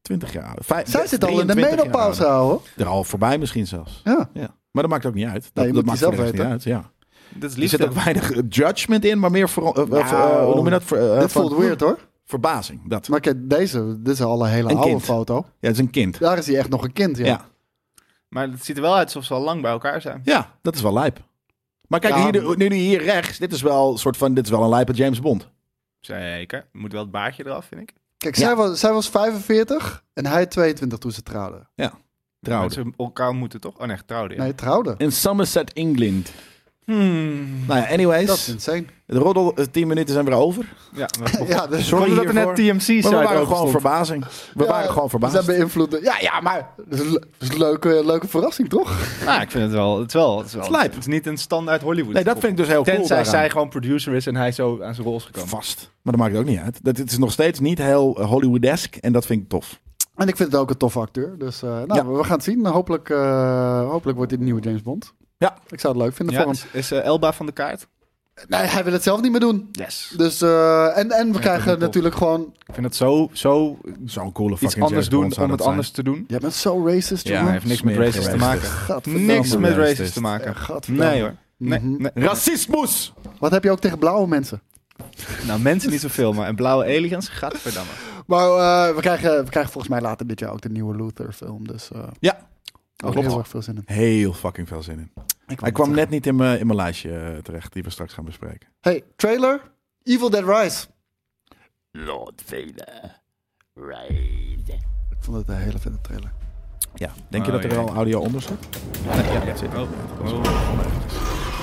B: 20 jaar oud. Vijf-
C: Zij zit al in de
B: 23 jaar Eh,
C: menopauze,
B: ouder.
C: houden.
B: Er al voorbij misschien zelfs.
C: Ja.
B: Ja. Maar dat maakt ook niet uit. Dat,
C: moet
B: dat
C: die
B: maakt
C: zelf
B: zelf niet
C: weten.
B: uit. Ja.
D: Dit is
B: Er zit
D: liefde.
B: ook weinig eh, judgment in, maar meer voor, eh, eh, voor, eh, hoe noem je dat? Voor, eh,
C: oh. Dit
B: van-
C: voelt weird, hoor.
B: Verbazing. Dat.
C: Maar kijk, deze, dit is al een hele
B: Een
C: oude
B: kind.
C: foto.
B: Ja, het is een kind. Ja.
C: Daar is hij echt nog een kind, ja.
B: Ja.
D: Maar het ziet er wel uit alsof ze al lang bij elkaar zijn.
B: dat is wel lijp. Maar kijk,
C: Ja.
B: hier, nu, nu hier rechts, dit is wel een soort van, dit is wel een lijpe James Bond.
D: Zeker. Moet wel het baardje eraf, vind ik.
C: Kijk,
B: Ja.
C: zij, was, zij was 45 en hij 22 toen ze trouwden.
B: Trouwens.
D: Mensen elkaar moeten toch? Oh nee, getrouwden. ja.
C: Nee, trouwden.
B: In Somerset, England.
D: Hmm.
B: Nou ja,
C: Dat is
B: anyways.
C: insane.
B: De roddel, eh, 10 minuten zijn weer over.
D: Ja, we
C: Ja, dus
B: Oh, Sorry
D: dat er net
B: hiervoor.
D: TMC site
B: Maar we waren gewoon
D: open stond.
B: verbazing. We
C: Ja, dus
B: waren gewoon
C: Ze
B: verbaasd.
C: zijn beïnvloed. Ja, ja, maar dat is, een le- dat is een leuke, leuke verrassing, toch?
D: Nou, ik vind het wel. Het is wel. Het is, wel,
B: Het is lijp.
D: het is niet een standaard Hollywood.
B: Nee, dat vind ik dus heel cool
D: Tenzij
B: daaraan.
D: zij gewoon producer is en hij zo aan zijn rol is gekomen.
B: Vast. Maar dat maakt ook niet uit. Dat, het is nog steeds niet heel eh, Hollywoodesk en dat vind ik tof.
C: En ik vind het ook een toffe acteur. Dus eh, nou,
B: Ja.
C: we gaan het zien. Hopelijk, eh, hopelijk wordt hij de nieuwe James Bond.
B: Ja. dus-
C: Ik zou het leuk vinden
D: Ja,
C: voor
D: is is, eh, Elba van de kaart?
C: hem. Nee, hij wil het zelf niet meer doen.
D: Yes.
C: Dus, eh, en, en we krijgen
D: vind ik
C: natuurlijk gewoon...
D: Ik vind het zo, zo
B: Zo'n coole fucking
D: iets anders
B: James Bond
D: doen
B: zou dat
D: om het
B: zijn.
D: anders te doen.
C: Jij bent zo racist,
B: Ja,
C: jongen.
D: Hij heeft niks met
B: Smerig
D: races te
B: geweest.
D: maken.
C: Gadverdamme.
D: Niks met
B: Racist. Eh,
D: races te maken.
C: Ja, gadverdamme.
D: Nee hoor. Nee,
C: Mhm.
D: nee.
B: Racismus!
C: Wat heb je ook tegen blauwe mensen?
D: Nou, mensen niet zoveel, maar en blauwe aliens, gadverdamme.
C: Maar eh, we, krijgen, we krijgen volgens mij later dit jaar ook de nieuwe Luther-film. Dus eh
B: Ja,
C: ook
B: klopt.
C: heel erg veel zin in.
B: heel fucking veel zin in.
C: Ik
B: Hij kwam net niet in mijn in mijn lijstje eh, terecht, die we straks gaan bespreken.
C: Hey, trailer. Evil Dead Rise.
F: Lord Vader, ride.
C: Ik vond het een hele vette trailer.
B: Ja. Denk je
D: Oh,
B: dat er
D: ja.
B: al audio onder zit?
D: Ja, ja. Oh. Oh.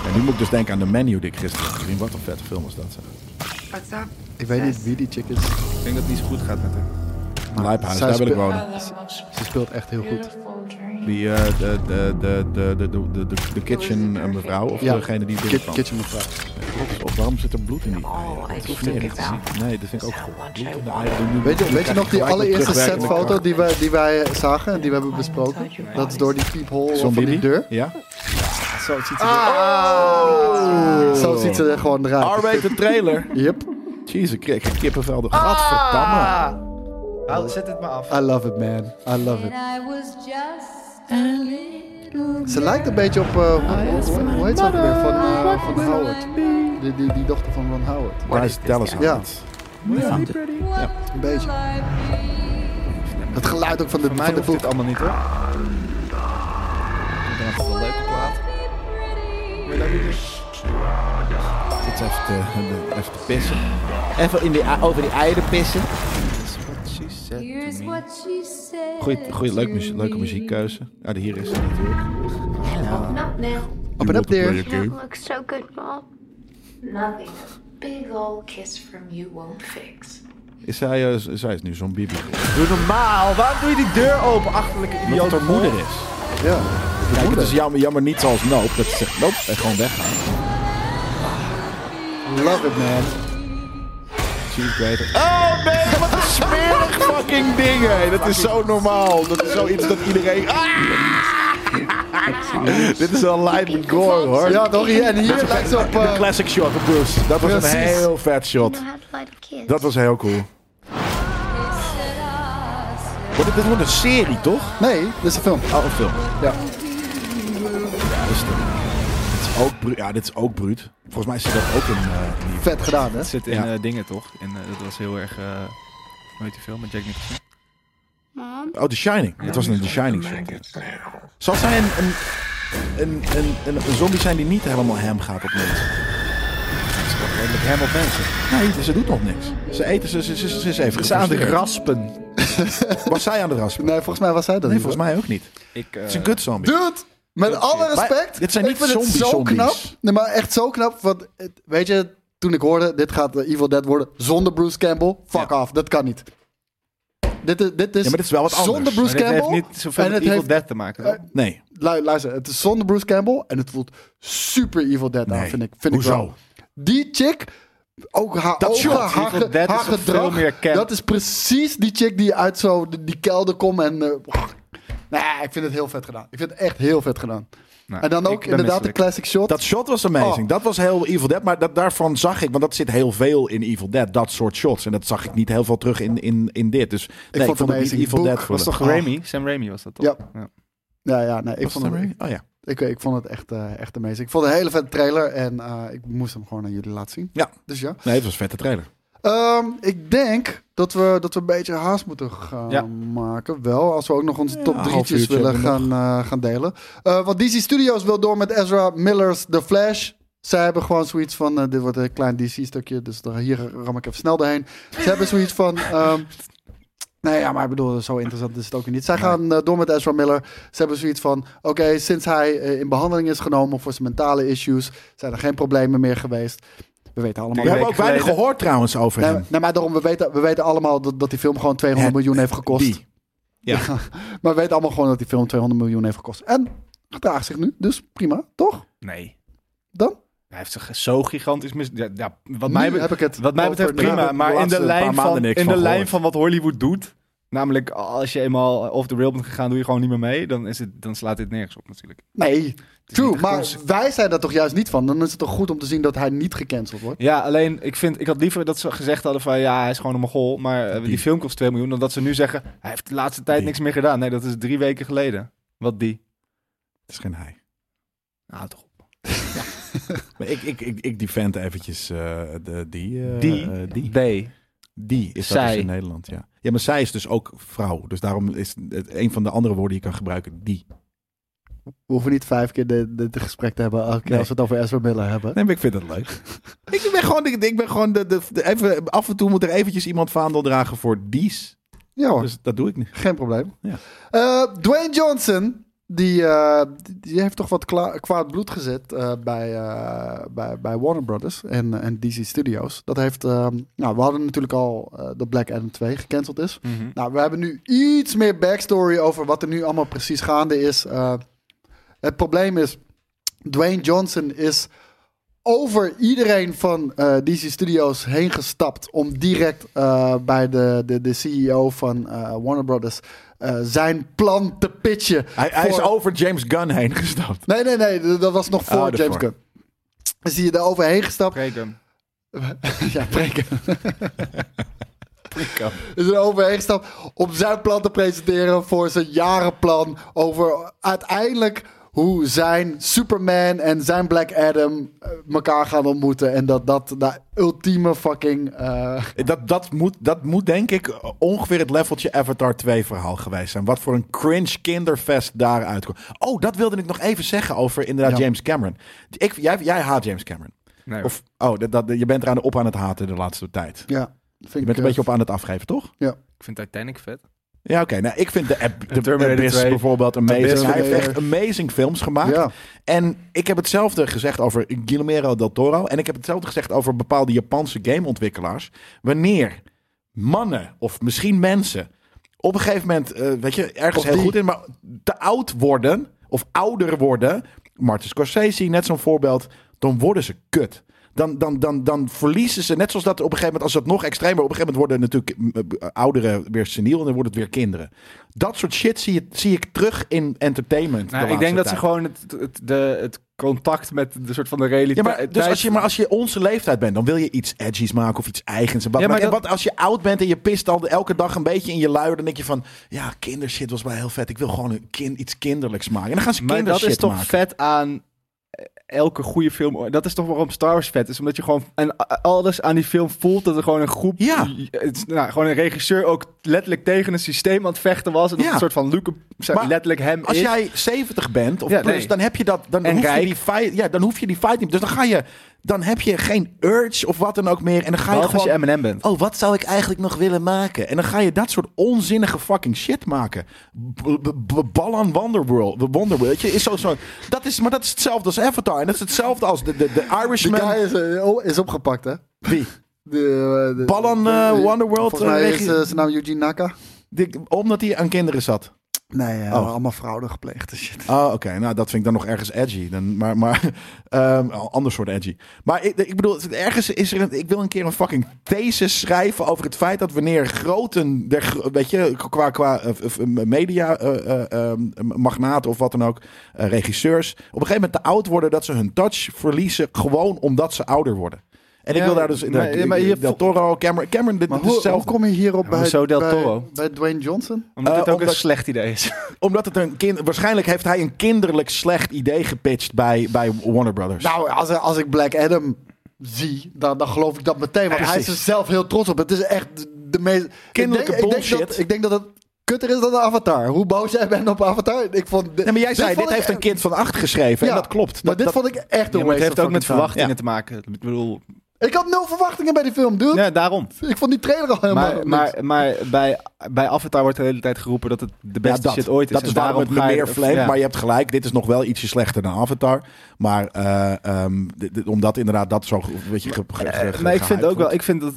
B: En nu moet ik dus denken aan de menu die ik gisteren heb gezien. Wat een vette film is dat. zeg.
C: Ik weet niet wie die chick is.
D: Ik denk dat het niet zo goed gaat met hem.
B: Lijphuis,
C: zij
B: daar wil ik
C: speel-
B: wonen.
C: Ze speelt echt heel goed.
B: Die, eh, de, de, de, de, de, de, de, de kitchen eh, mevrouw, of
C: Ja.
B: degene die
C: Kit,
B: binnenkwam.
C: kitchen mevrouw.
B: Of waarom zit er bloed in die eieren? Dat is smerig te zien. Nee, dat vind ik ook goed. Bloed in de eieren doen nu-
C: Weet je,
B: nu
C: weet je
B: krijg
C: nog die
B: gelijk een
C: allereerste
B: terugwerkende
C: setfoto
B: kracht.
C: die wij, die wij eh, zagen en die we hebben besproken? Dat is door die peephole
B: Zo'n
C: van die
B: baby?
C: deur.
B: Ja?
C: Zo ziet ze,
D: Ah.
C: er, Oh. Zo ziet ze er gewoon eruit.
B: R-rated trailer.
C: Yep.
B: Jezus, ik kreeg kippenvel. Gadverdamme.
D: Haal- Ah. Zet het maar af.
B: Ah,
C: I love it, man. I love it. Ze lijkt een beetje op... eh, hoe, hoe, hoe heet ze ook weer? Van, eh, van Howard. Die, die, die dochter van Ron Howard.
B: Guys, tell us how
C: Ja.
B: it's.
C: Een beetje. Het geluid ook van de,
D: Voor mij
C: van de
D: hoeft dit
C: boek.
D: allemaal niet hoor. Ik denk dat het wel leuke plaat. Wil je dat niet doen?
B: Het is even te, even te pissen. Even in die, ei- over die eieren pissen. Goeie, goeie leuk muzie- leuke muziekkeuze. Ja, die hier is het natuurlijk.
G: Not now.
C: Up and up there.
G: You don't look so good, Mom. Nothing a big old kiss from you won't fix.
B: Is zij, eh, z- zij is nu zo'n bibi.
D: Doe normaal. Waarom doe je die deur open, achterlijke idioot?
B: Omdat het haar moeder is.
C: Ja.
B: Kijk, het is jammer, jammer niet zoals Noop. Dat ze zegt, Noop, en gewoon weggaan.
C: Love it, man.
B: Zie ik beter. Oh man, wat een smerig fucking ding. Hé. Dat is zo normaal. Dat is zoiets dat iedereen... Ah! Dit is wel light gore hoor.
C: Ja, toch? Hier- En hier lijkt ze op... eh,
B: Classic shot van Bruce. Dat was een
C: Precies.
B: heel vet
G: You
B: shot.
G: know how to light a kiss.
B: Dat was heel cool. Wordt dit, dit wordt een serie, toch?
C: nee, dit is een film.
B: Oh, een film. Ja,
C: Ja.
B: dat is het. Dit is ook, bru- ja, dit is ook bruut. Volgens mij zit dat ook in... eh, in die-
C: Vet gedaan, hè?
D: Het zit in
B: Ja.
D: eh, dingen toch? En eh, dat was heel erg. eh hoe heet die film met Jack Nicholson?
G: Mom,
B: Oh, The Shining. Het was een The Shining shot. Zal zij een, een, een, een, een, een zombie zijn die niet helemaal hem gaat op mensen? Het is toch redelijk hem op mensen? Nee, ze doet nog niks. Ze eten, ze, ze, ze, ze is even gefrustreerd.
D: raspen.
B: Was zij aan de raspen?
C: Nee, volgens mij was hij dat
B: Nee,
C: niet,
B: volgens mij ook niet. Het
D: Ik, eh,
B: is een kutzombie.
C: Nou, Dude, met alle
B: Maar
C: respect.
B: dit zijn
C: ik
B: niet
C: vind het
B: zombie
C: zo
B: zombies.
C: knap. Nee, maar echt zo knap. Want het- weet je, toen ik hoorde, dit gaat eh, Evil Dead worden zonder Bruce Campbell. Fuck
B: Ja.
C: off, dat kan niet. Dit is, dit is,
B: Ja, maar dit is wel wat anders.
C: zonder
D: maar
C: Bruce
D: dit heeft
C: Campbell.
D: niet zoveel
C: en
D: met
C: het
D: Evil
C: heeft,
D: Dead te maken.
B: Eh,
D: toch?
B: Nee.
C: lu- Luister, het is zonder Bruce Campbell en het voelt super Evil Dead aan,
B: Nee.
C: vind ik. Vind
B: Hoezo?
C: Ik wel. Die chick, ook haar
B: Dat
C: ogen,
B: shot,
C: haar,
D: Evil
C: ge-
D: Dead is
C: haar
D: veel
C: gedrag,
D: meer camp.
C: dat is precies die chick die uit zo die, die kelder komt en... eh, nee, ik vind het heel vet gedaan. Ik vind het echt heel vet gedaan.
D: Nou,
C: En dan
D: ik
C: ook
D: ben
C: inderdaad de
D: misselijk.
C: classic shot.
B: Dat shot was amazing.
C: Oh.
B: Dat was heel Evil Dead. Maar dat, daarvan zag ik, want dat zit heel veel in Evil Dead, dat soort shots. En dat zag ik niet heel veel terug in, in, in dit. Dus nee, ik
C: vond
B: vond,
C: het
B: het niet
C: amazing.
B: Evil
C: Boek
B: Dead
C: was
B: voelen.
D: Toch
C: Ah.
D: Raimi? Sam Raimi was dat toch?
C: Ja. ja, ja, nee, ik
B: Was
C: vond
B: het
C: het,
B: Raimi? Oh ja.
C: ik, ik vond het echt, eh, echt amazing. Ik vond het een hele vette trailer en eh, ik moest hem gewoon aan jullie laten zien.
B: Ja.
C: Dus ja.
B: Nee, het was een vette trailer.
C: Ehm, ik denk dat dat we, dat we een beetje haast moeten gaan
D: Ja.
C: maken. Wel, als we ook nog onze
B: Ja,
C: top
B: een
C: drietjes
B: half uurtje
C: willen
B: hebben
C: gaan, eh, gaan delen. Eh want DC Studios wil door met Ezra Miller's The Flash. Zij hebben gewoon zoiets van, eh, dit wordt een klein DC-stukje, dus daar- hier ram ik even snel doorheen. Ze hebben zoiets van... ehm, Nee, ja, maar ik bedoel, zo interessant is het ook weer niet. Zij gaan eh, door met Ezra Miller. Ze hebben zoiets van, oké, sinds hij eh, in behandeling is genomen voor zijn mentale issues, zijn er geen problemen meer geweest. We weten allemaal...
B: We hebben ook
D: weken
B: weinig
D: geleden.
B: gehoord trouwens over
C: Nee,
B: hem.
C: nee, maar daarom, we weten, we weten allemaal dat, dat die film gewoon 200 miljoen heeft gekost.
B: Die. Ja.
C: Maar we weten allemaal gewoon dat die film 200 miljoen heeft gekost. En gedraagt zich nu, dus prima, toch?
D: Nee.
C: Dan?
D: Hij heeft zich zo gigantisch mis... Ja, ja, wat,
C: Nu
D: mij be-
C: heb ik het
D: wat mij
C: over
D: betreft
C: de-
D: prima,
C: de
D: maar in
B: laatste
D: de, lijn
B: paar maanden
D: van,
B: niks
D: in de
B: van
D: lijn
B: gehoord.
D: van wat Hollywood doet... Namelijk, als je eenmaal off the rail bent gegaan, doe je gewoon niet meer mee. Dan, is het, dan slaat dit nergens op natuurlijk.
C: Nee,
D: is
C: true.
D: niet de
C: Maar
D: concept.
C: wij zijn daar toch juist niet van. Dan is het toch goed om te zien dat hij niet gecanceld wordt.
D: Ja, alleen ik, vind, ik had liever dat ze gezegd hadden van ja, hij is gewoon een mogol. Maar eh, die,
B: Die.
D: film kost 2 miljoen. Dan dat ze nu zeggen, hij heeft de laatste tijd
B: Die.
D: niks meer gedaan. Nee, dat is drie weken geleden. Wat die?
B: Het is geen hij.
D: Nou, toch op.
B: Maar ik, ik, ik, ik defend eventjes eh, de, die, eh,
D: Die,
B: eh, die.
D: B.
B: Die is dat
D: Zij.
B: dus in Nederland, ja. Ja, maar zij is dus ook vrouw. Dus daarom is het een van de andere woorden die je kan gebruiken, die.
C: We hoeven niet vijf keer dit dit gesprek te hebben elke keer
B: Nee.
C: als we het over Ezra Miller hebben.
B: Nee, maar ik vind dat leuk. ik ben gewoon, ik, ik ben gewoon de, de, de- even, af en toe moet er eventjes iemand vaandel dragen voor dies.
C: Ja
D: Oh.
C: hoor,
B: Dus dat doe ik nu.
C: geen probleem.
B: Ja.
C: Eh, Dwayne Johnson, die, eh, die- die heeft toch wat kla- kwaad bloed gezet eh, bij, eh, bij, bij Warner Brothers en, en DC Studios. Dat heeft, ehm, nou we hadden natuurlijk al eh, dat Black Adam 2 gecanceld is. Nou, we hebben nu iets meer backstory over wat er nu allemaal precies gaande is. Eh, het probleem is, Dwayne Johnson is over iedereen van eh, DC Studios heen gestapt om direct eh, bij de, de, de CEO van eh, Warner Brothers eh, zijn plan te pitchen.
B: Hij, hij is
C: voor-
B: over James Gunn heen gestapt.
C: Nee, nee, nee, d- dat was nog voor
B: daarvoor.
C: James Gunn. Is hij er overheen gestapt?
D: Preken.
C: ja, preken. is er overheen gestapt om zijn plan te presenteren voor zijn jarenplan over uiteindelijk hoe zijn Superman en zijn Black Adam eh, elkaar gaan ontmoeten en dat dat de ultieme fucking eh,
B: Dat, dat, moet, dat moet denk ik ongeveer het leveltje Avatar 2 verhaal geweest zijn. Wat voor een cringe kinderfest daaruit komt. Oh, dat wilde ik nog even zeggen over inderdaad
C: Ja.
B: James Cameron. Ik, jij, jij haat James Cameron.
D: Nee,
B: Of, oh, dat, dat, je bent er aan, op aan het haten de laatste tijd.
C: ja, vind
B: Je bent een beetje op aan het afgeven, toch?
C: ja.
D: ik vind Titanic vet.
B: Ja, oké. Nou, ik vind de, Ab- de
D: Terminator
B: Abyss
D: 2.
B: bijvoorbeeld
C: Abyss.
B: amazing. Hij heeft echt amazing films gemaakt.
C: Ja.
B: En ik heb hetzelfde gezegd over Guillermo del Toro. En ik heb hetzelfde gezegd over bepaalde Japanse gameontwikkelaars. Wanneer mannen of misschien mensen op een gegeven moment, eh, weet je, ergens
C: Of
B: heel
C: die-
B: goed in, maar te oud worden of ouder worden. Martin Scorsese, net zo'n voorbeeld. Dan worden ze kut. Dan, dan, dan, dan verliezen ze, net zoals dat op een gegeven moment, als dat nog extremer, op een gegeven moment worden natuurlijk eh, eh, ouderen weer seniel en dan worden het weer kinderen. Dat soort shit zie, je, zie ik terug in entertainment. de
D: Nou, ik
B: laatste
D: denk dat ze
B: tijd.
D: gewoon het, het, de, het contact met de soort van de
B: Ja,
D: realiteit...
B: maar, dus als je, maar als je onze leeftijd bent, dan wil je iets edgy's maken of iets eigens. En wat,
D: Ja, maar
B: en
D: dat-
B: wat als je oud bent en je pist al elke dag een beetje in je lui, dan denk je van, ja, kindershit was wel heel vet. Ik wil gewoon een kind, iets kinderlijks maken. En dan gaan ze
D: Maar dat
B: kindershit
D: is toch
B: maken.
D: vet aan eh, elke goede film. Dat is toch waarom Star Wars vet is. Omdat je gewoon... En a- alles aan die film voelt dat er gewoon een groep...
B: Ja.
D: Het is, nou, gewoon een regisseur ook letterlijk tegen een systeem aan het vechten was. En dat
B: Ja.
D: een soort van Luke
B: Maar
D: letterlijk hem
B: Als
D: is.
B: jij 70 bent of
D: Ja,
B: plus,
D: nee.
B: dan heb je dat. Dan
D: En
B: hoef je
D: rijk.
B: die fight. Ja, dan hoef je die fight niet. Dus dan ga je. Dan heb je geen urge of wat dan ook meer. En dan ga je
D: Behalve als
B: gewoon.
D: je Eminem bent.
B: Oh, wat zou ik eigenlijk nog willen maken? En dan ga je dat soort onzinnige fucking shit maken. B- b- b- Ballan Wonderworld. The Wonderworld. Weet je, is zo, zo, dat is, maar dat is hetzelfde als Avatar. En dat is hetzelfde als de, de, de
C: Die
B: Irishman.
C: guy is, eh, oh, is opgepakt, hè?
B: Wie?
C: De, eh, de-
B: Ballan, eh, Wonderworld,
C: Volgens mij
B: eh,
C: is
B: regie-
C: eh, zijn naam Eugene Naka.
B: Die- omdat hij aan kinderen zat.
C: Nee, eh,
B: Oh.
C: allemaal fraude gepleegd en shit.
B: Oh, oké. Nou, dat vind ik dan nog ergens edgy. Dan, maar, maar ehm, een ander soort edgy. Maar ik, ik bedoel, ergens is er... Een, ik wil een keer een fucking thesis schrijven over het feit dat wanneer groten... Der, gro- weet je, qua, qua eh, f- media eh, eh, eh, magnaten of wat dan ook, eh, regisseurs... op een gegeven moment te oud worden dat ze hun touch verliezen... gewoon omdat ze ouder worden. En ik
D: Ja,
B: wil daar dus...
D: maar-
B: de,
D: maar je-
B: Del Toro, Cameron... Cameron, dit,
C: Maar
B: dit is
C: hoe, hoe
B: hetzelfde.
C: kom je hierop bij,
D: hoezo Del
C: bij,
D: Toro?
C: bij Dwayne Johnson?
D: Omdat het
B: Eh,
D: ook een
B: omdat-
D: slecht idee is.
B: Omdat het een kind... Waarschijnlijk heeft hij een kinderlijk slecht idee gepitcht bij, bij Warner Brothers.
C: Nou, als, als ik Black Adam zie, dan, dan geloof ik dat meteen. Want hij is er
B: Precies.
C: zelf heel trots op. Het is echt de meest...
B: Kinderlijke
C: ik denk, Ik denk,
B: bullshit.
C: dat, ik denk dat het kutter is dan de Avatar. Hoe boos jij bent op Avatar. Ik vond,
B: Nee, maar jij zei, dit
C: vond ik
B: heeft een
C: echt-
B: kind van acht geschreven.
C: Ja,
B: en dat klopt.
C: Maar
B: Dat-
C: dit
B: dat-
C: vond ik echt een
D: Ja, maar het
C: waste
D: heeft ook
C: of fucking
D: met
C: time.
D: verwachtingen te maken. Ik bedoel,
C: Ik had nul verwachtingen bij die film, dude.
D: ja, daarom.
C: Ik vond die trailer al helemaal
D: Maar,
C: niks.
D: maar, maar bij, bij Avatar wordt de hele tijd geroepen dat het de beste
B: ja, dat,
D: shit ooit is.
B: dat is
D: En
B: waarom het me
D: ga je-
B: meer flamed.
D: ja.
B: Maar je hebt gelijk, dit is nog wel ietsje slechter dan Avatar. Maar eh, ehm, dit- dit- omdat inderdaad dat zo weet je, ge, ge- ge-
D: Eh,
B: ge-
D: maar ik vind
B: gehyped
D: ook wel,
B: wordt.
D: ik vind dat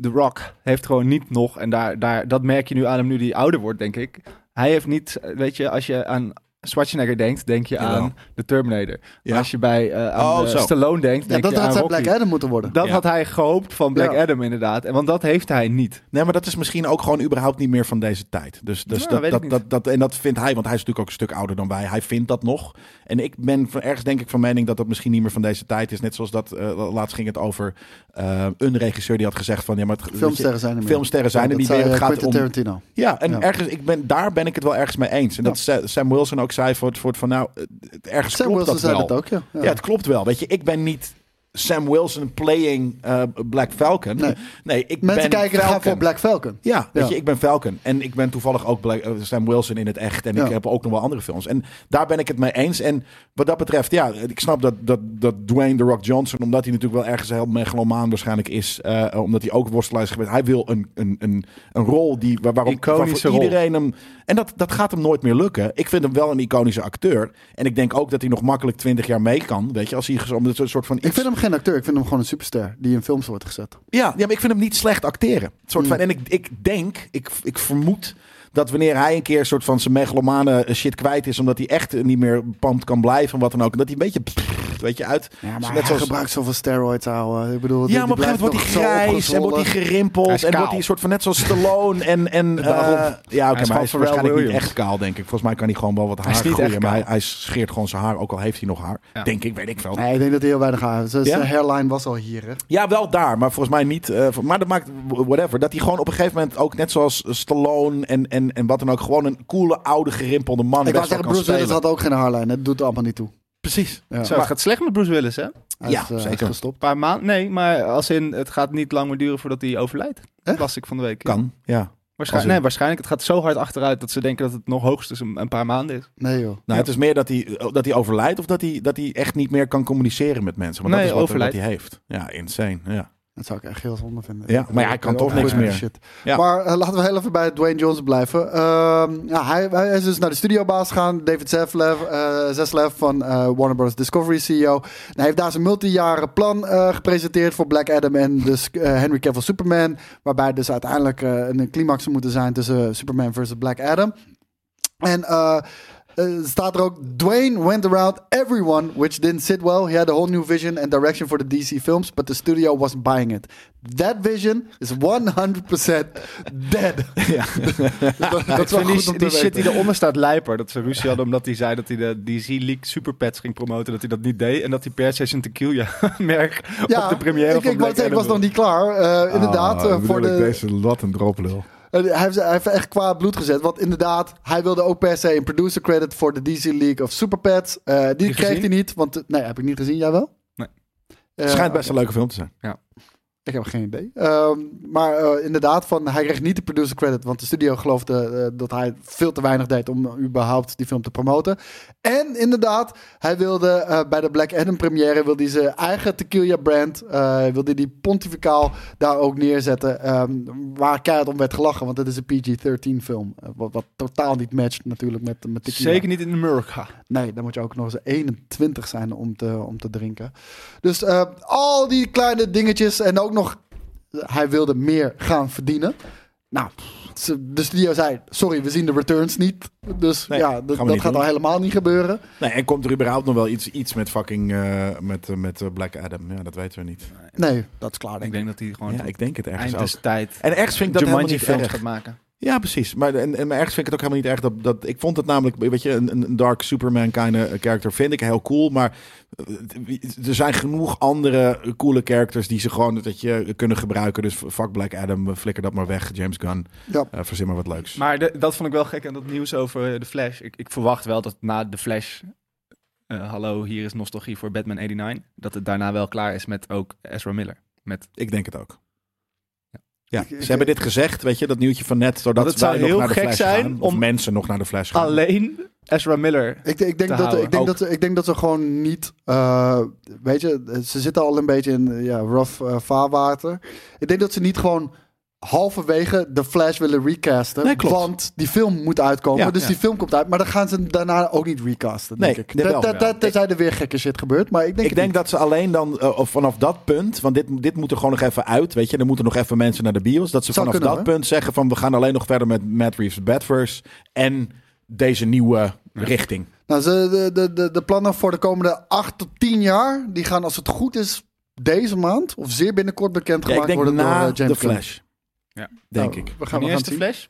D: The Rock heeft gewoon niet nog, en daar, daar, dat merk je nu aan hem nu die ouder wordt, denk ik. Hij heeft niet, eh, weet je, als je aan Schwarzenegger denkt, denk je
B: Jawel.
D: aan de Terminator.
B: Ja.
D: Als je bij eh, aan
B: Oh,
D: eh,
B: zo.
D: Stallone denkt,
C: ja,
D: denk
C: dat
D: je
C: had
D: aan
C: zijn
D: Rocky.
C: Black Adam moeten worden.
D: Dat
B: Ja.
D: had hij gehoopt van Black
C: Ja.
D: Adam inderdaad, en want dat heeft hij niet.
B: Nee, maar dat is misschien ook gewoon überhaupt niet meer van deze tijd. Dus, dus
D: Ja,
B: dat,
D: weet ik
B: dat,
D: niet.
B: dat, dat, en dat vindt hij, want hij is natuurlijk ook een stuk ouder dan wij. Hij vindt dat nog. En ik ben van, ergens denk ik van mening dat dat misschien niet meer van deze tijd is. Net zoals dat, eh, laatst ging het over eh, een regisseur die had gezegd van... Ja, maar het- weet je,
C: Filmsterren zijn er meer.
B: Filmsterren zijn er
C: Ja,
B: niet
C: dat
B: meer.
C: zei,
B: Het
C: eh,
B: gaat
C: Quentin
B: om
C: Tarantino.
B: Ja, en
C: Ja.
B: Ergens, ik ben, daar ben ik het wel ergens mee eens. En dat Sa- Sam Wilson ook zei voor het, voor het van nou, eh, ergens
C: Sam
B: klopt
C: Wilson
B: dat
C: zei
B: wel.
C: dat ook, ja.
B: Ja. het klopt wel. Weet je, ik ben niet Sam Wilson playing eh, Black Falcon. Nee,
C: Nee.
B: ik
C: Mensen
B: ben
C: kijken
B: Falcon.
C: gaan voor Black Falcon.
B: Ja, weet
C: Ja.
B: je, ik ben Falcon. En ik ben toevallig ook Black, eh, Sam Wilson in het echt. En
C: Ja.
B: ik heb ook nog wel andere films. En daar ben ik het mee eens. En wat dat betreft, ja, ik snap dat, dat, dat Dwayne The Rock Johnson... omdat hij natuurlijk wel ergens heel megalomaan waarschijnlijk is... eh, omdat hij ook worstelaar is geweest. Hij wil een, een, een, een rol die, waar, waarom
D: Iconische
B: waarvoor
D: rol.
B: iedereen hem... En dat, dat gaat hem nooit meer lukken. Ik vind hem wel een iconische acteur. En ik denk ook dat hij nog makkelijk 20 jaar mee kan. Weet je, als hij zo- om een soort van...
C: Ik
B: iets-
C: vind hem geen acteur, ik vind hem gewoon een superster die in films wordt gezet.
B: ja, ja, maar ik vind hem niet slecht acteren. Een Soort
D: Hmm.
B: van, En ik, ik denk, ik, ik vermoed dat wanneer hij een keer een soort van zijn megalomane eh, shit kwijt is, omdat hij echt niet meer pumped kan blijven en wat dan ook, dat hij een beetje, pff, weet je, uit.
C: Ja,
B: net
C: maar hij
B: zoals-
C: gebruikt zoveel steroids, ouwe. Ik bedoel,
B: Ja, maar op een gegeven moment wordt hij grijs en wordt hij gerimpeld
D: Hij is
B: en wordt hij
D: kaal.
B: een soort van net zoals Stallone en... en eh,
D: Daarom.
B: ja, oké, maar
D: gewoon
B: hij is
D: Pharrell
B: waarschijnlijk niet
D: Williams.
B: echt kaal, denk ik. Volgens mij kan hij gewoon wel wat haar
D: is niet
B: groeien,
D: echt
B: maar
D: kaal.
B: hij, hij scheert gewoon zijn haar, ook al heeft hij nog haar.
D: Ja.
B: Denk ik, weet ik veel.
C: Nee, ik denk dat hij heel weinig haar heeft. Zijn
B: Ja?
C: zijn hairline was al hier, hè.
B: Ja, wel daar, maar volgens mij niet. eh, maar dat maakt whatever. Dat hij gewoon op een gegeven moment ook net zoals Stallone en, en, en wat dan ook, gewoon een coole, oude, gerimpelde man. best
C: Ik wou
B: wel
C: zeggen,
B: kan
C: Bruce Willis
B: spelen.
C: had ook geen haarlijn. Het doet er allemaal niet toe.
B: Precies.
C: Ja.
D: Zo, het gaat slecht met Bruce Willis, hè? Een
C: Hij
B: Ja,
C: is, eh,
B: zeker.
C: hij is gestopt.
D: paar maanden, nee, maar als in, het gaat niet lang meer duren voordat hij overlijdt.
C: Echt?
D: Las ik van de week.
B: Kan, ja. Nou, Als in-
D: Waarschijnlijk, nee, waarschijnlijk. Het gaat zo hard achteruit dat ze denken dat het nog hoogstens een, een paar maanden is.
C: Nee, joh.
B: Nou, het is meer dat hij, dat hij overlijdt of dat hij, dat hij echt niet meer kan communiceren met mensen. Want
D: Nee,
B: dat is wat,
D: overlijdt.
B: wat hij heeft. Ja, insane. Ja.
C: Dat zou ik echt heel zonde vinden.
B: Ja, maar ja, hij kan
C: ook
B: toch
C: goed
B: niks
C: met
B: meer.
C: shit.
B: Ja.
C: Maar eh, laten we heel even bij Dwayne Johnson blijven. Ehm, ja, hij, hij is dus naar de studiobaas gegaan. David Zaslav, eh, Zaslav van eh, Warner Bros. Discovery CEO. En hij heeft daar zijn multijaren plan eh, gepresenteerd voor Black Adam en dus eh, Henry Cavill Superman. Waarbij dus uiteindelijk eh, een climax zou moeten zijn tussen Superman versus Black Adam. En eh, eh, staat er ook: Dwayne went around everyone, which didn't sit well. He had a whole new vision and direction for the DC films, but the studio wasn't buying it. That vision is 100% dead. Ja. dat, dat is wel goed om
D: die
C: te
D: die shit die
C: weten.
D: eronder staat, Lijper. Dat ze ruzie hadden omdat hij zei dat hij de DC-leak superpets ging promoten. Dat hij dat niet deed. En dat hij per session tequila-merk op de première
C: ik,
D: van
C: ik, wou
D: Black
C: zeggen, ik
D: Adam Ah,
C: was nog niet klaar. Eh, inderdaad, eh, voor de,
B: wat een droplul.
C: Eh, Hij heeft, hij heeft echt kwaad bloed gezet. Want inderdaad, hij wilde ook per se een producer credit voor de DC League of Super Pets. Eh, die
D: Die
C: kreeg
D: gezien?
C: hij niet, want... eh, Nee, heb ik niet gezien. Jij wel?
D: Nee.
C: Eh,
B: Schijnt best een leuke film te zijn.
C: Ik heb geen idee. Ehm, maar eh, inderdaad, van, hij kreeg niet de producer credit. Want de studio geloofde eh, dat hij veel te weinig deed om überhaupt die film te promoten. En inderdaad, hij wilde eh, bij de Black Adam première wilde hij zijn eigen tequila brand. eh, wilde die pontificaal daar ook neerzetten. ehm, waar keihard om werd gelachen. Want het is een PG-13 film. eh, wat, wat totaal niet matcht natuurlijk met, met tequila.
D: Zeker niet in Amerika.
C: Nee, dan moet je ook nog eens 21 zijn om te, om te drinken. Dus eh, al die kleine dingetjes en ook nog... Hij wilde meer gaan verdienen. Nou, ze- de studio zei... Sorry, we zien de returns niet. Dus
B: Nee,
C: ja, dat,
B: gaan we
C: dat
B: niet
C: gaat
B: doen.
C: al helemaal niet gebeuren.
B: Nee, en komt er überhaupt nog wel iets, iets met fucking eh, met, eh, met eh, Black Adam? Ja, dat weten we niet.
C: Nee, dat is klaar
D: Ik
C: denk ik.
D: denk dat hij gewoon
B: Ja, ik denk het ergens
D: eind
B: ook.
D: des tijd
B: En ergens vind ik dat helemaal niet
D: films
B: erg.
D: gaat maken.
B: Ja, precies. Maar, en, en maar ergens vind ik het ook helemaal niet erg dat, dat... Ik vond het namelijk, weet je, een, een een dark Superman kind of character vind ik heel cool. Maar eh, er zijn genoeg andere coole characters die ze gewoon dat je kunnen gebruiken. Dus fuck Black Adam, flikker dat maar weg. James Gunn,
C: Ja.
B: eh verzin maar wat leuks.
D: Maar de- dat vond ik wel gek aan dat nieuws over eh, de Flash. Ik, ik verwacht wel dat na de Flash. eh, hallo, hier is nostalgie voor Batman 89. Dat het daarna wel klaar is met ook Ezra Miller. Met
B: ik denk het ook. Ja, ze hebben dit gezegd, weet je, dat nieuwtje van net, zodat
D: Dat
B: wij
D: zou
B: nog
D: heel
B: naar de
D: gek
B: fles
D: zijn
B: gaan, of
D: om-
B: mensen nog naar de fles gaan.
D: Alleen Ezra Miller.
C: Ik, ik, denk, dat,
D: houden.
C: ik, denk
D: Ook.
C: dat, ik denk dat ze gewoon niet. eh, weet je, ze zitten al een beetje in eh, ja, rough eh, vaarwater. Ik denk dat ze niet gewoon halverwege de Flash willen recasten.
B: Nee, klopt.
C: Want die film moet uitkomen.
B: Ja,
C: dus
B: ja.
C: die film komt uit. Maar dan gaan ze hem daarna ook niet recasten.
B: Nee,
C: denk ik.
B: dit wel.
C: Dat- dat- dat- Tenzij er weer gekke shit gebeurt. Maar ik denk.
B: Ik denk dat ze alleen dan, eh, of vanaf dat punt, want dit, dit moet er gewoon nog even uit, weet je, er moeten nog even mensen naar de bios, dat ze
C: Zou
B: vanaf
C: kunnen,
B: dat
C: hoor.
B: punt zeggen van we gaan alleen nog verder met Matt Reeves' Batverse en deze nieuwe richting.
C: Nou, ze, de, de, de, de plannen voor de komende 8 tot 10 jaar. Die gaan, als het goed is, deze maand. Of zeer binnenkort
B: Ja, ik
C: bekendgemaakt
B: denk
C: worden door eh,
B: na
C: James
B: de
C: Gunn.
B: Flash.
D: Ja.
B: Denk
C: Nou,
B: ik.
C: We gaan, we gaan het zien.
D: Flash?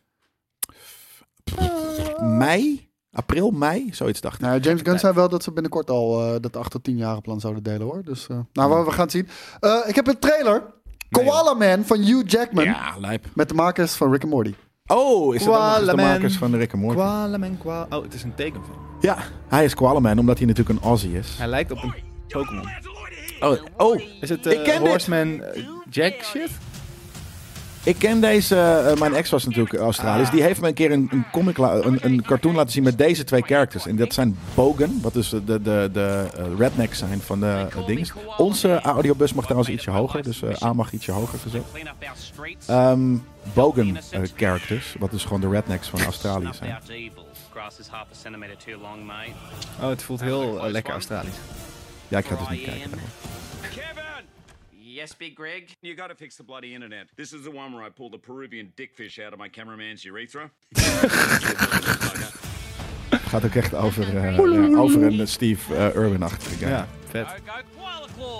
C: Oh.
B: Mei? April, mei? Zoiets dacht ik.
C: Nou, James Gunn zei wel dat ze binnenkort al eh, dat 8 tot 10 jaren plan zouden delen hoor. Dus eh,
D: Hmm.
C: nou, we, we gaan het zien. Eh, ik heb een trailer. Koala Man van Hugh Jackman.
B: Ja, lijp.
C: Met de makers van Rick and Morty.
B: Oh, is dat ook nog eens de
D: Koalaman.
B: makers van Rick and Morty?
D: Qualaman Qua... Oh, het is een tekenfilm.
B: ja, hij is Koalaman, omdat hij natuurlijk een Aussie is.
D: Hij lijkt op een Pokémon.
B: Oh, oh
D: Is het eh,
B: Ik ken dit.
D: Horseman eh, Jack shit?
B: ik ken deze, eh, mijn ex was natuurlijk Australisch. Die heeft me een keer een, een, comic la- een, een cartoon laten zien met deze twee characters. En dat zijn Bogan, wat dus de, de, de, eh, rednecks zijn van de eh, dings. Onze audiobus mag trouwens ietsje hoger, dus eh, A mag ietsje hoger gezet. Ehm, Bogan eh, characters, wat dus gewoon de rednecks van Australië zijn.
D: Oh, het voelt heel eh, lekker Australisch.
B: Ja, ik ga dus niet kijken.
H: Kevin! Yes, Big Greg? You gotta fix the bloody internet. This is the one where I pulled a Peruvian dickfish out of my cameraman's urethra.
B: Het gaat ook echt over, eh, ja, over een Steve eh, Irwin-achtige guy.
D: Ja, vet.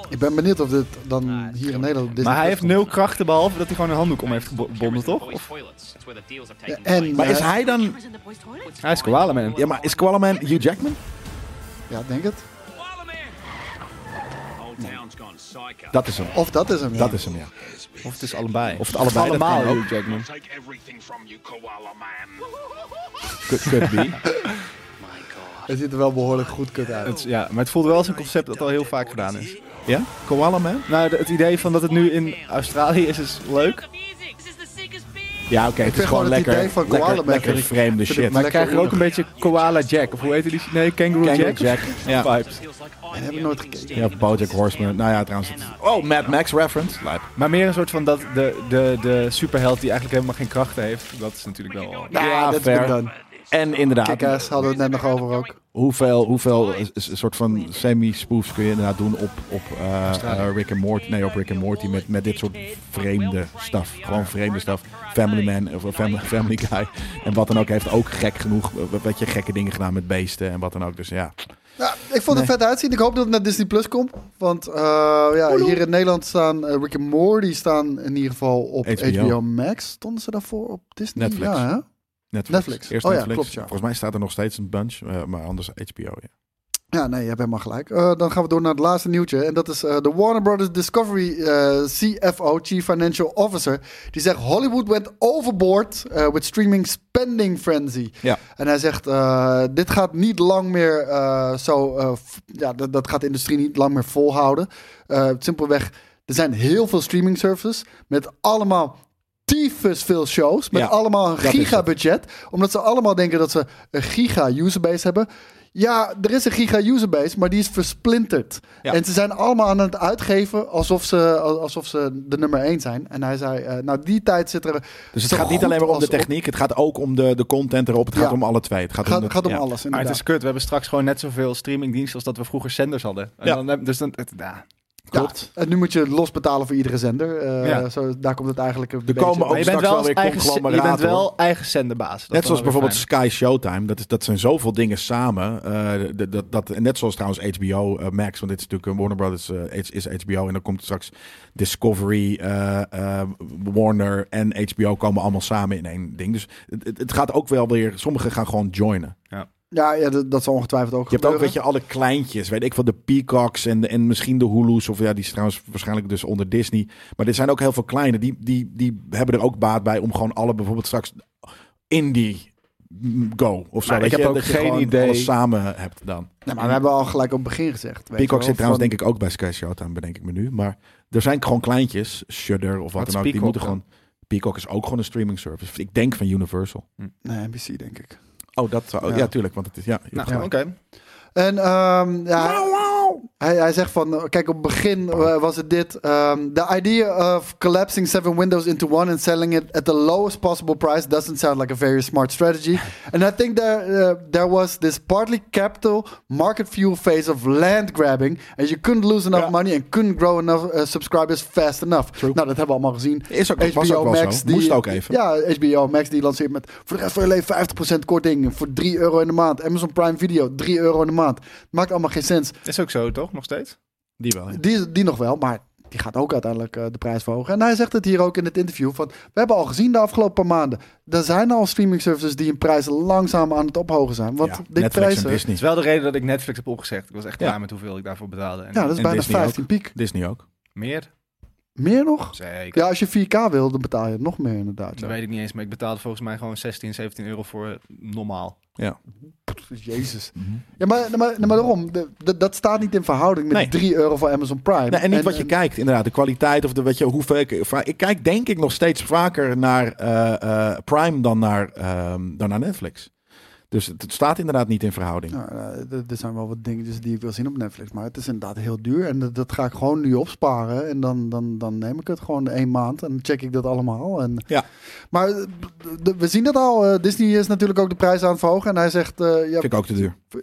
C: Ik ben benieuwd of dit dan hier in Nederland. op Disney
D: Maar hij heeft
C: Plus
D: nul
C: komt.
D: krachten behalve dat hij gewoon een handdoek om heeft gebonden, toch? Of-
C: En,
B: Maar is
C: eh,
B: hij dan...
D: Hij is Koalaman.
B: Ja, maar is Koalaman Hugh Jackman?
C: Ja, denk het.
H: Whole town's gone psycho.
B: Dat is hem.
C: Of dat is hem. ja.
B: Dat is hem, ja.
D: Of het is allebei.
B: Of het allebei, dat
D: allemaal
B: kan ook.
D: Hugh Jackman.
H: Take everything from you, koala man.
B: Could, could be.
C: Het ziet er wel behoorlijk goed kut uit.
D: Het, is- ja, maar het voelt wel als een concept dat al heel vaak gedaan is.
B: Ja? Koala Man?
D: Nou, de- het idee van dat het nu in Australië is, is leuk.
B: Ja, oké. het is
C: vind
B: gewoon
C: gewoon het
B: lekker,
C: idee van Koala
B: lekker,
C: Man
B: lekker
C: vind ik-
B: vreemde
C: vind ik
B: shit.
D: Maar ik krijg er ook
C: oenig.
D: een beetje Koala Jack. Of hoe heet die? Nee, Kangaroo,
B: Kangaroo
D: Jack.
B: Ja.
D: Vibes.
C: En heb ik nooit gekeken.
B: Ja, Bojack Horseman. Nou ja, trouwens. het- Oh, Mad Max reference. Lijp.
D: Maar meer een soort van dat de, de, de superheld die eigenlijk helemaal geen krachten heeft. Dat is natuurlijk wel...
B: Ja,
C: dat is
B: fair.
C: goed dan.
B: En inderdaad,
C: Kick-ass hadden we het net nog over ook.
B: hoeveel, hoeveel is- is- soort van semi-spoofs kun je inderdaad doen op, op eh, eh, Rick and Morty? Nee, op Rick and Morty met, met dit soort vreemde stuff. Gewoon vreemde stuff. Family Man of Family, family Guy. En wat dan ook heeft ook gek genoeg, eh, weet je, gekke dingen gedaan met beesten en wat dan ook. Dus ja.
C: Ja, ik vond het vet uitzien. Ik hoop dat het naar Disney Plus komt. Want eh, ja, hier in Nederland staan eh, Rick en Morty staan in ieder geval op
B: HBO.
C: HBO, Max. Stonden ze daarvoor op Disney?
B: Netflix.
C: Ja, hè?
B: Netflix.
C: Netflix.
B: Eerst
C: Oh ja,
B: Netflix.
C: klopt, ja.
B: Volgens mij staat er nog steeds een bunch, eh, maar anders HBO. Ja.
C: Ja, nee, je hebt helemaal gelijk. Eh, dan gaan we door naar het laatste nieuwtje. En dat is eh, de Warner Brothers Discovery eh, CFO, Chief Financial Officer. Die zegt, Hollywood went overboard eh, with streaming spending frenzy.
B: Ja.
C: En hij zegt, eh, dit gaat niet lang meer eh, zo... eh, f- ja, dat, dat gaat de industrie niet lang meer volhouden. Eh, simpelweg, er zijn heel veel streaming services met allemaal... Tyfus veel shows met
B: Ja,
C: allemaal een
B: dat is het.
C: gigabudget. Omdat ze allemaal denken dat ze een giga userbase hebben. Ja, er is een giga userbase, maar die is versplinterd.
B: Ja.
C: En ze zijn allemaal aan het uitgeven alsof ze, alsof ze de nummer één zijn. En hij zei, eh, nou die tijd zit er...
B: Dus het gaat niet alleen maar om de techniek, het gaat ook om de, de content erop. Het gaat
C: Ja.
B: om alle twee. Het gaat,
C: Het gaat,
B: om, het-
C: gaat om
B: ja.
C: alles,
D: Maar
C: inderdaad.
D: het is kut. We hebben straks gewoon net zoveel streamingdiensten als dat we vroeger zenders hadden. En
B: Ja.
D: dan, heb- dus dan, het, ja.
C: Ja, En nu moet je los betalen voor iedere zender. Eh,
D: Ja.
C: zo, daar komt het eigenlijk een
B: Er
C: beetje-
B: komen ook
D: Maar je bent
B: straks wel
D: wel,
B: weer
D: eigen, ze- je
B: conglomeraten,
D: bent
B: hoor.
D: wel eigen zenderbaas.
B: Net
D: Dat is
B: zoals
D: wel weer
B: bijvoorbeeld
D: fijn.
B: Sky Showtime. Dat, is, dat zijn zoveel dingen samen. eh, dat- dat, dat, en net zoals trouwens HBO eh, Max. Want dit is natuurlijk eh, Warner Brothers eh, is- is HBO. En dan komt straks Discovery, eh, eh, Warner en HBO komen allemaal samen in één ding. Dus het, het- het gaat ook wel weer... Sommigen gaan gewoon joinen.
C: Ja, ja dat, dat zal ongetwijfeld ook
B: Je hebt ook,
C: gebeuren.
B: weet je, alle kleintjes. Weet ik van de Peacocks en, de- en misschien de Hulu's. Of ja, die is trouwens waarschijnlijk dus onder Disney. Maar er zijn ook heel veel kleine. Die, die, die hebben er ook baat bij om gewoon alle bijvoorbeeld straks indie mm, go of zo.
D: Maar
B: weet
D: ik
B: je,
D: heb ook
B: dat je
D: geen
B: gewoon
D: idee.
B: alles samen hebt dan.
C: Nee, maar we hebben al gelijk op het begin gezegd. weet
B: Peacock
C: je wel,
B: zit trouwens
C: van-
B: denk ik ook bij Sky Showtime, bedenk ik me nu. Maar er zijn gewoon kleintjes, Shudder of wat, dan
D: Wat is
B: ook. Die
D: Peacock
B: moeten gewoon...
D: dan?
B: Peacock, Peacock is ook gewoon een streaming service. Ik denk van Universal.
C: Nee, NBC denk ik.
B: Oh, dat zou-
C: Ja.
B: ja. tuurlijk. Want het is, ja, je hebt
D: Nou,
B: gelijk.
D: oké.
C: En ehm, ja, Hij, hij zegt van, eh, kijk, op het begin eh, was het dit. ehm, the idea of collapsing seven windows into one and selling it at the lowest possible price doesn't sound like a very smart strategy. and I think there, eh, there was this partly capital market fuel phase of land grabbing. And you couldn't lose enough money and couldn't grow enough eh, subscribers fast enough. Nou, dat hebben we allemaal gezien.
B: Is ook- was ook wel zo. Moest ook even.
C: Ja, HBO Max die lanceert met voor de rest van je leven 50% korting voor 3 euro in de maand. Amazon Prime Video, 3 euro in de maand. Maakt allemaal geen sens.
D: Is ook zo, toch? Nog steeds?
B: Die wel. ja.
C: Die, die nog wel, maar die gaat ook uiteindelijk eh, de prijs verhogen. En hij zegt het hier ook in het interview. Van, we hebben al gezien de afgelopen paar maanden. Er zijn al streaming services die hun prijzen langzaam aan het ophogen zijn. Want
B: Ja,
C: die
B: Netflix en
C: prijzen...
D: Het is
B: Disney.
D: wel de reden dat ik Netflix heb opgezegd. Ik was echt
B: Ja.
D: klaar met hoeveel ik daarvoor betaalde. En
C: Ja, dat is
B: En
C: bijna
B: Disney
C: 15 piek.
B: Disney ook.
D: Meer?
C: Meer nog?
D: Zeker.
C: Ja, als je 4K wil, dan betaal je nog meer inderdaad.
D: Dat
C: ja.
D: weet ik niet eens, maar ik betaalde volgens mij gewoon 16, 17 euro voor eh, normaal.
B: Ja.
C: Jezus.
B: Mhm.
C: Ja, maar, maar, maar daarom. de- de- dat staat niet in verhouding met
B: Nee.
C: 3 euro voor Amazon Prime.
B: Nee, en niet wat je kijkt, inderdaad. De kwaliteit of de, wat je, hoe vaak, vaak- Ik kijk denk ik nog steeds vaker naar eh, eh, Prime dan naar, ehm, dan naar Netflix. Dus het, het staat inderdaad niet in verhouding.
C: Nou, eh, er- er zijn wel wat dingetjes die ik wil zien op Netflix. Maar het is inderdaad heel duur. En dat, dat ga ik gewoon nu opsparen. En dan, dan, dan neem ik het gewoon één maand. En dan check ik dat allemaal. En,
B: Ja.
C: Maar eh, d- d- we zien dat al. Eh, Disney is natuurlijk ook de prijs aan het verhogen. En hij zegt, eh, ja,
B: Vind ik ook te duur.
C: d-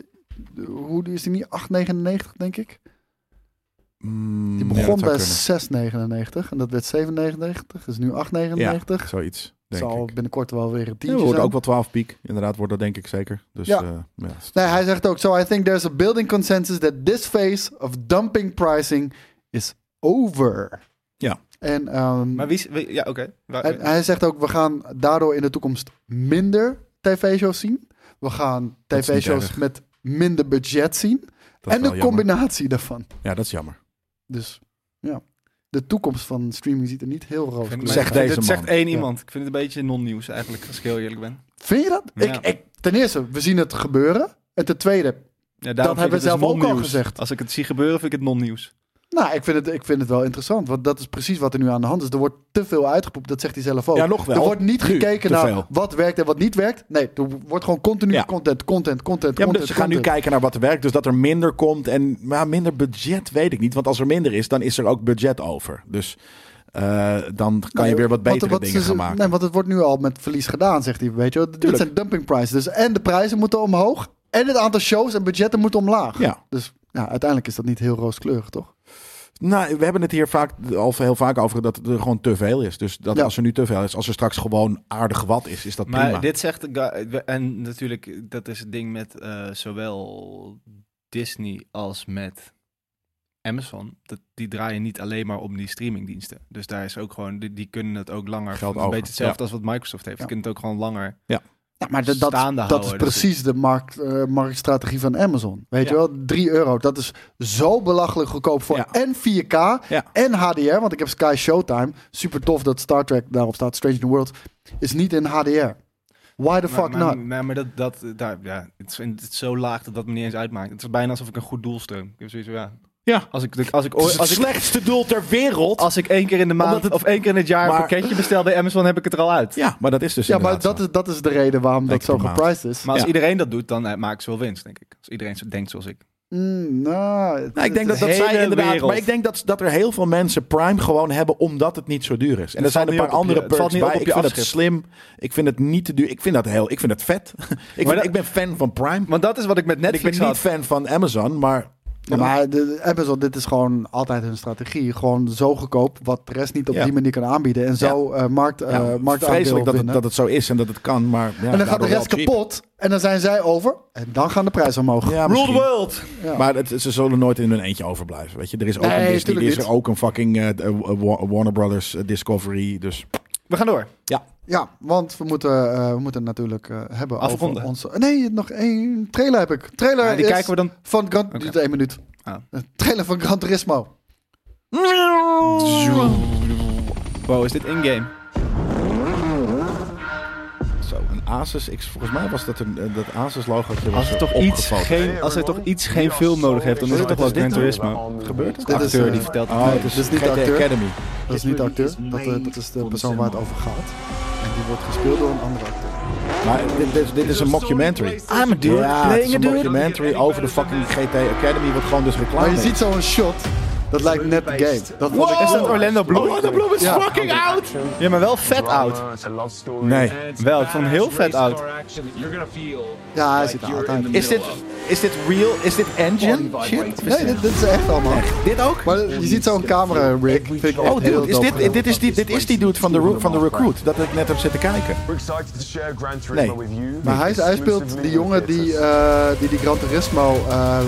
C: hoe duur is die niet? 8,99 denk ik.
B: Mm,
C: Die
B: ja,
C: begon
B: dat zou
C: bij
B: kunnen.
C: 6,99. En dat werd 7,99. Is nu 8,99.
B: Zoiets, denk
C: Zal
B: ik.
C: binnenkort wel weer een
B: Ja,
C: tientje
B: wordt
C: zijn.
B: ook wel 12 piek. Inderdaad, wordt dat denk ik zeker. Dus
C: Ja.
B: ja. ja.
C: Nee, hij zegt ook, so I think there's a building consensus that this phase of dumping pricing is over.
B: Ja.
C: En, ehm,
D: Maar wie... is- wie- ja, oké. Waar-
C: en hij zegt ook, we gaan daardoor in de toekomst minder tv-shows zien. We gaan
B: Dat is niet
C: tv-shows
B: erg.
C: met minder budget zien.
B: Dat is
C: en de
B: wel jammer.
C: combinatie daarvan.
B: Ja, dat is jammer.
C: Dus ja, de toekomst van streaming ziet er niet heel roos
D: Vind-
C: uit.
B: Zegt
D: ik vind-
B: deze
D: dit
B: man.
D: zegt één iemand. Ik vind het een beetje non-nieuws eigenlijk, als ik heel eerlijk ben.
C: Vind je dat?
D: Ja.
C: Ik, ik, ten eerste, we zien het gebeuren. En ten tweede,
D: Ja, daarom
C: Dat
D: vind ik
C: hebben
D: het dus
C: we zelf ook al
D: non-nieuws.
C: gezegd.
D: Als ik het zie gebeuren, vind ik het non-nieuws.
C: Nou, ik vind, het, ik vind het wel interessant. Want dat is precies wat er nu aan de hand is. Er wordt te veel uitgepoept. Dat zegt hij zelf ook.
B: Ja, nog wel.
C: Er wordt niet
B: Nu,
C: gekeken
B: te
C: naar
B: veel.
C: wat werkt en wat niet werkt. Nee, er wordt gewoon continu
B: Ja.
C: content, content, content,
B: Ja, maar
C: content.
B: dus ze gaan nu
C: content.
B: kijken naar wat er werkt. Dus dat er minder komt. En maar minder budget weet ik niet. Want als er minder is, dan is er ook budget over. Dus eh, dan kan je
C: Nee,
B: weer wat
C: want-
B: betere
C: want
B: dingen
C: ze-
B: gaan maken.
C: Nee, want het wordt nu al met verlies gedaan, zegt hij. Weet je, wel. dit
B: Tuurlijk.
C: zijn dumping prices. Dus en de prijzen moeten omhoog. En het aantal shows en budgetten moet omlaag.
B: Ja.
C: Dus ja, uiteindelijk is dat niet heel rooskleurig, toch?
B: Nou, we hebben het hier vaak, al heel vaak over dat er gewoon te veel is. Dus dat
C: Ja.
B: als er nu te veel is, als er straks gewoon aardig wat is, is dat
D: Maar
B: prima.
D: dit zegt... de guy- En natuurlijk, dat is het ding met eh, zowel Disney als met Amazon. Dat, die draaien niet alleen maar om die streamingdiensten. Dus daar is ook gewoon... Die, die kunnen het ook langer...
B: Geld
D: een
B: over,
D: beetje hetzelfde als wat Microsoft heeft.
C: Ja.
D: Die kunnen het ook gewoon langer...
C: Ja, maar dat, dat,
D: Staande
C: dat is
D: houden,
B: dus
D: dat
C: precies de markt, eh, marktstrategie van Amazon. Weet
D: Ja.
C: je wel, 3 euro. Dat is zo belachelijk goedkoop voor
B: Ja.
C: en 4K
B: Ja.
C: en HDR. Want ik heb Sky Showtime. Super tof dat Star Trek daarop staat. Strange New World is niet in HDR. Why the
D: maar,
C: fuck
D: maar,
C: not?
D: Maar, maar dat, dat eh, daar, ja, het, is, het is zo laag dat dat me niet eens uitmaakt. Het is bijna alsof ik een goed doel steun. Ik heb zoiets van, ja.
B: Ja.
D: Als ik, als ik,
B: Het is het
D: als ik,
B: slechtste doel ter wereld.
D: als ik één keer in de maand
B: Omdat het-
D: of één keer in het jaar een
B: Maar-
D: pakketje bestel bij Amazon, heb ik het er al uit.
B: Ja, maar dat is dus
C: Ja, maar
B: inderdaad
C: dat
B: zo.
C: is, dat is de reden waarom dat
B: Lekker
C: zo
B: tomaat.
C: geprijsd is.
D: Maar als
B: Ja.
D: iedereen dat doet, dan eh, maken ze wel winst, denk ik. Als iedereen zo denkt zoals ik.
C: Mm, nou, het-
B: Nou, ik denk
C: het
B: dat,
C: is-
B: dat
D: hele
B: zij inderdaad.
D: wereld.
B: Maar ik denk dat, dat er heel veel mensen Prime gewoon hebben omdat het niet zo duur is. En er
D: valt
B: zijn een
D: niet
B: paar
D: op op je-
B: andere
D: het valt
B: perks
D: niet op
B: bij.
D: op
B: Ik
D: je
B: vind het slim.
D: afschrift.
B: Ik vind het niet te duur. Ik vind dat heel. Ik vind het vet. ik, vind-
D: dat-
B: ik ben fan van Prime.
D: Want dat is wat ik met
B: En ik ben
D: Netflix
B: niet
D: had.
B: fan van Amazon, maar
C: Ja, maar de, de Amazon, dit is gewoon altijd hun strategie. Gewoon zo goedkoop, wat de rest niet op
B: Ja.
C: die manier kan aanbieden. En zo eh markt, eh
B: ja,
C: marktaandeel
B: vreselijk dat het,
C: winnen.
B: dat het zo is en dat het kan. Maar, ja,
C: en dan gaat de
B: daardoor wel
C: rest
B: cheap.
C: kapot. En dan zijn zij over. En dan gaan de prijzen omhoog.
B: Ja,
D: Rule the
B: misschien.
D: world!
C: Ja.
B: Maar het, ze zullen nooit in hun eentje overblijven. Weet je, er is ook
C: Nee,
B: een Disney, er
C: tuurlijk
B: is
C: niet.
B: er ook een fucking eh, eh, Wa- Warner Brothers eh, Discovery. Dus
D: We gaan door.
C: Ja, want we moeten, eh, we moeten natuurlijk eh, hebben
D: Afronden.
C: over onze... Nee, nog één trailer heb ik. Trailer
D: Ja, die
C: is
D: kijken we dan.
C: van Gran... Duurt één minuut.
D: Ah.
C: Eh, trailer van Gran Turismo.
D: Wow, is dit in-game?
B: zo, een Asus. Ik, volgens mij was dat een eh, dat Asus eh, logo.
D: Als er toch iets geen, als er toch iets geen film nodig heeft, dan is het toch wel Gran Turismo.
B: gebeurd.
C: Dit is,
D: Acteur
C: eh,
D: die vertelt
B: Oh, het is,
C: Dit is niet
B: GTA
C: de acteur.
B: Academy.
C: Dat is niet de acteur, dat, eh, dat is de persoon waar het over gaat. En die wordt gespeeld door een andere acteur.
B: Maar dit, dit, dit is een mockumentary.
E: I'm a dude
B: Ja, het is
E: playing a
B: een
E: dude.
B: documentary over de fucking GT Academy, wat gewoon dus reclame
C: Maar je
B: is.
C: ziet zo'n shot, dat lijkt net de game. Dat vond ik
E: Is dat Orlando Bloom?
B: Oh, Orlando Bloom is
C: Ja.
B: fucking oud!
E: Ja, maar wel vet oud.
B: Nee.
E: Wel, ik vond hem heel vet oud.
C: Ja, hij zit er altijd in.
E: Is dit, is dit real? Is dit engine? Shit.
C: Nee, dit, dit Oh, is echt allemaal.
E: Dit ook?
C: Maar je ziet zo'n camera rig. Vind ik echt
B: Oh,
C: heel
B: dude, is
C: dope gedaan.
B: dit, dit, is die, dit is die dude van de, ro- van de recruit. Dat ik net heb zitten kijken. Nee.
D: Hm.
C: Maar hij, is- hij speelt die jongen die eh, die, die Gran Turismo eh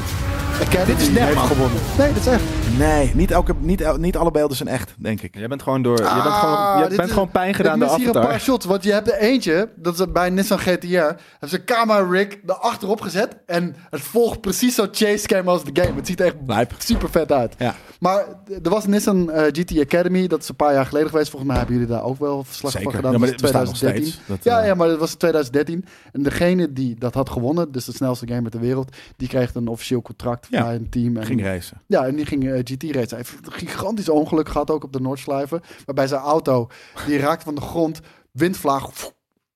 C: Academy
B: Dit is net,
C: heeft
B: man.
C: gewonnen. Nee, dit is echt.
B: Nee, niet, elke, niet, el- niet alle beelden zijn echt, denk ik.
D: Jij bent gewoon door. je bent
C: Ah,
D: gewoon, je
C: dit
D: bent
C: is-
D: gewoon pijn gedaan
C: ik
D: door
C: mis hier een
D: Avatar.
C: paar shots, want je hebt er eentje, dat is bij Nissan GTR, hebben ze een camera rig erachterop gezet en het volgt precies zo chase cam als de game. Het ziet er echt
B: Lijp.
C: super vet uit.
B: Ja.
C: Maar er was Nissan eh, GT Academy, dat is een paar jaar geleden geweest. Volgens mij hebben jullie daar ook wel verslag
B: Zeker.
C: van gedaan.
B: Ja, maar
C: Dat was
B: dit bestaat nog
C: 2013.
B: steeds. Dat,
C: ja,
B: eh,
C: ja, maar dat was in 2013. En degene die dat had gewonnen, dus de snelste gamer ter wereld, die kreeg een officieel contract
B: Ja.
C: bij een team. En
B: Ging racen.
C: ja, en die ging eh, GT racen. Hij heeft een gigantisch ongeluk gehad ook op de Noordslijven. Waarbij zijn auto, die raakte van de grond, windvlaag. pff,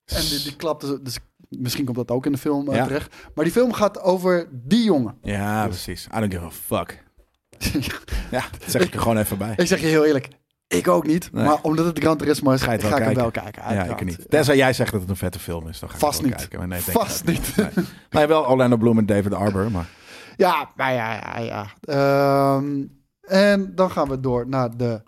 C: En die, die klapte. Dus misschien komt dat ook in de film eh,
B: Ja.
C: terecht. Maar die film gaat over die jongen.
B: Ja, precies. I don't give a fuck. Ja, dat zeg ik er gewoon even bij.
C: ik zeg je heel eerlijk, ik ook niet.
B: Nee.
C: Maar omdat het Gran Turismo is,
B: Ga
C: ga,
B: je het wel
C: ik hem
B: kijken?
C: wel kijken.
B: Ja,
C: uiteraard.
B: ik niet. Tenzij jij zegt dat het een vette film is. Dan ga ik het
C: Vast
B: wel
C: niet.
B: Kijken. Maar nee, ik denk
C: Vast
B: dat
C: niet.
B: Nee. nee, wel Orlando Bloom en David Arbor. Maar
C: Ja, maar ja, ja, ja. Ehm, en dan gaan we door naar de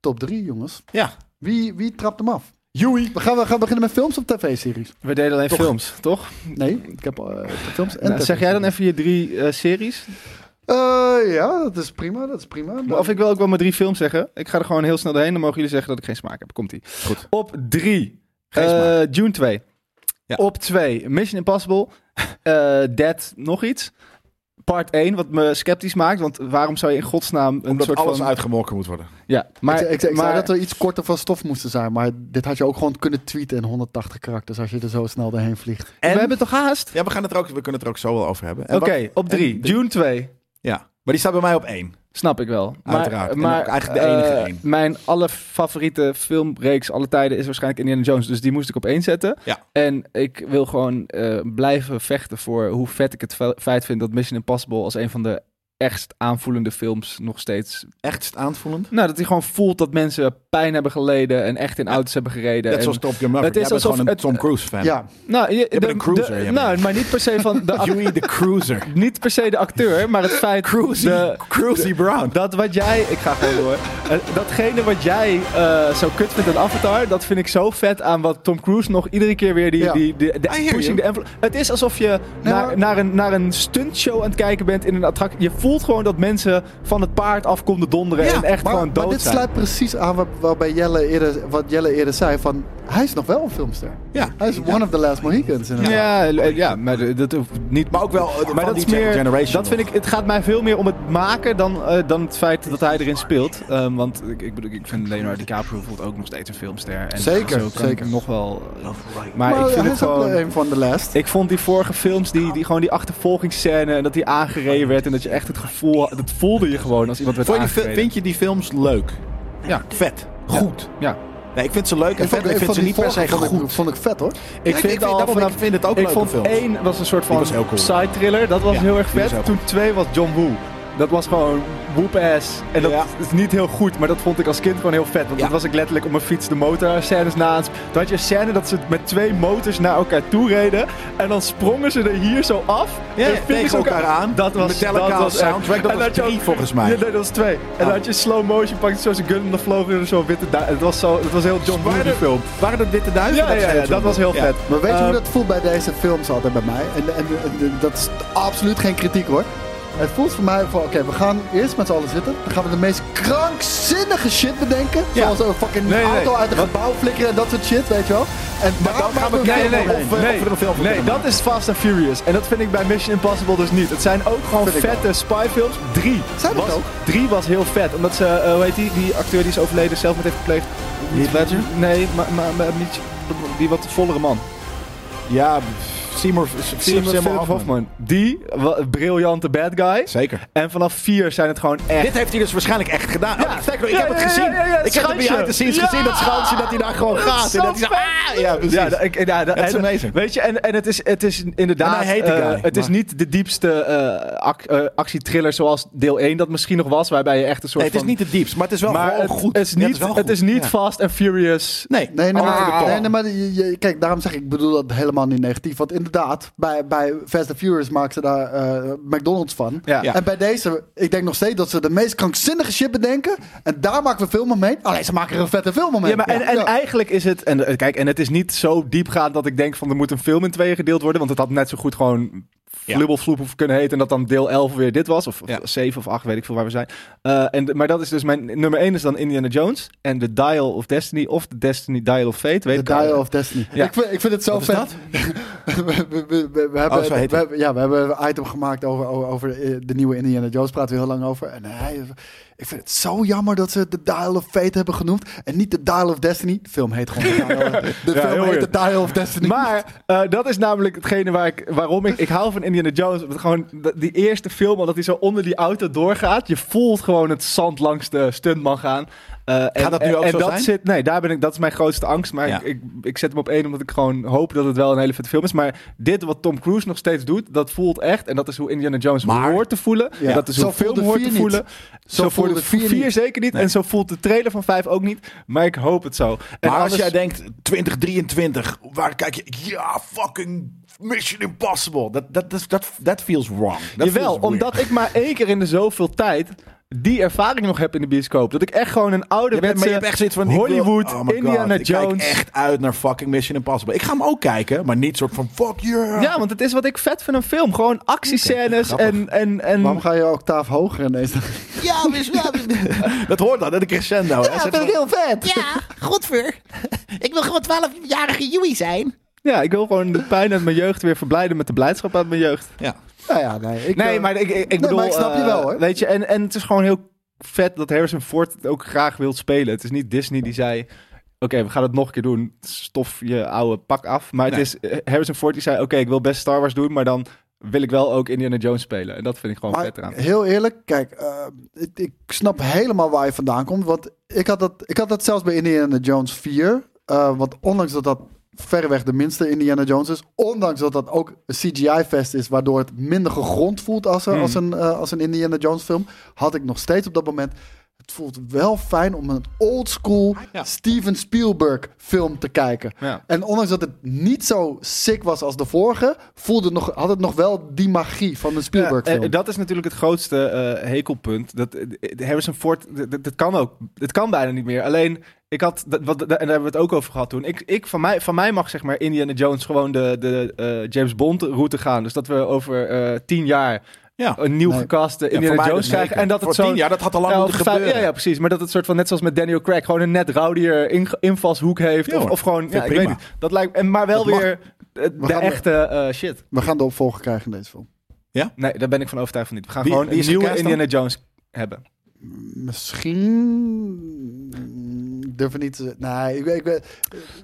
C: top drie, jongens.
B: ja,
C: Wie, wie trapt hem af? Joey. We gaan, we gaan beginnen met films of tv-series.
D: We deden alleen films, toch?
C: Nee, ik heb eh, films en
D: Nou, zeg jij dan
C: tv-series.
D: even je drie eh, series?
C: Eh, ja, dat is prima, dat is prima. Dan-
D: Of ik wil ook wel mijn drie films zeggen. Ik ga er gewoon heel snel doorheen. Dan mogen jullie zeggen dat ik geen smaak heb. Komt-ie.
B: Goed.
D: Op drie.
B: Geen
D: eh,
B: smaak.
D: Dune 2.
B: Ja.
D: Op twee. Mission Impossible. Eh Dead. Nog iets. Part 1, wat me sceptisch maakt. Want waarom zou je in godsnaam een
B: omdat
D: soort
B: alles
D: van...
B: uitgemolken moet worden.
D: Ja, maar...
C: ik, ik, ik
D: maar
C: zei dat we iets korter van stof moesten zijn, maar dit had je ook gewoon kunnen tweeten in 180 karakters als je er zo snel doorheen vliegt.
D: We hebben toch haast?
B: Ja, we, gaan het er ook, we kunnen het er ook zo wel over hebben. En
D: Oké,
B: wat-
D: op drie.
B: en-
D: Dune 2.
B: Ja, maar die staat bij mij op één.
D: Snap ik wel. Maar,
B: Uiteraard. En
D: Maar
B: ook eigenlijk de enige
D: eh,
B: één.
D: Mijn allerfavoriete filmreeks alle tijden is waarschijnlijk Indiana Jones. Dus die moest ik op één zetten.
B: Ja.
D: En ik wil gewoon eh, blijven vechten voor hoe vet ik het fe- feit vind dat Mission Impossible als een van de echt aanvoelende films nog steeds...
B: Echt aanvoelend.
D: Nou, dat hij gewoon voelt dat mensen pijn hebben geleden en echt in auto's hebben gereden.
B: Net
D: en-
B: zoals Top Gun Maverick.
D: Het is
B: Jij bent
D: alsof
B: gewoon een
D: het-
B: Tom Cruise fan.
C: Ja,
D: Nou, je,
B: bent een cruiser, jij
D: nou,
B: bent.
D: maar niet per se van... De, act-
B: Huey the Cruiser.
D: niet per se de acteur, maar het feit... de-
B: Cruisy Brown.
D: Dat wat jij, ik ga gewoon door. Eh, Datgene wat jij eh, zo kut vindt aan Avatar, dat vind ik zo vet aan wat Tom Cruise nog iedere keer weer die,
C: Ja.
D: die, die- de
B: I hear
D: pushing
B: you.
D: the envelope. Het is alsof je naar,
C: maar-
D: naar een, naar een stuntshow aan het kijken bent in een attractie. Je voelt gewoon dat mensen van het paard af konden donderen
B: Ja,
D: en echt
C: maar,
D: gewoon
C: maar
D: dood
C: dit
D: zijn.
C: sluit precies aan waar, waarbij Jelle eerder, wat Jelle eerder zei, van hij is nog wel een filmster.
B: Ja.
C: Hij is one of the last Mohicans. inderdaad.
D: Ja, eh, ja, maar dat hoeft niet.
B: Maar ook wel eh, van
D: Maar dat
B: die
D: is meer.
B: generation.
D: Dat vind ik. Het gaat mij veel meer om het maken dan, eh, dan het feit dat hij erin speelt. Ehm, want ik, ik bedoel, ik vind Leonardo DiCaprio bijvoorbeeld ook nog steeds een filmster. En
C: Zeker,
D: zo kan
C: zeker.
D: Ik nog wel. eh, Maar,
C: Maar
D: ik vind
C: hij
D: het
C: is ook
D: gewoon.
C: een van de last.
D: Ik vond die vorige films, die, die gewoon die achtervolgingsscène en dat die aangereden werd en dat je echt het gevoel, dat voelde je gewoon als iemand werd
B: Vond je die fi-
D: aangereden.
B: vind je die films leuk?
D: Ja.
B: Vet. Goed.
D: Ja,
B: Nee, ik vind ze leuk en
C: Ik
B: vet.
C: vond,
B: maar Ik vind
C: vond
B: ze
C: die
B: niet per se
C: vorige vond ik-
B: goed.
C: Vond ik vet hoor.
D: Ik
B: Ja,
D: vind,
B: ik
D: al
B: vind- daarom,
D: vanaf,
B: ik vind het ook
D: Ik
B: leuke
D: vond
B: films.
D: één was een soort van
B: was heel cool.
D: side thriller. Dat was
B: Ja,
D: heel erg
B: die was
D: vet.
B: heel
D: Toen twee was John Woo. Dat was gewoon whoop ass. En dat
B: Ja.
D: is niet heel goed, maar dat vond ik als kind gewoon heel vet. Want
B: Ja.
D: dat was ik letterlijk op mijn fiets de motor scènes na aan het sp- Toen had je een scène dat ze met twee motors naar elkaar toe reden. En dan sprongen ze er hier zo af.
B: Ja,
D: en
B: ja,
D: vingen ze
B: tegen elkaar aan.
D: Dat was,
B: Metallica
D: dat
B: als
D: was echt-
B: soundtrack, dat
D: en
B: was
D: had je ook-
B: drie volgens mij. Oh.
D: Ja, nee, dat was twee. En dan had je slow motion, pakte zo zijn gun en dan vlogen er zo witte du- Het was, zo, het was heel John Woo die
B: Waren
D: film.
B: er- Waren er witte duiven?
D: Ja, ja, ja, dat was heel vet.
C: Maar weet je
D: Ehm,
C: hoe dat voelt bij deze films altijd bij mij? En, en, en dat is absoluut geen kritiek hoor. Het voelt voor mij van, oké, we gaan eerst met z'n allen zitten. Dan gaan we de meest krankzinnige shit bedenken.
D: Ja.
C: Zoals een fucking
D: Nee, nee.
C: auto uit een gebouw flikkeren en dat soort shit, weet je wel. En daar gaan we
D: Nee, nee, nee.
C: Of,
D: nee,
C: eh,
D: nee, dat is Fast and Furious. En dat vind ik bij Mission Impossible dus niet. Het zijn ook gewoon
C: Vind ik
D: vette spyfilms. Drie.
C: Zijn dat
D: was,
C: ook?
D: Drie was heel vet. Omdat ze, eh, hoe heet die, die acteur die is overleden zelf met heeft gepleegd. Niet Ledger? Nee, maar, maar, maar niet, die wat vollere man.
B: Ja, pff, Seymour,
D: Philip,
B: Philip
D: Philip
B: Seymour Hoffman.
D: Hoffman. Die, wa- een briljante bad guy.
B: Zeker.
D: En vanaf vier zijn het gewoon echt...
B: Dit heeft hij dus waarschijnlijk echt gedaan. Oh, sterker nog, ik
D: Ja,
B: heb
D: ja,
B: het
D: ja,
B: gezien.
D: ja, ja, het
B: ik heb het
D: schansje.
B: behind the scenes
D: Ja!
B: gezien, dat schansje, dat hij daar gewoon gaat.
D: zo
B: en dat hij zo, ah, ja, precies.
D: Ja, dat- ik, ja, dat-
B: That's
D: en-
B: amazing.
D: Weet je, en, en het is, het is inderdaad...
B: En hij heet de
D: eh,
B: guy,
D: het is
B: maar-
D: niet de diepste eh ac- eh, actietriller zoals deel 1 dat misschien nog was, waarbij je echt een soort
B: nee, het is
D: van...
B: niet het diepst, maar het is wel
D: maar
B: gewoon
D: het,
B: goed.
D: Het is
B: Ja,
D: niet,
B: wel
D: het
B: goed.
D: is niet
B: Ja.
D: Fast and Furious.
B: Nee,
C: Nee, nee,
B: Over de
C: maar,
B: top.
C: nee, nee, maar je- je- kijk, daarom zeg ik, ik bedoel dat helemaal niet negatief. Want inderdaad, bij, bij Fast and Furious maken ze daar eh, McDonald's van.
D: Ja.
B: Ja.
C: En bij deze, ik denk nog steeds dat ze de meest krankzinnige shit bedenken. En daar maken we film mee. Alleen ze maken er een vette film mee.
D: Ja, maar en, en eigenlijk is het... En, eh, kijk, en het is niet zo diepgaand dat ik denk van er moet een film in tweeën gedeeld worden, want het had net zo goed gewoon
B: Ja.
D: flubbelvloep hoeven kunnen heten en dat dan deel 11 weer dit was, of, of
B: Ja.
D: 7 of 8, weet ik veel waar we zijn. Eh, en, de- maar dat is dus mijn... Nummer 1 is dan Indiana Jones en The Dial of Destiny of The Destiny Dial of Fate, weet
C: The
D: ik al.
C: Dial of Destiny.
D: Ja.
C: Ik, vind, ik vind het zo
B: is
C: vet.
B: dat?
C: we, we- we- we- we hebben,
B: Oh, zo heet
C: we
B: het.
C: hebben- ja, we hebben een item gemaakt over, over, over, eh, de nieuwe Indiana Jones. Praten we heel lang over. En hij, ik vind het zo jammer dat ze de Dial of Fate hebben genoemd. En niet de Dial of Destiny. De film heet gewoon The Dial of- De
D: Ja,
C: film
D: heel
C: heet The
D: weird.
C: Dial of Destiny.
D: Maar eh, dat is namelijk hetgene waar ik, waarom ik... Ik hou van Indiana Jones. want Gewoon d- die eerste film, omdat hij zo onder die auto doorgaat. Je voelt gewoon het zand langs de stuntman gaan. Eh, en,
B: dat nu
D: en-
B: ook
D: en
B: zo
D: dat
B: zijn?
D: Zit, nee, daar ben ik, dat is mijn grootste angst. Maar
B: Ja.
D: ik, ik, ik zet hem op één, omdat ik gewoon hoop dat het wel een hele vette film is. Maar dit wat Tom Cruise nog steeds doet, dat voelt echt. En dat is hoe Indiana Jones
B: Maar-
D: hoort te voelen.
C: Ja.
D: Dat is
C: Zo
D: hoe
C: voelde
D: film hoort
C: vier
D: te
C: niet.
D: voelen. Zo, voelde
C: voelde vier
D: vier, vier
C: niet.
D: zeker niet. En zo voelt de trailer van vijf ook niet. Maar ik hoop het zo. En
B: maar als
D: anders-
B: jij denkt 2023, waar kijk je? Ja, fucking Mission Impossible. Dat dat dat dat that feels wrong. That
D: Jawel,
B: feels weird.
D: omdat ik maar één keer in de zoveel tijd die ervaring nog heb in de bioscoop. Dat ik echt gewoon een oude
B: Je bent- maar je hebt echt zoiets van ik wil-
D: Hollywood,
B: oh my
D: Indiana
B: God, ik kijk
D: Jones.
B: echt uit naar fucking Mission Impossible. Ik ga hem ook kijken, maar niet soort van fuck yeah.
D: Ja, want het is wat ik vet vind aan film. Gewoon actiescènes en... en, en
C: Waarom ga je een octaaf hoger ineens?
B: Ja, dus- ja, dus- dat hoort dan, dat is een crescendo. hè. Soort van-
C: heel vet.
I: Ja, godver. Ik wil gewoon 12-jarige Joey zijn.
D: Ja, ik wil gewoon de pijn uit mijn jeugd weer verblijden met de blijdschap uit mijn jeugd.
B: ja.
C: Nou ja, nee. Ik,
D: Nee,
C: eh,
D: maar ik, ik, ik
C: nee,
D: bedoel...
C: maar ik snap je
D: eh,
C: wel, hoor.
D: Weet je, en, en het is gewoon heel vet dat Harrison Ford het ook graag wil spelen. Het is niet Disney die zei... Oké, we gaan het nog een keer doen. Stof je oude pak af. Maar het
B: Nee.
D: is eh, Harrison Ford die zei... Oké, ik wil best Star Wars doen, maar dan wil ik wel ook Indiana Jones spelen. En dat vind ik gewoon
C: Maar
D: vet eraan.
C: heel eerlijk, kijk, eh, ik, ik snap helemaal waar je vandaan komt. Want ik had dat, ik had dat zelfs bij Indiana Jones 4. eh, want ondanks dat dat verreweg de minste Indiana Jones is, ondanks dat dat ook een CGI-fest is, waardoor het minder gegrond voelt als, een- als,
D: Hmm.
C: een, eh, als een Indiana Jones film, had ik nog steeds op dat moment. Het voelt wel fijn om een oldschool Steven Spielberg film te kijken.
D: Ja.
C: En ondanks dat het niet zo sick was als de vorige, voelde het nog, had het nog wel die magie van een Spielberg
D: Ja,
C: film.
D: eh, dat is natuurlijk het grootste eh, hekelpunt. Dat, eh, eh, Harrison Ford, d- d- dat kan ook. Het kan bijna niet meer. Alleen, ik had, dat, wat, en daar hebben we het ook over gehad toen. Ik, ik, van, mij, van mij mag zeg maar Indiana Jones gewoon de, de eh, James Bond route gaan. Dus dat we over eh, tien jaar
B: Ja.
D: een nieuw
C: Nee.
D: gecaste
B: Ja,
D: Indiana
B: voor mij
D: Jones
B: dus
D: krijgen.
B: zeker.
D: En dat het
B: Voor
D: zo
B: tien jaar, dat had al lang
D: ja,
B: moeten
D: of vijf-
B: gebeuren.
D: Ja, ja, precies. Maar dat het soort van, net zoals met Daniel Craig, gewoon een net raudier in, invalshoek heeft.
B: Ja,
D: of,
B: hoor.
D: of gewoon,
B: Vind
D: ja,
B: ik
D: ik weet
B: prima.
D: niet. Dat lijkt, en, maar wel
C: Dat mag.
D: weer eh, de
C: gaan er-
D: echte eh, shit.
C: We gaan de opvolger krijgen in deze film.
D: Nee, daar ben ik van overtuigd van niet. We gaan
B: Wie-
D: gewoon
B: wie
D: een
B: is
D: nieuwe
B: gecast dan?
D: Indiana Jones hebben.
C: Misschien. Ik durf het niet te. Nee, ik, weet- ik weet.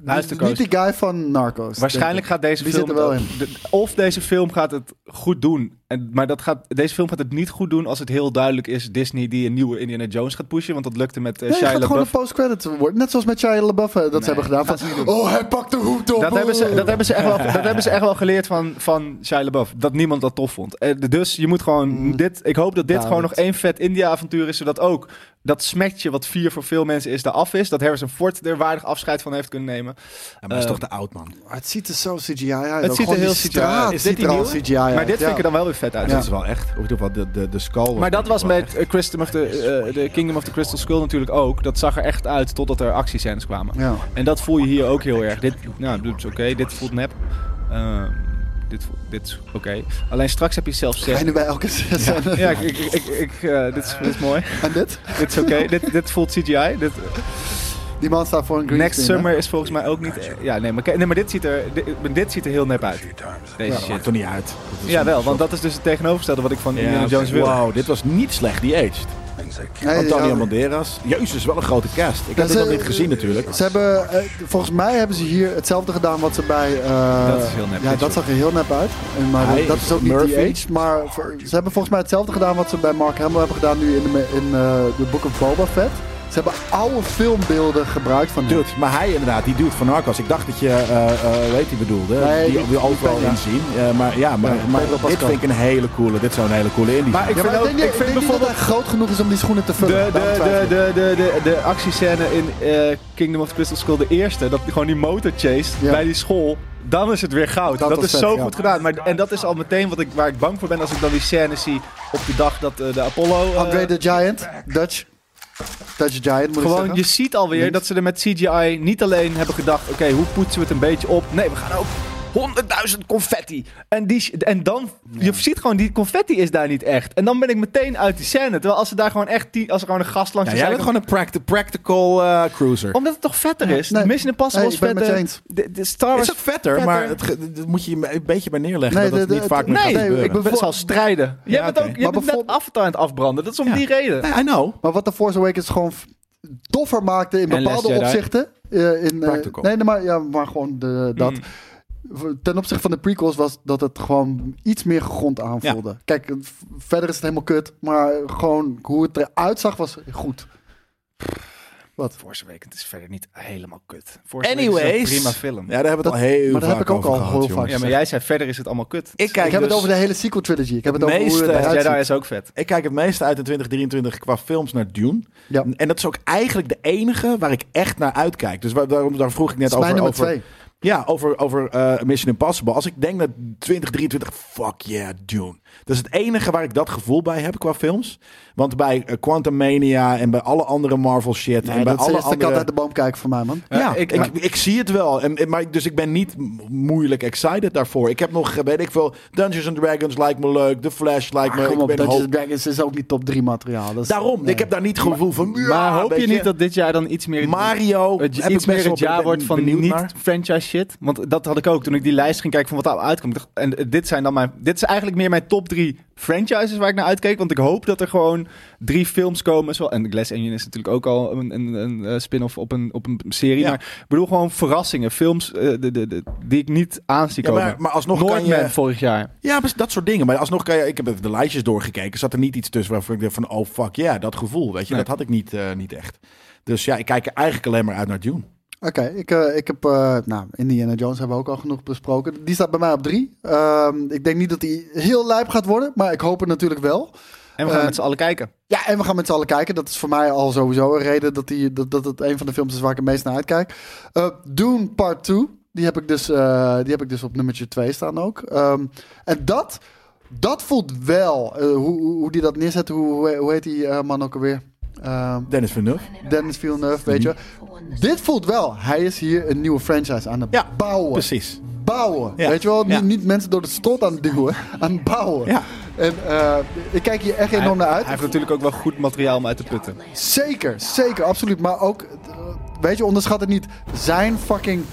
D: Luister,
C: niet,
D: Koos.
C: niet die guy van Narcos.
D: Waarschijnlijk
C: denk
D: gaat deze
C: Die
D: film...
C: zit er wel in.
D: de- of deze film gaat het goed doen. En, maar dat gaat, deze film gaat het niet goed doen als het heel duidelijk is... Disney die een nieuwe Indiana Jones gaat pushen. Want dat lukte
C: ik.
D: met eh,
C: Nee, het
D: Shia
C: gaat gewoon een
D: LaBeouf.
C: post-credit worden. Net zoals met Shia LaBeouf eh, dat ze hebben gedaan. Van, oh, hij pakt de hoed op.
D: Dat hebben, ze,
C: oh.
D: dat, hebben ze echt wel, dat hebben ze echt wel geleerd van, van Shia LaBeouf. Dat niemand dat tof vond. Eh, dus je moet gewoon dit... Ik hoop dat dit
C: Ja,
D: gewoon
C: Mm. Nou, dat-
D: nog één vet India-avontuur is. Zodat ook dat smetje wat vier voor veel mensen is, eraf is. Dat Harrison Ford er waardig afscheid van heeft kunnen nemen.
B: maar
D: eh,
B: dat is toch de oud man.
C: Maar Het ziet er zo CGI uit.
D: Het
C: ook.
D: ziet er
C: Gewoon
D: heel
C: die
D: CGI
C: straat
D: uit. Is dit
C: ziet er
D: die
C: al
D: nieuwe?
C: CGI uit.
D: Maar dit vind
C: ja.
D: ik er dan wel weer vet uit.
B: Dat is wel echt. Of in ieder geval de de de skull.
D: Maar dat was
B: wel
D: met eh, Crystal of the, eh, de Kingdom of the Crystal Skull natuurlijk ook. Dat zag er echt uit totdat er actiescènes kwamen.
C: Ja.
D: En dat voel je hier ook heel erg. Dit, nou, dit is oké. Dit voelt nep. Ehm, dit, voelt- dit is oké. Alleen straks heb je zelfs
C: Ga je nu
D: scènes.
C: bij elke scène?
D: Ja, ik, ik, ik, ik, eh, dit, is, dit is mooi.
C: En dit?
D: dit is oké. Dit, dit voelt CGI. Dit,
C: Die man staat voor een green
D: next
C: screen, hè?
D: Summer is volgens mij ook niet... eh, Ja, nee, maar, ke- nee, maar dit, ziet er, dit, dit ziet er heel nep uit. Deze
B: Dat maakt
D: shit.
B: toch niet uit. Dat is
D: Ja,
B: een
D: wel.
B: soort-
D: Want dat is dus het tegenovergestelde wat ik van
B: Ja,
D: Indiana Jones wil.
B: Wow, dit was niet slecht, die aged.
C: Nee, die
B: Antonio
C: zouden-
B: Banderas. Jezus, wel een grote cast. Ik heb
C: Ja,
B: dit
C: ze-
B: nog niet gezien natuurlijk.
C: Ze hebben, eh, volgens mij hebben ze hier hetzelfde gedaan wat ze bij... eh,
D: Dat is heel nep,
C: Ja, dat
D: dit soort.
C: zag er heel nep uit. En Maar
B: Hij
C: dat
B: is
C: is ook niet
B: Murphy.
C: DH. Maar voor- ze hebben volgens mij hetzelfde gedaan wat ze bij Mark Hamill hebben gedaan nu in de, me- in, eh, de Book of Boba Fett. Ze hebben oude filmbeelden gebruikt van hem.
B: Dude, maar hij inderdaad, die dude van Narcos. Ik dacht dat je, eh eh weet die bedoelde,
C: Nee,
B: die,
C: die-
B: die overal
C: die
B: in
C: Peña.
B: zien. Eh, maar ja, maar,
C: Ja,
B: maar
C: Pedro
B: dit
C: Pascal.
B: vind ik een hele coole, dit zou een hele coole indie
D: Maar ik
C: Ja,
D: vind
C: maar ik
D: ook,
C: denk, niet-
D: ik
C: ik
D: vind
C: denk niet dat
D: bijvoorbeeld
C: hij groot genoeg is om die schoenen te
D: de,
C: vullen.
D: de,
C: Daarom twijfel
D: de,
C: ik.
D: de, de, de, de actiescène in eh, Kingdom of the Crystal Skull, de eerste, dat gewoon die motor chase
C: Ja.
D: bij die school, dan is het weer goud. Dat,
C: Dat was
D: is
C: vet,
D: zo
C: ja.
D: goed gedaan. Maar, en dat is al meteen wat ik, waar ik bang voor ben als ik dan die scène zie op de dag dat eh, de Apollo... eh,
C: Andre the Giant, Dutch. Dutch Giant moet
D: Gewoon,
C: ik
D: je
C: zeggen.
D: ziet alweer dat ze er met CGI niet alleen hebben gedacht... oké, hoe poetsen we het een beetje op? Nee, we gaan ook 100.000 confetti. En, die, sh- en dan, je ziet gewoon, die confetti is daar niet echt. En dan ben ik meteen uit die scène. Terwijl als ze daar gewoon echt, tien- als er gewoon een gast langs
B: Ja,
D: de
B: jij
D: zijkant-
B: bent gewoon een practi- practical eh, cruiser.
D: Omdat het toch vetter is?
C: Nee.
D: Mission Impossible
C: Nee,
D: is
C: ik ben het
D: vetter.
C: met
D: De, de Star Wars...
B: is het vetter,
D: vetter.
B: maar het, ge- dat moet je je een beetje bij neerleggen
C: Nee,
B: dat het
C: de-
B: niet
C: de-
B: vaak meer
C: nee,
B: gaat
C: ik
B: gebeuren.
C: ben-
D: Het zal strijden. Jij
B: Ja,
D: bent
B: oké.
D: ook
C: Maar
D: jij bent net
C: bijvoorbeeld-
D: Avatar aan het afbranden. Dat is om
B: Ja.
D: die reden.
B: Nee, I know.
C: Maar wat The Force Awakens gewoon f- doffer maakte in
D: En
C: bepaalde
D: Last Jedi.
C: opzichten. eh, in, eh,
B: Practical.
C: nee, nee, maar, ja, maar gewoon de, dat.
B: Mm.
C: Ten opzichte van de prequels was dat het gewoon iets meer gegrond aanvoelde. Kijk, v- verder is het helemaal kut. Maar gewoon hoe het eruit zag was goed.
D: Force Awakens is verder niet helemaal kut.
B: Anyways.
D: prima film.
B: Ja, daar hebben we het
C: Dat-
B: al heel
C: maar daar
B: vaak
C: heb ik ook
B: over
C: al
B: gehad,
C: heel
B: jongens.
C: vaak
D: Ja, maar jij zei verder is het allemaal kut.
B: Ik kijk
C: ik heb
B: dus-
C: het over de hele sequel trilogy. Ik heb het,
B: Het
C: over hoe
B: meeste-
C: het
B: Ja,
C: eruit
D: Jedi
C: ziet.
D: is ook vet.
B: Ik kijk het meeste uit in 2023 qua films naar Dune.
C: Ja.
B: En dat is ook eigenlijk de enige waar ik echt naar uitkijk. Dus waar, daarom daar vroeg ik net
C: Dat is mijn
B: over.
C: nummer
B: over
C: twee.
B: Ja, over, over eh, Mission Impossible. Als ik denk dat 2023, fuck yeah, Dune. Dat is het enige waar ik dat gevoel bij heb qua films. Want bij eh, Quantum Mania en bij alle andere Marvel shit. en bij
C: Nee, dat is
B: alle
C: de eerste kat
B: andere...
C: uit de boom kijken voor mij, man.
B: Ja,
D: Ja,
B: ik,
D: ik-
B: ik,
D: maar-
B: ik zie het wel. En, en- maar, dus ik ben niet m- moeilijk excited daarvoor. Ik heb nog, eh, weet ik veel, Dungeons and Dragons lijkt me leuk. The Flash lijkt me...
C: Maar Ah,
B: ik
C: kom op,
B: ben
C: Dungeons
B: hoop-
C: Dragons is ook niet top 3 materiaal. Dat is-
B: Daarom,
C: nee.
B: ik heb daar niet het gevoel van... ja,
D: maar hoop
B: weet
D: je niet dat dit jaar dan iets meer...
B: Mario...
D: het,
B: Oh, heb ik best
D: iets meer het
B: wel
D: jaar wordt van
B: benieuwd naar.
D: niet-franchise shit. Want dat had ik ook toen ik die lijst ging kijken van wat er uitkomt. Ik dacht, En eh, dit zijn dan mijn. Dit is eigenlijk meer mijn top drie franchises waar ik naar uitkeek. Want ik hoop dat er gewoon drie films komen. Zo, en Glass Engine is natuurlijk ook al een, een, een eh, spin-off op een, op een serie.
B: Ja.
D: Maar ik bedoel gewoon verrassingen. Films eh, de, de, de- die ik niet aan zie
B: Ja,
D: komen.
B: maar, maar alsnog kan
D: Northman
B: je...
D: vorig jaar.
B: Ja, best- dat soort dingen. Maar alsnog kan je... Ik heb even de lijstjes doorgekeken. Zat er niet iets tussen waarvan ik dacht van... Oh, fuck ja, dat gevoel. Weet je,
D: Nee.
B: dat had ik niet, eh, niet echt. Dus ja, ik kijk er eigenlijk alleen maar uit naar Dune.
C: Oké, ik, eh, ik heb. eh, nou, Indiana Jones hebben we ook al genoeg besproken. Die staat bij mij op drie. Ehm, ik denk niet dat die heel lijp gaat worden, maar ik hoop het natuurlijk wel.
D: En we gaan
C: Eh,
D: met z'n allen kijken.
C: Ja, en we gaan met z'n allen kijken. Dat is voor mij al sowieso een reden dat, die, dat, dat het een van de films is waar ik het meest naar uitkijk. Eh Dune Part 2. Die heb ik dus, eh, die heb ik dus op nummertje 2 staan ook. Ehm, en dat, dat voelt wel. eh, hoe, hoe hoe die dat neerzet. Hoe, hoe, hoe heet die eh, man ook alweer? Ehm,
B: Dennis Villeneuve.
C: Dennis Villeneuve, weet je. Dit voelt wel. Hij is hier een nieuwe franchise aan het
B: Ja,
C: bouwen
B: Precies.
C: bouwen.
B: Ja.
C: Weet je wel,
B: Ja.
C: niet, niet mensen door de strot aan het duwen, aan het bouwen.
B: Ja.
C: En eh, ik kijk hier echt enorm naar
D: Hij
C: uit.
D: heeft natuurlijk ook wel goed materiaal om uit te putten.
C: Zeker, zeker, absoluut. Maar ook, eh, weet je, onderschat het niet. Zijn fucking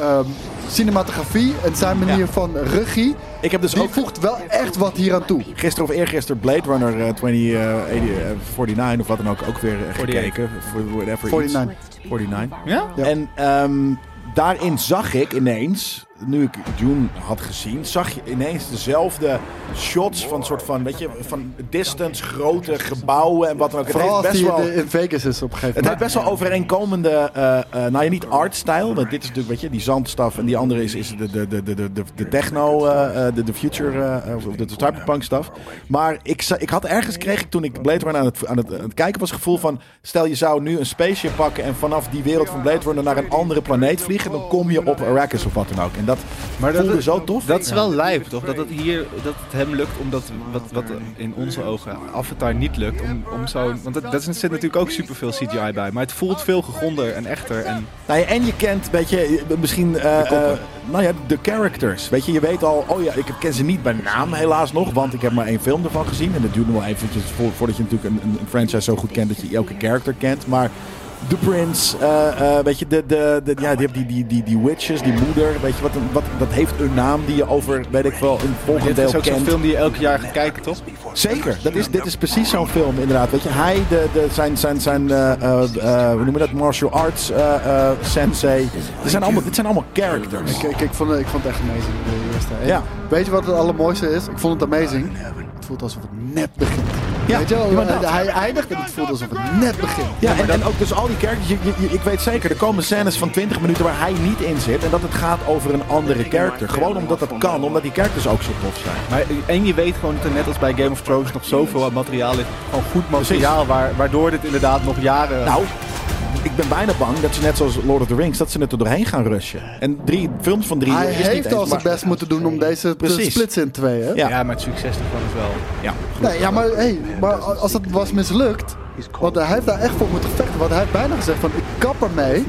C: ehm, cinematografie en zijn manier
B: Ja.
C: van regie,
B: Ik heb dus
C: die
B: ook...
C: voegt wel echt wat hier aan toe.
B: Gisteren of eergisteren Blade Runner eh, 2049 of wat dan ook ook weer eh,
D: 48.
B: gekeken. Voor whatever
C: 49.
B: iets. 49.
D: Ja?
C: Ja.
B: En ehm, daarin zag ik ineens, nu ik Dune had gezien, zag je ineens dezelfde shots van soort van, weet je, van distance, grote gebouwen en wat dan ook. Het
C: Vooral
B: heeft
C: als
B: best
C: die
B: wel...
C: in Vegas is op een gegeven
B: Het heeft
C: moment.
B: best wel overeenkomende, eh, eh, nou ja, niet artstijl, want dit is natuurlijk, weet je, die zandstaf en die andere is, is de, de, de, de, de, de techno, eh, eh, de, de future, eh, of de, de cyberpunk staf. Maar ik, za- ik had ergens, kreeg ik toen ik Blade Runner aan het, aan, het, aan het kijken was, het gevoel van, stel je zou nu een spaceship pakken en vanaf die wereld van Blade Runner naar een andere planeet vliegen, dan kom je op Arrakis of wat dan ook. En dat
D: Maar
B: voelde zo tof.
D: Dat is wel lijp, toch? Dat het hier, dat het hem lukt, omdat wat, wat in onze ogen Avatar niet lukt, om, om zo... Want dat, dat zit natuurlijk ook superveel CGI bij, maar het voelt veel gegronder en echter. En
B: Nou ja, en je kent, weet je, eh, misschien eh, eh, nou ja, de characters. Weet je, je weet al, oh ja, ik ken ze niet bij naam helaas nog, want ik heb maar één film ervan gezien. En dat duurt nog wel eventjes vo- voordat je natuurlijk een, een franchise zo goed kent dat je elke character kent. Maar The Prince, eh, eh, weet je, de, de, de, ja, die, die, die, die, die witches, die moeder, weet je, wat, een- wat, dat heeft een naam die je over, weet ik wel, een volgend
D: Dit
B: deel
D: is ook
B: kent.
D: zo'n film die je elk jaar gaat kijken, toch?
B: Zeker, dat is, dit is precies zo'n film inderdaad. Weet je, hij, de, de, zijn, zijn, zijn eh, eh, eh, hoe noem je dat, martial arts eh, eh, sensei. Dit zijn, allemaal, dit zijn allemaal characters.
C: Ik, ik, ik vond, ik vond het echt amazing, de eerste. En
B: Ja.
C: Weet je wat het allermooiste is? Ik vond het amazing. Het voelt alsof het net begint.
B: Ja,
C: weet je wel?
B: ja, maar dat.
C: Hij eindigt en het voelt alsof het net begint.
B: Ja, en, en ook dus al die characters. Je, je- je- ik weet zeker, er komen scènes van 20 minuten waar hij niet in zit. En dat het gaat over een andere character. Gewoon omdat dat kan, omdat die characters ook zo tof zijn.
D: Maar, eh, en je weet gewoon dat er net als bij Game of Thrones nog zoveel aan materiaal ligt. Gewoon goed materiaal, waar, waardoor dit inderdaad nog jaren...
B: Nou, ik ben bijna bang dat ze net zoals Lord of the Rings, dat ze het er doorheen gaan rushen. En drie films van drie
C: Hij
B: is niet
C: heeft
B: eens,
C: al zijn
B: maar-
C: best moeten doen om deze te
B: Precies.
C: splitsen in twee, hè?
B: Ja.
D: ja, maar het succes ervan is wel...
B: Ja,
C: Nee, ja, maar, hey, maar als dat was mislukt... Want hij heeft daar echt voor moeten vechten. Want hij heeft bijna gezegd van, ik kap ermee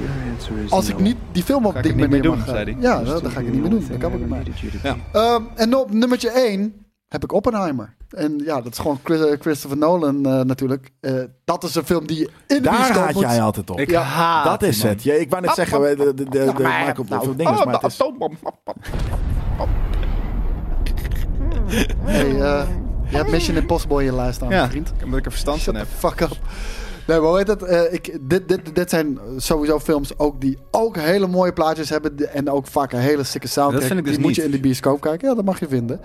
C: als ik niet die film op
D: ik
C: die
D: het niet
C: manier
D: meer doen,
C: mag... eh,
D: zei hij.
C: Ja, dan, dan ga ik het niet meer doen. Dan kap ik ermee.
B: Ja.
C: Ehm, en op nummertje 1 heb ik Oppenheimer. En ja, dat is gewoon Chris- eh, Christopher Nolan eh, natuurlijk. Eh, dat is een film die je in de
B: Daar
C: bioscoop
B: haat
C: moet-
B: jij altijd op.
D: Ik haat
B: dat is
D: hem,
B: het. Ja, ik wou net zeggen, we- de, de, de, de
C: Nou,
B: maken op veel
C: oh,
B: dingen, maar het is...
C: Hey, eh, je hebt Mission Impossible in je lijst staan,
D: Ja,
C: vriend.
D: omdat ik er verstand van heb.
C: Fuck up. Nee, maar hoe heet dat? Eh, ik, dit, dit, dit zijn sowieso films ook die ook hele mooie plaatjes hebben. die- En ook vaak een hele sikke soundtrack.
D: Dat vind ik dus
C: die moet je
D: niet.
C: in de bioscoop kijken. Ja, dat mag je vinden.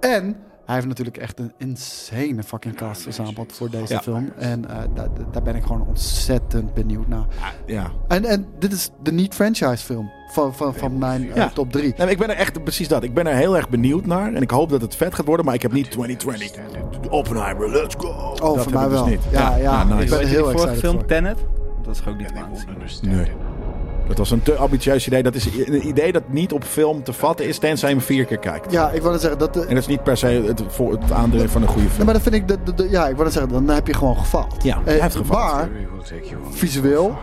C: En hij heeft natuurlijk echt een insane fucking cast verzameld voor deze
B: Ja.
C: film. En eh, daar, daar ben ik gewoon ontzettend benieuwd naar.
B: Ah, Ja.
C: En, en dit is de niet-franchise film van, van, van mijn eh,
B: Ja.
C: top 3.
B: Nee, maar ik ben er echt, precies dat. Ik ben er heel erg benieuwd naar. En ik hoop dat het vet gaat worden, maar ik heb niet 2020. Oppenheimer, let's go.
C: Oh,
B: dat
C: voor
B: heb
C: mij
B: ik dus
C: wel.
B: niet.
C: Ja, ja. Ik ben
D: Weet
C: er
D: je
C: heel
D: die vorige
C: excited
D: film,
C: voor.
D: Tenet? Dat is ook niet waanzinnig.
B: Nee. Dat was een te ambitieus idee. Dat is een idee dat niet op film te vatten is, tenzij je hem vier keer kijkt.
C: Ja, ik wil net zeggen, dat, eh,
B: En dat is niet per se het, voor het aandelen van een goede
C: Ja,
B: film.
C: maar dat vind ik, de, de- de- ja, ik wil zeggen, dan heb je gewoon gefaald.
B: Ja,
C: Eh,
B: hij heeft gefaald.
C: Maar, visueel,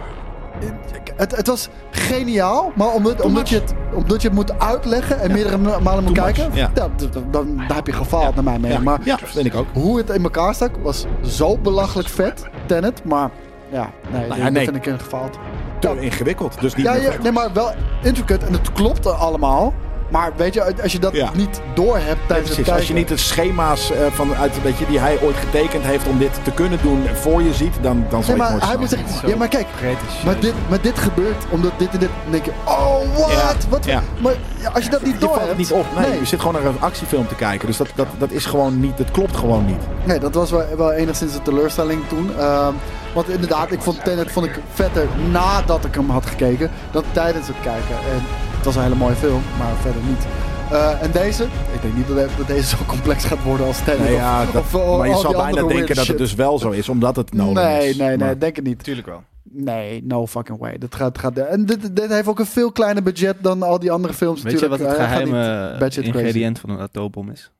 C: het, het was geniaal, maar omdat, omdat, je het, omdat je het moet uitleggen en meerdere ma- malen moet
B: Too much,
C: kijken,
B: ja.
C: ja, d- d- dan, dan heb je gefaald naar mijn mening.
B: Ja,
C: Maar
B: ja, vind ik ook.
C: hoe het in elkaar stak was zo belachelijk vet, Tenet, maar ja, nee, dat-
B: Nou ja,
C: dat
B: nee.
C: vind ik een gefaald.
B: Te ingewikkeld. Dus niet
C: Ja,
B: meer
C: ja,
B: vet.
C: nee, maar wel intricate en het klopt allemaal, maar weet je, als je dat
B: Ja.
C: niet doorhebt tijdens het
B: Precies,
C: kijken...
B: als je niet de schema's eh, van, uit, weet je, die hij ooit getekend heeft om dit te kunnen doen voor je ziet, dan, dan zal
C: Nee,
B: je het
C: maar
B: nooit
C: hij moet
B: snappen.
C: zeggen, ja, maar kijk,
D: pretentieus.
C: maar dit, maar dit gebeurt omdat dit en dit. Dan denk je, oh, what?
B: Ja,
C: Wat?
B: ja.
C: Maar ja, als je dat niet
B: Je
C: door
B: valt
C: hebt,
B: niet op. Nee,
C: nee,
B: je zit gewoon naar een actiefilm te kijken. Dus dat, dat, dat is gewoon niet, dat klopt gewoon niet.
C: Nee, dat was wel, wel enigszins een teleurstelling toen. Ehm, want inderdaad, ik vond Tenet vond ik vetter nadat ik hem had gekeken dan tijdens het kijken. En het was een hele mooie film, maar verder niet. Eh, en deze? Ik denk niet dat, dat deze zo complex gaat worden als Tenet.
B: Nee, ja,
C: of-
B: dat-
C: of, al-
B: maar je
C: al
B: zou
C: die
B: bijna
C: andere
B: denken
C: weird
B: dat het
C: shit.
B: dus wel zo is, omdat het Nolan
C: Nee,
B: is.
C: nee, nee,
B: Maar-
C: denk het niet.
D: Tuurlijk wel.
C: Nee, no fucking way. Dat gaat, gaat, en dit, dit heeft ook een veel kleiner budget dan al die andere films
D: Weet je
C: natuurlijk.
D: wat het
C: Hij eh, gaat
D: geheime
C: niet budget crazy.
D: ingrediënt van een atoombom is?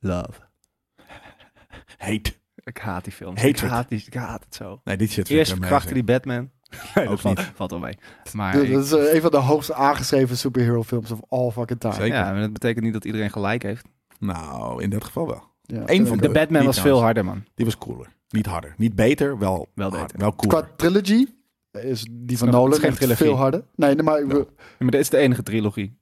D: Love.
B: Heet.
D: Ik haat die films. Ik
B: Hatred.
D: haat, die, ik haat het zo.
B: Nee, dit zit
D: Eerst krachten die Batman.
B: Nee,
D: Ook
B: dat niet.
D: valt, valt wel mee. Maar
C: Dude,
D: ik-
C: dat is eh, een van de hoogst aangeschreven superhero films of all fucking time.
B: Zeker.
D: ja, maar dat betekent niet dat iedereen gelijk heeft.
B: Nou, in dat geval wel.
C: Ja.
B: Eén van
D: De Batman
B: Die
D: was veel
B: trouwens.
D: harder, man.
B: Die was cooler. Niet harder. Niet beter, wel,
D: Wel
B: hard.
D: beter.
B: Wel cooler.
C: Qua trilogy is die van
D: Het is
C: Nolan
D: geen
C: echt
D: trilogie.
C: veel harder. Nee, nee, maar ik wil-
D: Ja, maar dit is de enige trilogie.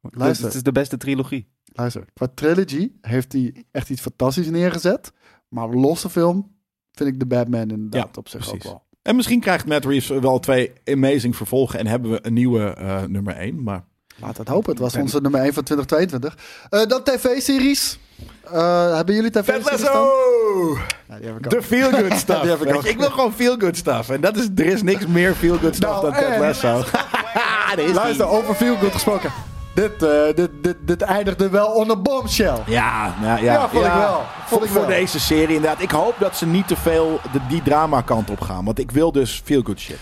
C: Luister.
D: Dit is de beste trilogie.
C: luister. Qua trilogy heeft hij echt iets fantastisch neergezet. Maar losse film vind ik de Batman inderdaad
B: Ja,
C: op zich
B: precies.
C: ook wel.
B: En misschien krijgt Matt Reeves wel twee amazing vervolgen en hebben we een nieuwe eh, nummer 1. Maar
C: Laat het hopen. Het was onze nummer 1 van 2022. Eh, dan tv-series. Eh, hebben jullie tv-series staan? Ja, die heb ik ook.
B: De feel good stuff.
C: Die heb ik
B: Weet
C: ook.
B: je, ik wil gewoon feel good stuff. En dat is, er is niks meer feel good stuff
C: Nou,
B: dan Ted
C: en-
B: Lasso. oh.
C: Luister, over Feelgood gesproken. Dit, eh, dit, dit, dit eindigde wel on een bombshell.
B: Ja, nou, ja,
C: Ja, vond ik wel. Vond
B: voor,
C: ik
B: voor
C: wel.
B: deze serie inderdaad. Ik hoop dat ze niet te veel de, die drama kant op gaan. Want ik wil dus feel good shit.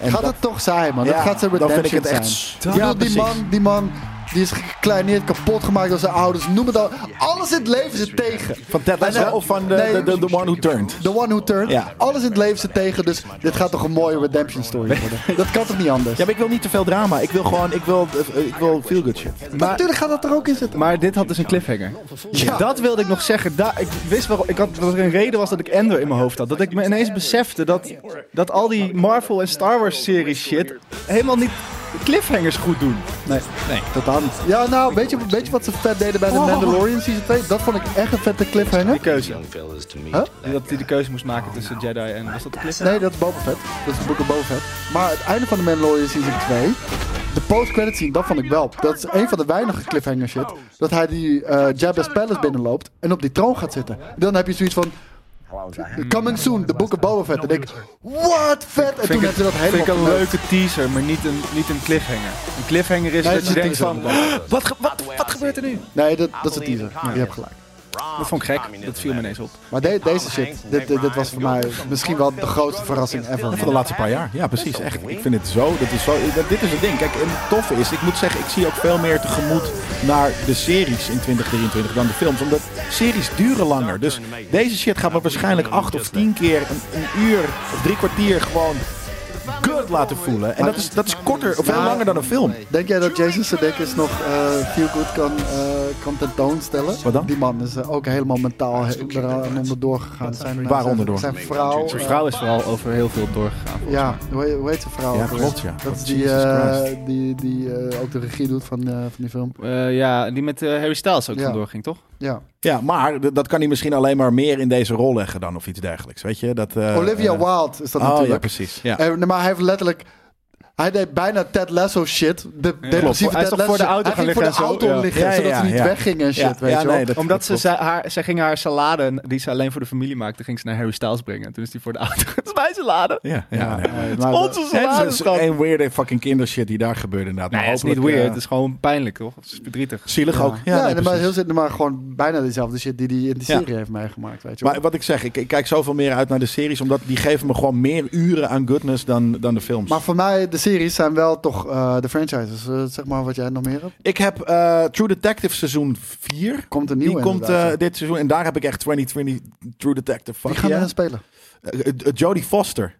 B: En
C: gaat
B: dat-
C: het toch zijn, man.
B: Ja,
C: dat gaat zijn
B: dan vind
C: redemption
B: ik het
C: zijn.
B: echt s-
C: Ik
B: Ja,
C: bedoel, die
B: precies.
C: man, die man Die is gekleineerd, kapot gemaakt door zijn ouders. Noem het al. Alles in het leven zit tegen.
B: Van Ted Lasso
C: Nee,
B: of van de,
C: nee.
B: de, de, de One Who Turned?
C: The One Who Turned.
B: Ja.
C: Alles in het leven zit tegen, dus dit gaat toch een mooie redemption story worden. Dat kan toch niet anders?
B: Ja, maar ik wil niet te veel drama. Ik wil gewoon, ik wil, eh, ik wil feel good shit.
C: maar natuurlijk gaat dat er ook in zitten.
D: Maar dit had dus een cliffhanger.
C: Ja.
D: Dat wilde ik nog zeggen. Da- ik wist waarom, ik had, dat er een reden was dat ik Endor in mijn hoofd had. Dat ik me ineens besefte dat, dat al die Marvel en Star Wars series shit helemaal niet cliffhangers goed doen.
C: Nee, nee. totaal niet. Ja, nou, weet je, weet je wat ze vet deden bij
B: Oh.
C: The Mandalorian Season 2? Dat vond ik echt een vette cliffhanger.
D: Die keuze. Dat hij de keuze moest maken tussen Jedi en... Was dat de cliffhanger?
C: Nee, dat is Boba Fett. Dat is Book of Boba Fett. Maar het einde van de Mandalorian Season 2... De post-credit scene, dat vond ik wel. Dat is een van de weinige cliffhanger shit. Dat hij die eh Jabba's Palace binnenloopt en op die troon gaat zitten. Dan heb je zoiets van... Coming soon, The Book of Boba Fett. En denk ik, wat vet! En toen
D: Vind ik
C: hebben ze dat
D: het- vind ik
C: helemaal
D: een
C: leuk.
D: leuke teaser, maar niet een, niet een cliffhanger. Een cliffhanger is
C: Nee,
D: dat
C: het
D: je
C: is een
D: denkt van...
C: teaser.
D: Wat, ge- wat, wat gebeurt er nu?
C: Nee, dat, dat is een teaser. Je hebt gelijk.
D: Dat vond ik gek. Dat viel me ineens op.
C: Maar de- deze shit, dit, dit, dit was voor mij misschien wel de grootste verrassing ever.
B: Van de laatste paar jaar. Ja, precies. Echt. Ik vind het zo. Dit is, zo dat- dit is het ding. Kijk, en het toffe is, ik moet zeggen, ik zie ook veel meer tegemoet naar de series in 2023 dan de films. Omdat series duren langer. Dus deze shit gaat me waarschijnlijk acht of tien keer een, een uur of drie kwartier gewoon good laten voelen. En dat is, dat is korter of veel
C: Nou,
B: langer dan een film.
C: Denk jij dat Jason Sudeikis nog eh Feel Good kan, eh, kan tentoonstellen?
B: Wat dan?
C: Die man is eh, ook helemaal mentaal he- eraan onderdoor gegaan. Zijn, eh,
B: Waar
C: zijn-
B: onderdoor?
C: Zijn vrouw.
D: Zijn
C: eh,
D: vrouw is vooral over heel veel doorgegaan.
C: ja, hoe, he- hoe heet zijn vrouw?
B: Ja,
C: ook alweer?
B: klopt, ja. Oh,
C: Dat is die,
B: Jesus
C: eh,
B: Christ.
C: die, die eh, ook de regie doet van, eh, van die film.
D: Eh, ja, die met eh, Harry Styles ook
C: Ja.
D: vandoor ging, toch?
C: Ja.
B: Ja, maar d- dat kan hij misschien alleen maar meer in deze rol leggen dan of iets dergelijks. Weet je? Dat, eh,
C: Olivia
B: eh,
C: Wilde is dat
B: Oh ja,
C: natuurlijk.
B: precies. Ja.
C: Eh, nee, maar hij heeft letterlijk... Hij deed bijna Ted Lasso shit. De, depressieve
D: Hij is
C: Ted
D: toch voor de
C: Lasso shit.
D: auto gaan
C: Hij ging
D: liggen
C: voor de
D: en zo,
C: auto
D: ja.
C: liggen,
B: Ja, ja,
C: zodat ze niet
B: ja.
C: wegging en shit,
B: Ja,
C: weet
B: ja,
C: je wel.
B: nee, dat-
D: Omdat
B: dat
D: ze, zij, haar, zij ging haar salade, die ze alleen voor de familie maakte, ging ze naar Harry Styles brengen. En toen is die voor de auto. Dat is mijn salade. Nou
B: Ja, ja, nee.
C: Eh, maar-
D: Onze
B: Het
D: salade,
B: is
D: schat.
B: een weirde fucking kindershit die daar gebeurde inderdaad.
D: Nee,
B: Maar
D: het is niet
B: hopelijk,
D: weird.
B: eh,
D: Het is gewoon pijnlijk, toch? Het is verdrietig.
B: Zielig ook.
C: Ja,
B: Ja, nee,
C: maar
B: precies.
C: heel zin, maar gewoon bijna dezelfde shit die hij in die
B: Ja.
C: serie heeft meegemaakt, weet je wel.
B: Maar wat ik zeg, ik, ik kijk zoveel meer uit naar de series, omdat die geven me gewoon meer uren aan goodness dan, dan de films.
C: Maar voor mij, de series zijn wel toch eh, de franchises. Eh, zeg maar wat jij nog meer hebt.
B: ik heb eh, True Detective seizoen 4.
C: Komt een
B: Die
C: nieuwe
B: komt
C: inderdaad,
B: eh,
C: ja.
B: dit seizoen en daar heb ik echt 2020 True Detective fuck
C: Die gaan we
B: yeah.
C: dan spelen.
B: Eh, eh, eh, Jodie Foster.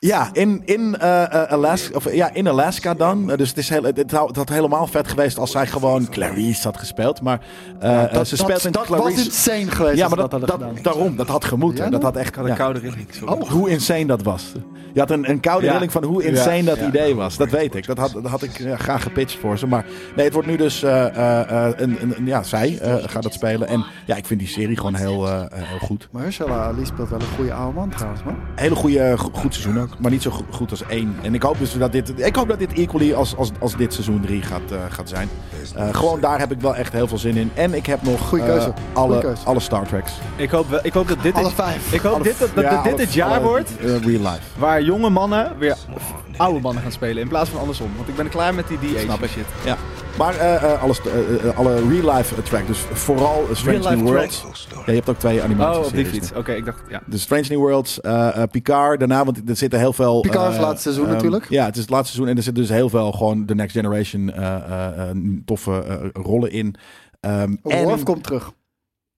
B: Ja, in, in, eh, eh, Alaska, of, eh, ja, in Alaska dan. Eh, dus het, is heel, het, het had het had helemaal vet geweest als zij gewoon Clarice had gespeeld. Maar eh, eh, ze speelt
C: dat
B: in
C: dat
B: Clarice.
C: was insane geweest
B: Ja,
C: als
B: maar
C: ze
B: dat,
C: dat,
B: dat,
C: hadden gedaan.
B: daarom, dat had gemoeten.
C: Ja,
B: dat
C: dan?
B: had echt,
D: Een
B: ja.
D: koude rilling. sorry.
B: Hoe insane dat was. Je had een, een koude
D: Ja.
B: rilling van hoe
D: Ja.
B: insane dat
D: Ja.
B: idee was. Dat weet ik. Dat had, dat had ik ja, graag gepitcht voor ze. Maar nee, het wordt nu dus... eh, eh, eh, een, een, een- ja, zij eh, gaat dat spelen. En ja, ik vind die serie gewoon heel, eh, eh, heel goed.
C: Mahershala Ali speelt wel een goede oude man trouwens, man.
B: Hele goede, eh, go- goed seizoen ook. Maar niet zo go- goed als één. En ik hoop dus dat dit... Ik hoop dat dit equally als, als, als dit seizoen drie gaat, eh, gaat zijn. Eh, gewoon daar heb ik wel echt heel veel zin in. En ik heb nog
C: Goeie
B: eh,
C: keuze.
B: alle,
C: Goeie keuze.
B: alle Star Treks.
D: Oh. Ik hoop, wel- ik hoop dat dit...
C: Alle
D: het-
C: vijf.
D: Ik hoop
B: Alle-
D: dit, dat, dat
B: ja,
D: dit
B: alle-
D: het jaar
B: alle,
D: wordt
B: eh, real life.
D: waar jonge mannen weer oude mannen gaan spelen. In plaats van andersom. Want ik ben er klaar met die DA.
B: Snap ik. Ja. Maar eh, eh, alles, eh, eh, alle real life eh, track, dus vooral eh, Strange
D: Real life
B: New Worlds. Ja, je hebt ook twee
D: Oh,
B: animaties.
D: op die fiets. Oké, ik dacht... Ja.
B: Dus Strange New Worlds, eh, eh, Picard daarna, want er zitten heel veel...
C: Picard is
B: eh,
C: het laatste seizoen
B: ehm,
C: natuurlijk.
B: Ja, het is het laatste seizoen en er zitten dus heel veel gewoon de Next Generation eh, eh, eh, toffe eh, rollen in. Ehm,
C: Worf
B: en
C: komt terug.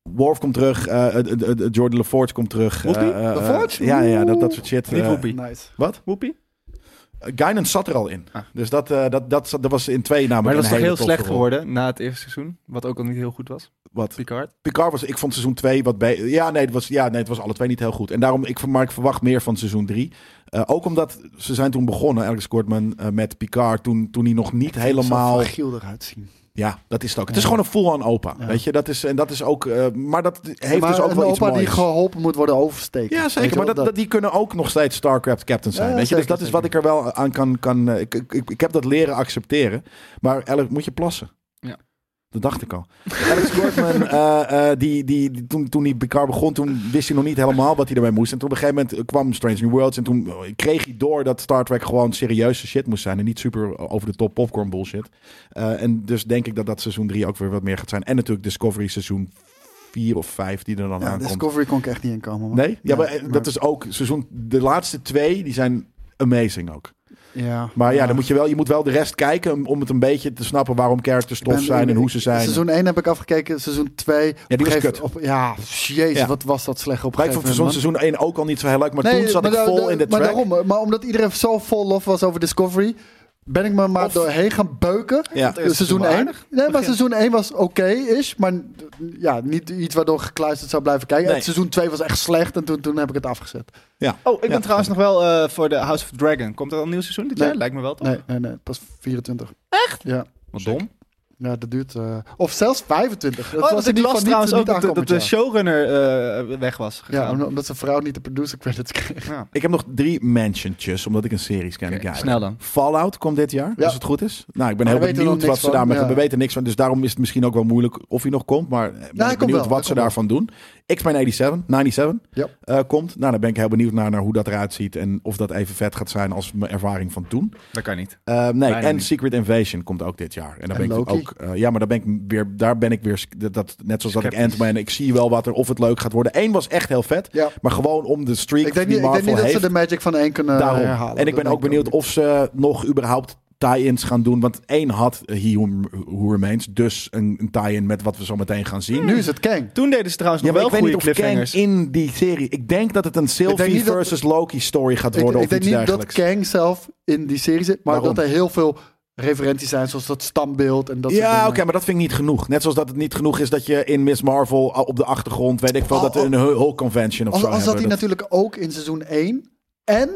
B: Worf komt terug, eh, eh, eh, eh, Jordan LaForge komt terug.
D: Woepie?
B: eh, eh,
D: LaForge?
B: Ja, ja dat, dat soort shit.
D: Niet
B: eh,
D: Woepie.
C: Nice.
B: wat?
D: Woepie?
B: Guinan zat er al in.
D: Ah.
B: Dus dat, eh, dat, dat, dat was in twee namelijk
D: Maar
B: een
D: dat is toch
B: hele
D: heel
B: toffe
D: slecht
B: rol.
D: geworden na het eerste seizoen. Wat ook al niet heel goed was.
B: Wat?
D: Picard.
B: Picard was, ik vond seizoen 2 wat bij. Ja, nee, het was, ja, nee, het was alle twee niet heel goed. En daarom, ik, ver- maar ik verwacht meer van seizoen 3. ook omdat ze zijn toen begonnen, Alex Kortman, eh, met Picard. Toen, toen hij nog niet helemaal.
C: Zo fragiel eruit zien.
B: Ja, dat is het ook. Het is gewoon een full-on opa. Weet je, dat is, en dat is ook. eh, maar dat heeft
C: maar
B: dus ook
C: een
B: wel iets
C: opa
B: moois.
C: die geholpen moet worden oversteken.
B: Ja,
C: Weet
B: zeker.
C: je
B: Maar
C: wel,
B: dat, dat, die kunnen ook nog steeds StarCraft captain zijn.
C: Ja,
B: weet je? Dus
C: zeker,
B: dat is wat ik er wel aan kan. kan eh, ik, ik, ik, ik heb dat leren accepteren. Maar Alex, moet je plassen?
D: Ja.
B: Dat dacht ik al. Alex Gortman, eh, eh, die, die, die- toen, toen hij Picard begon, toen wist hij nog niet helemaal wat hij ermee moest. En toen op een gegeven moment eh, kwam Strange New Worlds. En toen eh, kreeg hij door dat Star Trek gewoon serieuze shit moest zijn. En niet super over de top popcorn bullshit. Eh, en dus denk ik dat dat seizoen 3 ook weer wat meer gaat zijn. En natuurlijk Discovery seizoen 4 of 5 die er dan
C: Ja,
B: aankomt.
C: Discovery kon ik echt niet inkomen. man.
B: Nee? Ja, maar, eh,
C: maar-
B: dat is ook seizoen. De laatste twee die zijn amazing ook.
C: Ja.
B: Maar ja, dan moet je, wel, je moet wel de rest kijken om- om het een beetje te snappen waarom characters tof
C: ben-
B: zijn en hoe ze zijn.
C: Seizoen 1 heb ik afgekeken, seizoen 2.
B: die was kut.
C: Op, ja, jezus,
B: Ja.
C: wat was dat slecht op een
B: Maar ik
C: gegeven
B: vond seizoen,
C: moment.
B: seizoen
C: man.
B: 1 ook al niet zo heel leuk, maar toen
C: Nee,
B: zat
C: maar
B: ik
C: da-
B: vol
C: da-
B: in de
C: Maar
B: track.
C: daarom, eh, maar omdat iedereen zo vol lof was over Discovery, ben ik me maar
B: Of-
C: doorheen gaan beuken.
B: Ja.
C: Dus seizoen
D: wel
C: 1.
D: aardig.
C: Nee, maar seizoen 1 was oké is, maar ja, niet iets waardoor ik gekluisterd zou blijven kijken.
B: Nee.
C: Het seizoen 2 was echt slecht en toen, toen heb ik het afgezet.
B: Ja.
D: Oh, ik ben
B: Ja.
D: trouwens nog wel eh, voor de House of Dragon. Komt er al een nieuw seizoen dit
C: Nee.
D: jaar? Lijkt me wel toch?
C: Nee, nee, nee, pas 24. Echt? Ja.
D: Wat dom.
C: Ja, dat duurt. eh, of zelfs 25. Dat
D: oh,
C: was
D: want ik
C: in ieder
D: las
C: geval niet,
D: trouwens ook
C: niet
D: dat, de- dat
C: aankomend
D: de
C: jaar.
D: showrunner eh, weg was
C: Ja,
D: gegaan.
C: om- omdat zijn vrouw niet de producer credits kreeg.
B: Ik heb nog drie mentiontjes, omdat ik een series ken.
D: Oké,
B: kijken.
D: snel dan.
B: Fallout komt dit jaar,
C: Ja.
B: als het goed is. Nou, ik ben
C: Maar we
B: heel
C: weten er
B: benieuwd
C: nog
B: wat
C: niks
B: ze daarmee
C: van,
B: gaan.
C: ja.
B: We weten niks van, dus daarom is het misschien ook wel moeilijk of hij nog komt. Maar eh, ben
C: hij
B: ik
C: komt
B: benieuwd
C: wel, hij
B: wat ze
C: komt wel.
B: daarvan doen. X-Men 77, 97
C: Ja.
B: eh, komt. Nou, daar ben ik heel benieuwd naar, naar hoe dat eruit ziet. En of dat even vet gaat zijn als mijn ervaring van toen.
D: Dat kan niet.
B: Eh, nee,
D: Bijna
B: en
D: niet.
B: Secret Invasion komt ook dit jaar. En, daar
C: En
B: ben ik
C: Loki.
B: ook. eh, ja, maar daar ben ik weer. Daar ben ik weer. sk- Dat, dat- net zoals dat ik
D: Sceptisch.
B: Ant-Man. Ik zie wel wat er. Of het leuk gaat worden. Eén was echt heel vet.
C: Ja.
B: Maar gewoon om de streak
C: Ik
B: die
C: denk niet, ik
B: Marvel
C: denk niet dat
B: heeft.
C: ze de magic van één kunnen
B: daarom.
C: herhalen.
B: En ik
C: Dat
B: ben ook
C: denk
B: benieuwd of ze nog überhaupt tie-ins gaan doen. Want één had eh, He Who Who Remains. Dus een, een tie-in met wat we zo meteen gaan zien.
C: Nu is het Kang.
D: Toen deden ze trouwens
B: ja,
D: nog
B: maar
D: wel
B: ik weet niet
D: goede
B: of Kang
D: cliffhangers.
B: in die serie... Ik denk dat het een Sylvie
C: niet dat-
B: versus Loki story gaat
C: Ik,
B: worden
C: ik
B: of
C: denk
B: iets
C: niet
B: dergelijks.
C: dat Kang zelf in die serie zit, maar
B: Waarom?
C: dat er heel veel referenties zijn, zoals dat stambeeld en dat soort
B: ja,
C: dingen.
B: oké, maar dat vind ik niet genoeg. Net zoals dat het niet genoeg is dat je in Miss Marvel ah, op de achtergrond, weet ik veel,
C: Oh,
B: dat we
C: oh.
B: een Hulk Convention of
C: Als,
B: zo
C: als dat
B: hebben.
C: hij natuurlijk ook in seizoen 1 en...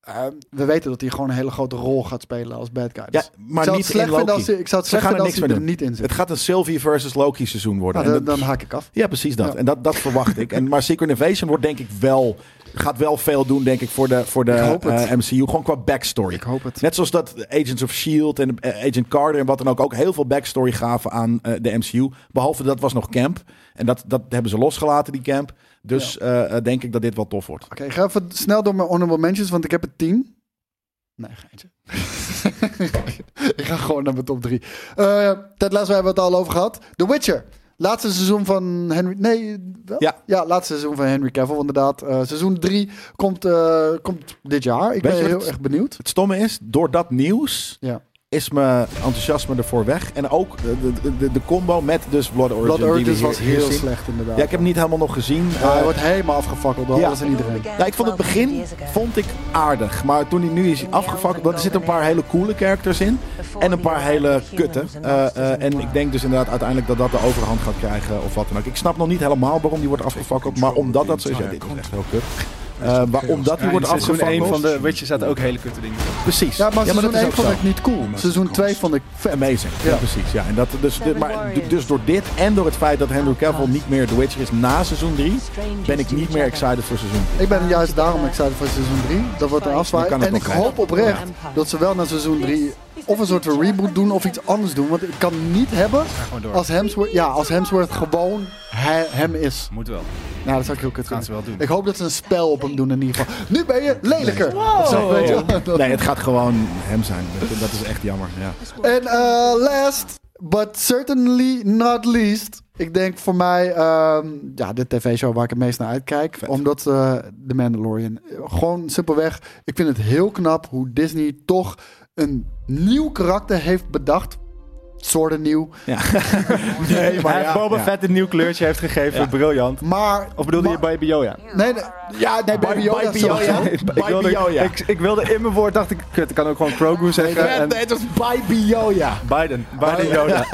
C: eh, we weten dat hij gewoon een hele grote rol gaat spelen als bad guy. Dus
B: Ja, maar
C: ik zou
B: niet
C: het slecht
B: in
C: vinden als
B: Loki.
C: hij, ik zou het
B: Ze gaan
C: slecht
B: er
C: vinden als
B: niks
C: hij
B: mee
C: er
B: doen.
C: niet in zit.
B: Het gaat een Sylvie versus Loki seizoen worden.
C: Nou, dan,
B: En dat-
C: dan haak ik af.
B: Ja, precies dat.
C: Ja.
B: En dat, dat verwacht ik. En, maar Secret Invasion wordt denk ik wel, gaat wel veel doen, denk ik, voor de, voor de
C: hoop het.
B: eh, MCU. Gewoon qua backstory.
C: Ik hoop het.
B: Net zoals dat Agents of S.H.I.E.L.D. en eh, Agent Carter en wat dan ook, ook heel veel backstory gaven aan eh, de MCU. Behalve dat was nog camp. En dat, dat hebben ze losgelaten, die camp. Dus eh, eh, denk ik dat dit wel tof wordt.
C: Oké, ik ga even snel door mijn honorable mentions, want ik heb er tien. Nee, geintje. ik ga gewoon naar mijn top drie. Eh Ted Lasso hebben we het al over gehad. The Witcher. Laatste seizoen van Henry... Nee, wel?
B: Ja.
C: Ja, laatste seizoen van Henry Cavill, inderdaad. Eh, seizoen drie komt, eh, komt dit jaar.
B: Weet
C: Ik
B: je
C: ben
B: wat
C: heel
B: het-
C: erg benieuwd.
B: Het stomme is, door dat nieuws
C: Ja.
B: is mijn enthousiasme ervoor weg. En ook eh, de, de- de, de combo met dus Blood Origin.
C: Blood
B: die we
C: Origins
B: hier-
C: was
B: hier
C: heel
B: zien.
C: slecht, inderdaad.
B: Ja, ik heb hem niet helemaal nog gezien.
C: Ja, hij
B: Eh,
C: wordt helemaal afgefakkeld door
B: ja.
C: alles en iedereen.
B: Nou, ik vond het begin vond ik aardig. Maar toen hij nu is afgevakkeld, want er zitten een paar hele coole characters in. En een paar hele kutten. Eh, eh, en ik denk dus inderdaad uiteindelijk dat dat de overhand gaat krijgen of wat dan ook. Ik snap nog niet helemaal waarom die wordt afgefakkeld. Maar omdat dat zo is, ja, dit is echt heel kut. Eh, maar omdat die
D: Ja, in
B: wordt
D: seizoen één
B: afgefakkeld.
D: van de Witcher zaten ook hele kutte dingen.
B: Precies.
C: Ja, maar seizoen
B: dat is
C: 1
B: ook
C: vond
B: zo.
C: ik niet cool. Seizoen 2 vond ik vet.
B: Amazing. Ja,
C: Ja.
B: precies. Ja. En dat, dus, dit- maar, dus door dit en door het feit dat Henry Cavill niet meer The Witcher is na seizoen 3, ben ik niet meer excited voor seizoen 3.
C: Ik ben juist daarom excited voor seizoen 3. Dat wordt een afzwaai.
B: Dan kan het
C: En ik
B: nog krijgen.
C: hoop oprecht dat ze wel naar seizoen 3 of een soort van reboot doen of iets anders doen. Want ik kan niet hebben als Hemsworth, ja, als Hemsworth gewoon he- hem is.
D: Moet wel.
C: Nou, dat zou ik heel kut
D: Gaan ze
C: vinden.
D: wel doen.
C: Ik hoop dat ze een spel op hem doen in ieder geval. Nu ben je lelijker. Of zo, weet je wel. Dat-
B: Nee, het gaat gewoon hem zijn. Dat, dat is echt jammer. Ja.
C: En eh, last, but certainly not least. Ik denk voor mij ehm, ja, de tv-show waar ik het meest naar uitkijk. Omdat eh The Mandalorian. eh, Gewoon simpelweg. Ik vind het heel knap hoe Disney toch een nieuw karakter heeft bedacht. Soorten nieuw.
B: Nee,
D: Maar Boba Fett een nieuw kleurtje heeft gegeven. Briljant.
C: Maar.
D: Of bedoelde je
C: maar-
D: Baby Yoda?
C: Nee, nee, ja, nee, Baby Yoda.
B: Baby
C: sowieso.
B: Yoda.
D: Ik wilde,
B: Yoda.
D: ik, ik wilde in mijn woord, dacht ik, kut, ik kan ook gewoon Grogu zeggen. En
B: het was Baby Yoda.
D: Biden, Biden Yoda.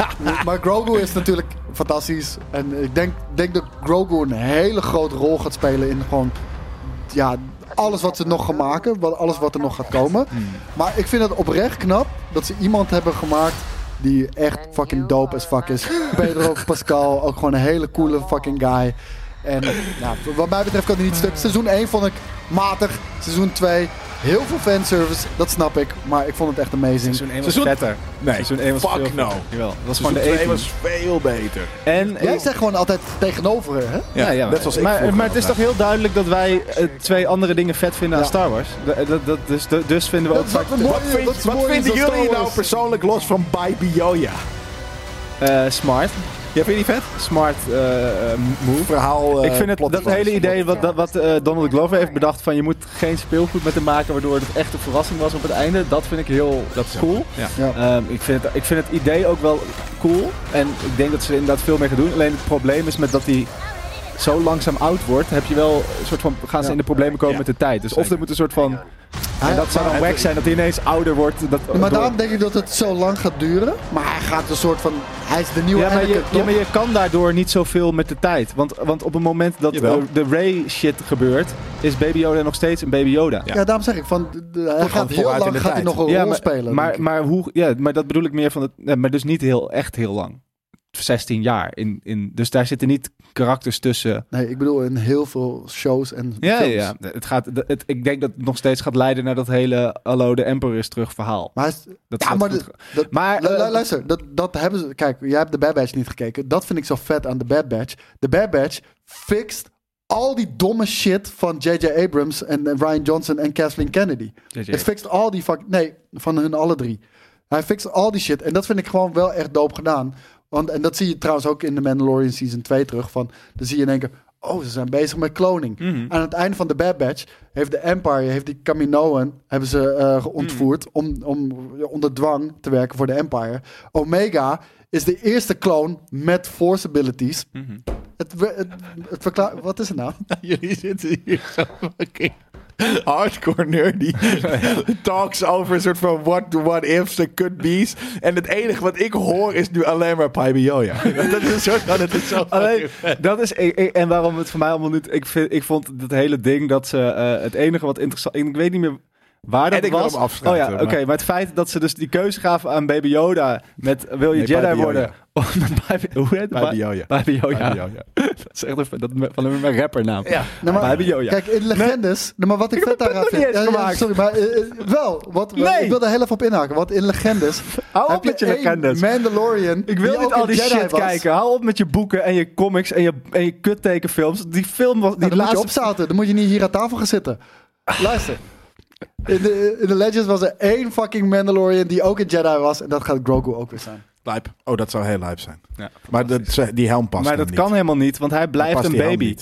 C: maar Grogu is natuurlijk fantastisch. En ik denk, denk dat Grogu een hele grote rol gaat spelen in gewoon... Ja, alles wat ze nog gaan maken. wat- Alles wat er nog gaat komen.
D: Hmm.
C: Maar ik vind het oprecht knap dat ze iemand hebben gemaakt... die echt fucking dope as fuck is. Pedro Pascal, ook gewoon een hele coole fucking guy. En nou, wat mij betreft kan hij niet stuk. Seizoen 1 vond ik matig. Seizoen 2, heel veel fanservice. Dat snap ik. Maar ik vond het echt amazing.
D: Seizoen 1 was
B: Seizoen-
D: vetter.
B: Nee,
D: Seizoen 1 was
B: fuck
D: veel
B: no.
D: vetter. Jawel, dat was
B: Van
D: gewoon
B: de
D: de 1
B: E was veel beter.
D: En
C: Jij zegt gewoon altijd tegenover, hè?
B: Ja,
D: maar,
B: net zoals ik
D: maar,
B: vroeger
D: maar het is toch
B: altijd.
D: heel duidelijk dat wij eh, twee andere dingen vet vinden aan
C: Ja.
D: Star Wars. Dat, dat, dat- dus, dus vinden we ook
C: Dat-
D: vaak
C: dat- Mooi,
B: Wat, vind-
C: dat is
B: wat
C: mooi
B: vinden nou
C: in zo'n
B: jullie
C: Star
B: nou
C: Wars.
B: persoonlijk los van Baby Yoda?
D: eh, smart. Ja, vind je die vet? Smart eh, eh, move.
B: Verhaal. eh,
D: ik vind het,
B: plot
D: dat
B: device.
D: hele idee wat, dat, wat eh, Donald Glover heeft bedacht van je moet geen speelgoed met hem maken waardoor het echt een verrassing was op het einde. Dat vind ik heel dat is cool.
B: Ja.
C: Ja.
D: Ehm, ik, vind het, ik vind het idee ook wel cool. En ik denk dat ze er inderdaad veel mee gaan doen. Alleen het probleem is met dat hij zo langzaam oud wordt, heb je wel een soort van, gaan ze in de problemen komen
B: Ja.
D: met de tijd. Dus of er moet een soort van... En dat zou dan
B: maar-
D: wack zijn dat hij ineens ouder wordt. Dat,
C: Maar
D: door-
C: daarom denk ik dat het zo lang gaat duren. Maar hij gaat een soort van... Hij is de nieuwe
D: Ja maar, je,
C: Anakin,
D: ja,
C: toch?
D: maar je kan daardoor niet zoveel met de tijd. Want, want op het moment dat
B: Jawel.
D: eh, de Ray shit gebeurt, is Baby Yoda nog steeds een Baby Yoda.
C: Ja, daarom zeg ik, van, de- de- hij gaat
B: gewoon
C: heel
B: vooruit in
C: lang
B: de
C: gaat hij
B: tijd.
C: nog een rol
D: maar,
C: spelen. denk
D: Maar,
C: ik.
D: maar, hoe, ja, maar dat bedoel ik meer van het. nee, maar dus niet heel, echt heel lang. 16 jaar. In, in, dus daar zitten niet karakters tussen.
C: Nee, ik bedoel in heel veel shows en
D: Ja,
C: films.
D: ja, ja. Het gaat, het, ik denk dat het nog steeds gaat leiden naar dat hele. Hallo, de Emperor is terug verhaal.
C: Maar, hij is-
D: Dat
C: ja,
D: gaat
C: maar,
D: goed
C: dat-
D: ge-
C: dat-
D: Maar,
C: lu- lu-
D: eh,
C: luister, dat, dat hebben ze... Kijk, jij hebt de Bad Batch niet gekeken. Dat vind ik zo vet aan de Bad Batch. De Bad Batch fixt al die domme shit van J.J. Abrams en eh, Ryan Johnson en Kathleen Kennedy. Hij fixt al die... Fuck, nee, van hun alle drie. Hij fixt al die shit. En dat vind ik gewoon wel echt doop gedaan. Want, en dat zie je trouwens ook in The Mandalorian Season 2 terug. Van, dan zie je in één keer... Oh, ze zijn bezig met kloning. Aan het einde van de Bad Batch heeft de Empire, heeft die Kaminoan, hebben ze eh ontvoerd om, om ja, onder dwang te werken voor de Empire. Omega is de eerste kloon met force abilities. Het, we- het, het verklaart... Wat is het nou?
B: Jullie zitten hier zo fucking hardcore nerd die talks over een soort van what, what ifs en could be's. En het enige wat ik hoor is nu alleen maar Pai Bioja. Dat is een soort van, dat is zo
D: Alleen, dat is, ik- ik- en waarom het voor mij allemaal niet... Ik, vind, ik vond dat hele ding dat ze eh, het enige wat interessant... Ik weet niet meer waar dat
B: En ik wil
D: was.
B: hem
D: oh
B: afsluiten,
D: ja, oké.
B: maar-
D: maar het feit dat ze dus die keuze gaven aan Baby Yoda met wil je
B: Nee,
D: Jedi
B: Baby Yoda.
D: worden? Of met Baby, hoe heet het?
B: Baby Yoda.
D: Baby Yoda.
B: Baby Yoda.
D: Dat is echt een, dat, van een mijn rappernaam. Ja.
C: Nou, maar-
D: Baby Yoda.
C: Kijk, in Legendes... nou, maar wat ik,
D: Ik heb
C: vet
D: het
C: daaraan
D: punt nog
C: vind...
D: niet eens gemaakt.
C: sorry, maar eh, eh, wel. Wat,
D: Nee.
C: Ik wil daar heel even op inhaken. Want in Legendes...
D: Hou op
C: heb
D: met je
C: één
D: Legendes.
C: Mandalorian...
D: Ik wil
C: ook
D: niet al
C: een
D: die
C: Jedi
D: shit
C: was.
D: kijken. Hou op met je boeken en je comics en je, en je kuttekenfilms. Die film was... Die
C: Nou, dan
D: laatste...
C: moet je opzaten. Dan moet je niet hier aan tafel gaan zitten. Luister. In de, eh, in de Legends was er één fucking Mandalorian die ook een Jedi was. En dat gaat Grogu ook weer zijn.
B: Lijp. Oh, dat zou heel lijp zijn.
D: Ja,
B: maar dat, ze- die helm past
D: maar
B: hem
D: dat
B: niet.
D: kan helemaal niet, want hij
B: Dan
D: blijft
B: past
D: een
B: die helm
D: baby.
B: niet.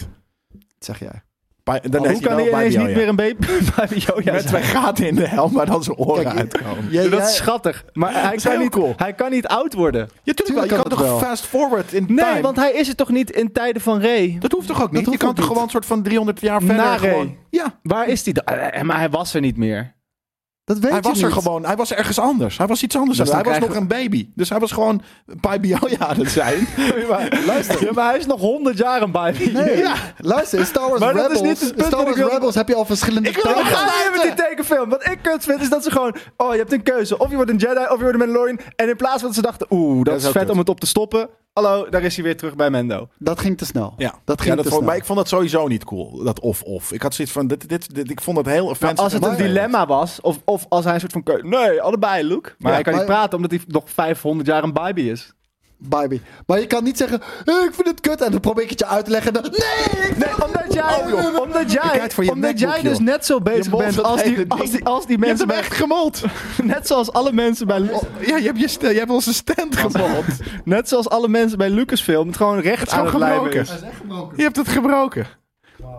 C: Dat zeg jij.
B: Pai- dan
D: Hoe kan hij ineens niet meer een baby oh Baby Yoda
B: Met twee
D: zijn?
B: gaten in de helm, maar dan zijn oren
C: Kijk,
B: uitkomen.
C: Jij,
D: Dat
C: jij-
D: is schattig. Maar hij
B: is
D: kan,
B: heel
D: niet,
B: cool.
D: hij kan niet oud worden.
B: Ja, tuurlijk wel.
C: Tuurlijk
B: Je
C: kan
B: kan
C: dat
B: toch
C: wel.
B: fast forward in
D: Nee,
B: time?
D: want hij is er toch niet in tijden van Ray?
B: dat hoeft toch ook niet? Je
C: hoeft
B: kan
C: ook
B: toch
C: niet.
B: gewoon een soort van 300 jaar verder
D: Na Rey.
B: gewoon... Ja,
D: Waar is hij dan? Eh, Maar hij was er niet meer.
C: dat weet
B: hij
C: je
B: was er
C: niet.
B: gewoon. Hij was ergens anders. Hij was iets anders.
D: Dus
B: aan het
D: dan
B: doen. hij was nog een
D: krijgen
B: baby. Dus hij was gewoon bij Bioja aan het zijn.
D: Luister. Ja, maar hij is nog honderd jaar een baby.
C: Nee,
D: Ja.
C: luister. In Star Wars
D: Maar dat is
C: Rebels,
D: niet het
C: in
D: punt
C: Star
D: wat ik
C: Wars
D: wil-
C: Rebels heb je al verschillende
D: Ik wil nog
C: tijden.
D: gaan met die tekenfilm. Wat ik kut vind is dat ze gewoon... Oh, je hebt een keuze. Of je wordt een Jedi of je wordt een Mandalorian. En in plaats van dat ze dachten... Oeh, dat,
B: is
D: is
B: ook
D: vet
B: kut.
D: om het op te stoppen. Hallo, daar is hij weer terug bij Mendo.
C: Dat ging te snel.
B: Ja,
C: Dat ging
B: ja, dat
C: te
B: vond,
C: snel.
B: maar ik vond dat sowieso niet cool. Dat of-of. Ik had zoiets van: dit, dit, dit- ik vond dat heel offensive.
D: Als het een
B: Maar-
D: dilemma was, of, of als hij een soort van... keu- Nee, allebei, Luke. Maar
C: Ja,
D: hij kan niet
C: maar-
D: praten omdat hij nog 500 jaar een baby is.
C: Baby. Maar je kan niet zeggen, "Eh, ik vind het kut. En dan probeer ik het je uit te leggen. en Dan, nee, ik
D: Nee, omdat jij,
B: Oh, joh.
D: omdat
B: Ik
D: jij,
B: kijk voor je
D: omdat
B: MacBook,
D: jij dus
B: joh.
D: net zo bezig
B: molt
D: bent
B: dat
D: als
B: hele
D: die,
B: ding.
D: als die, als die
B: Je hebt
D: mensen
B: hem
D: bij...
B: echt gemold.
D: Net zoals alle mensen bij... Lu-
B: Ja, je hebt, je, st- je hebt onze stand gemold.
D: Net zoals alle mensen bij Lucasfilm het gewoon recht aan
B: Gewoon
D: het lijven
B: gebroken.
D: is.
B: Je hebt het gebroken.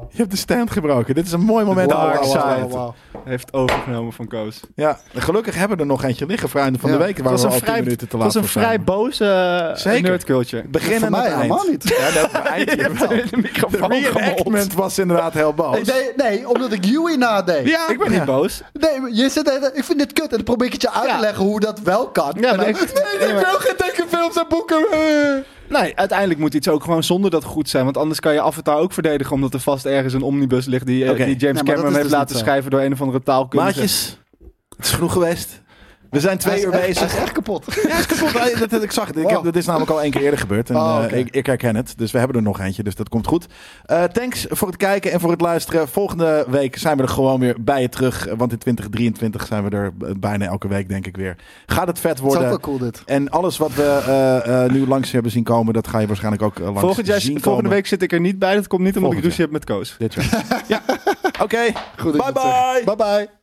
B: Je hebt de stand gebroken. Dit is een mooi moment.
D: Wow,
B: om te
D: wow,
B: afsluiten.
D: wow, Heeft overgenomen van Koos.
B: Ja, gelukkig hebben we er nog eentje liggen, vrienden van
C: Ja,
B: de week. Waar
D: Het was
B: we al
D: een
B: 10
D: vrij,
B: minuten te
D: het
B: laat
D: was een
B: voor zijn.
D: vrij boze eh,
B: Zeker.
D: nerdcultje.
B: Begin
C: Voor
B: en het
C: mij
B: eind.
C: helemaal niet.
B: Ja, dat het eindje wel.
D: De microfoon
B: Het reenactment was inderdaad heel boos.
C: Ik deed- nee, omdat ik Yui nadeed.
B: dus- Ja,
D: Ik ben niet boos.
C: Nee, maar je zit de hele tijd, ik vind dit kut. En dan probeer ik het je uit te
D: Ja.
C: leggen hoe dat wel kan.
D: Ja,
C: En
D: maar
C: dan,
D: ik-
C: nee,
D: nee,
C: nee, ik
D: maar-
C: wil geen tekenfilms en boeken. eh.
D: Nee, uiteindelijk moet iets ook gewoon zonder dat goed zijn. Want anders kan je Avatar ook verdedigen. Omdat er vast ergens een omnibus ligt die, eh,
B: Oké.
D: die James
C: Nee, maar dat
D: Cameron
C: is
D: heeft
C: dus
D: laten
C: niet zo.
D: schrijven door een of andere taalkundige.
B: Maatjes, het is genoeg geweest. We zijn twee
C: Hij is
B: uur
C: echt-
B: bezig.
C: Hij is echt kapot.
B: Ja, het is kapot. Eh, dat, dat- ik zag het. Ik
C: Wow.
B: heb, dat is namelijk al één keer eerder gebeurd. En,
C: Oh,
B: eh,
C: oké.
B: ik, ik herken het. Dus we hebben er nog eentje. Dus dat komt goed. Eh, thanks voor het kijken en voor het luisteren. Volgende week zijn we er gewoon weer bij je terug. eh, Want in 2023 zijn we er eh, bijna elke week, denk ik, weer. Gaat het vet
C: Dat is ook wel
B: worden.
C: cool dit.
B: En alles wat we eh, eh, nu langs hebben zien komen, dat ga je waarschijnlijk ook eh, langs
D: Volgend jaar,
B: zien
D: volgende
B: komen.
D: week zit ik er niet bij. Dat komt niet omdat
B: Volgend
D: ik ruzie heb met Koos.
B: Dit jaar. ja. Oké.
C: Goed dat je
B: Bye
C: dat zegt.
B: bye.
C: Bye bye.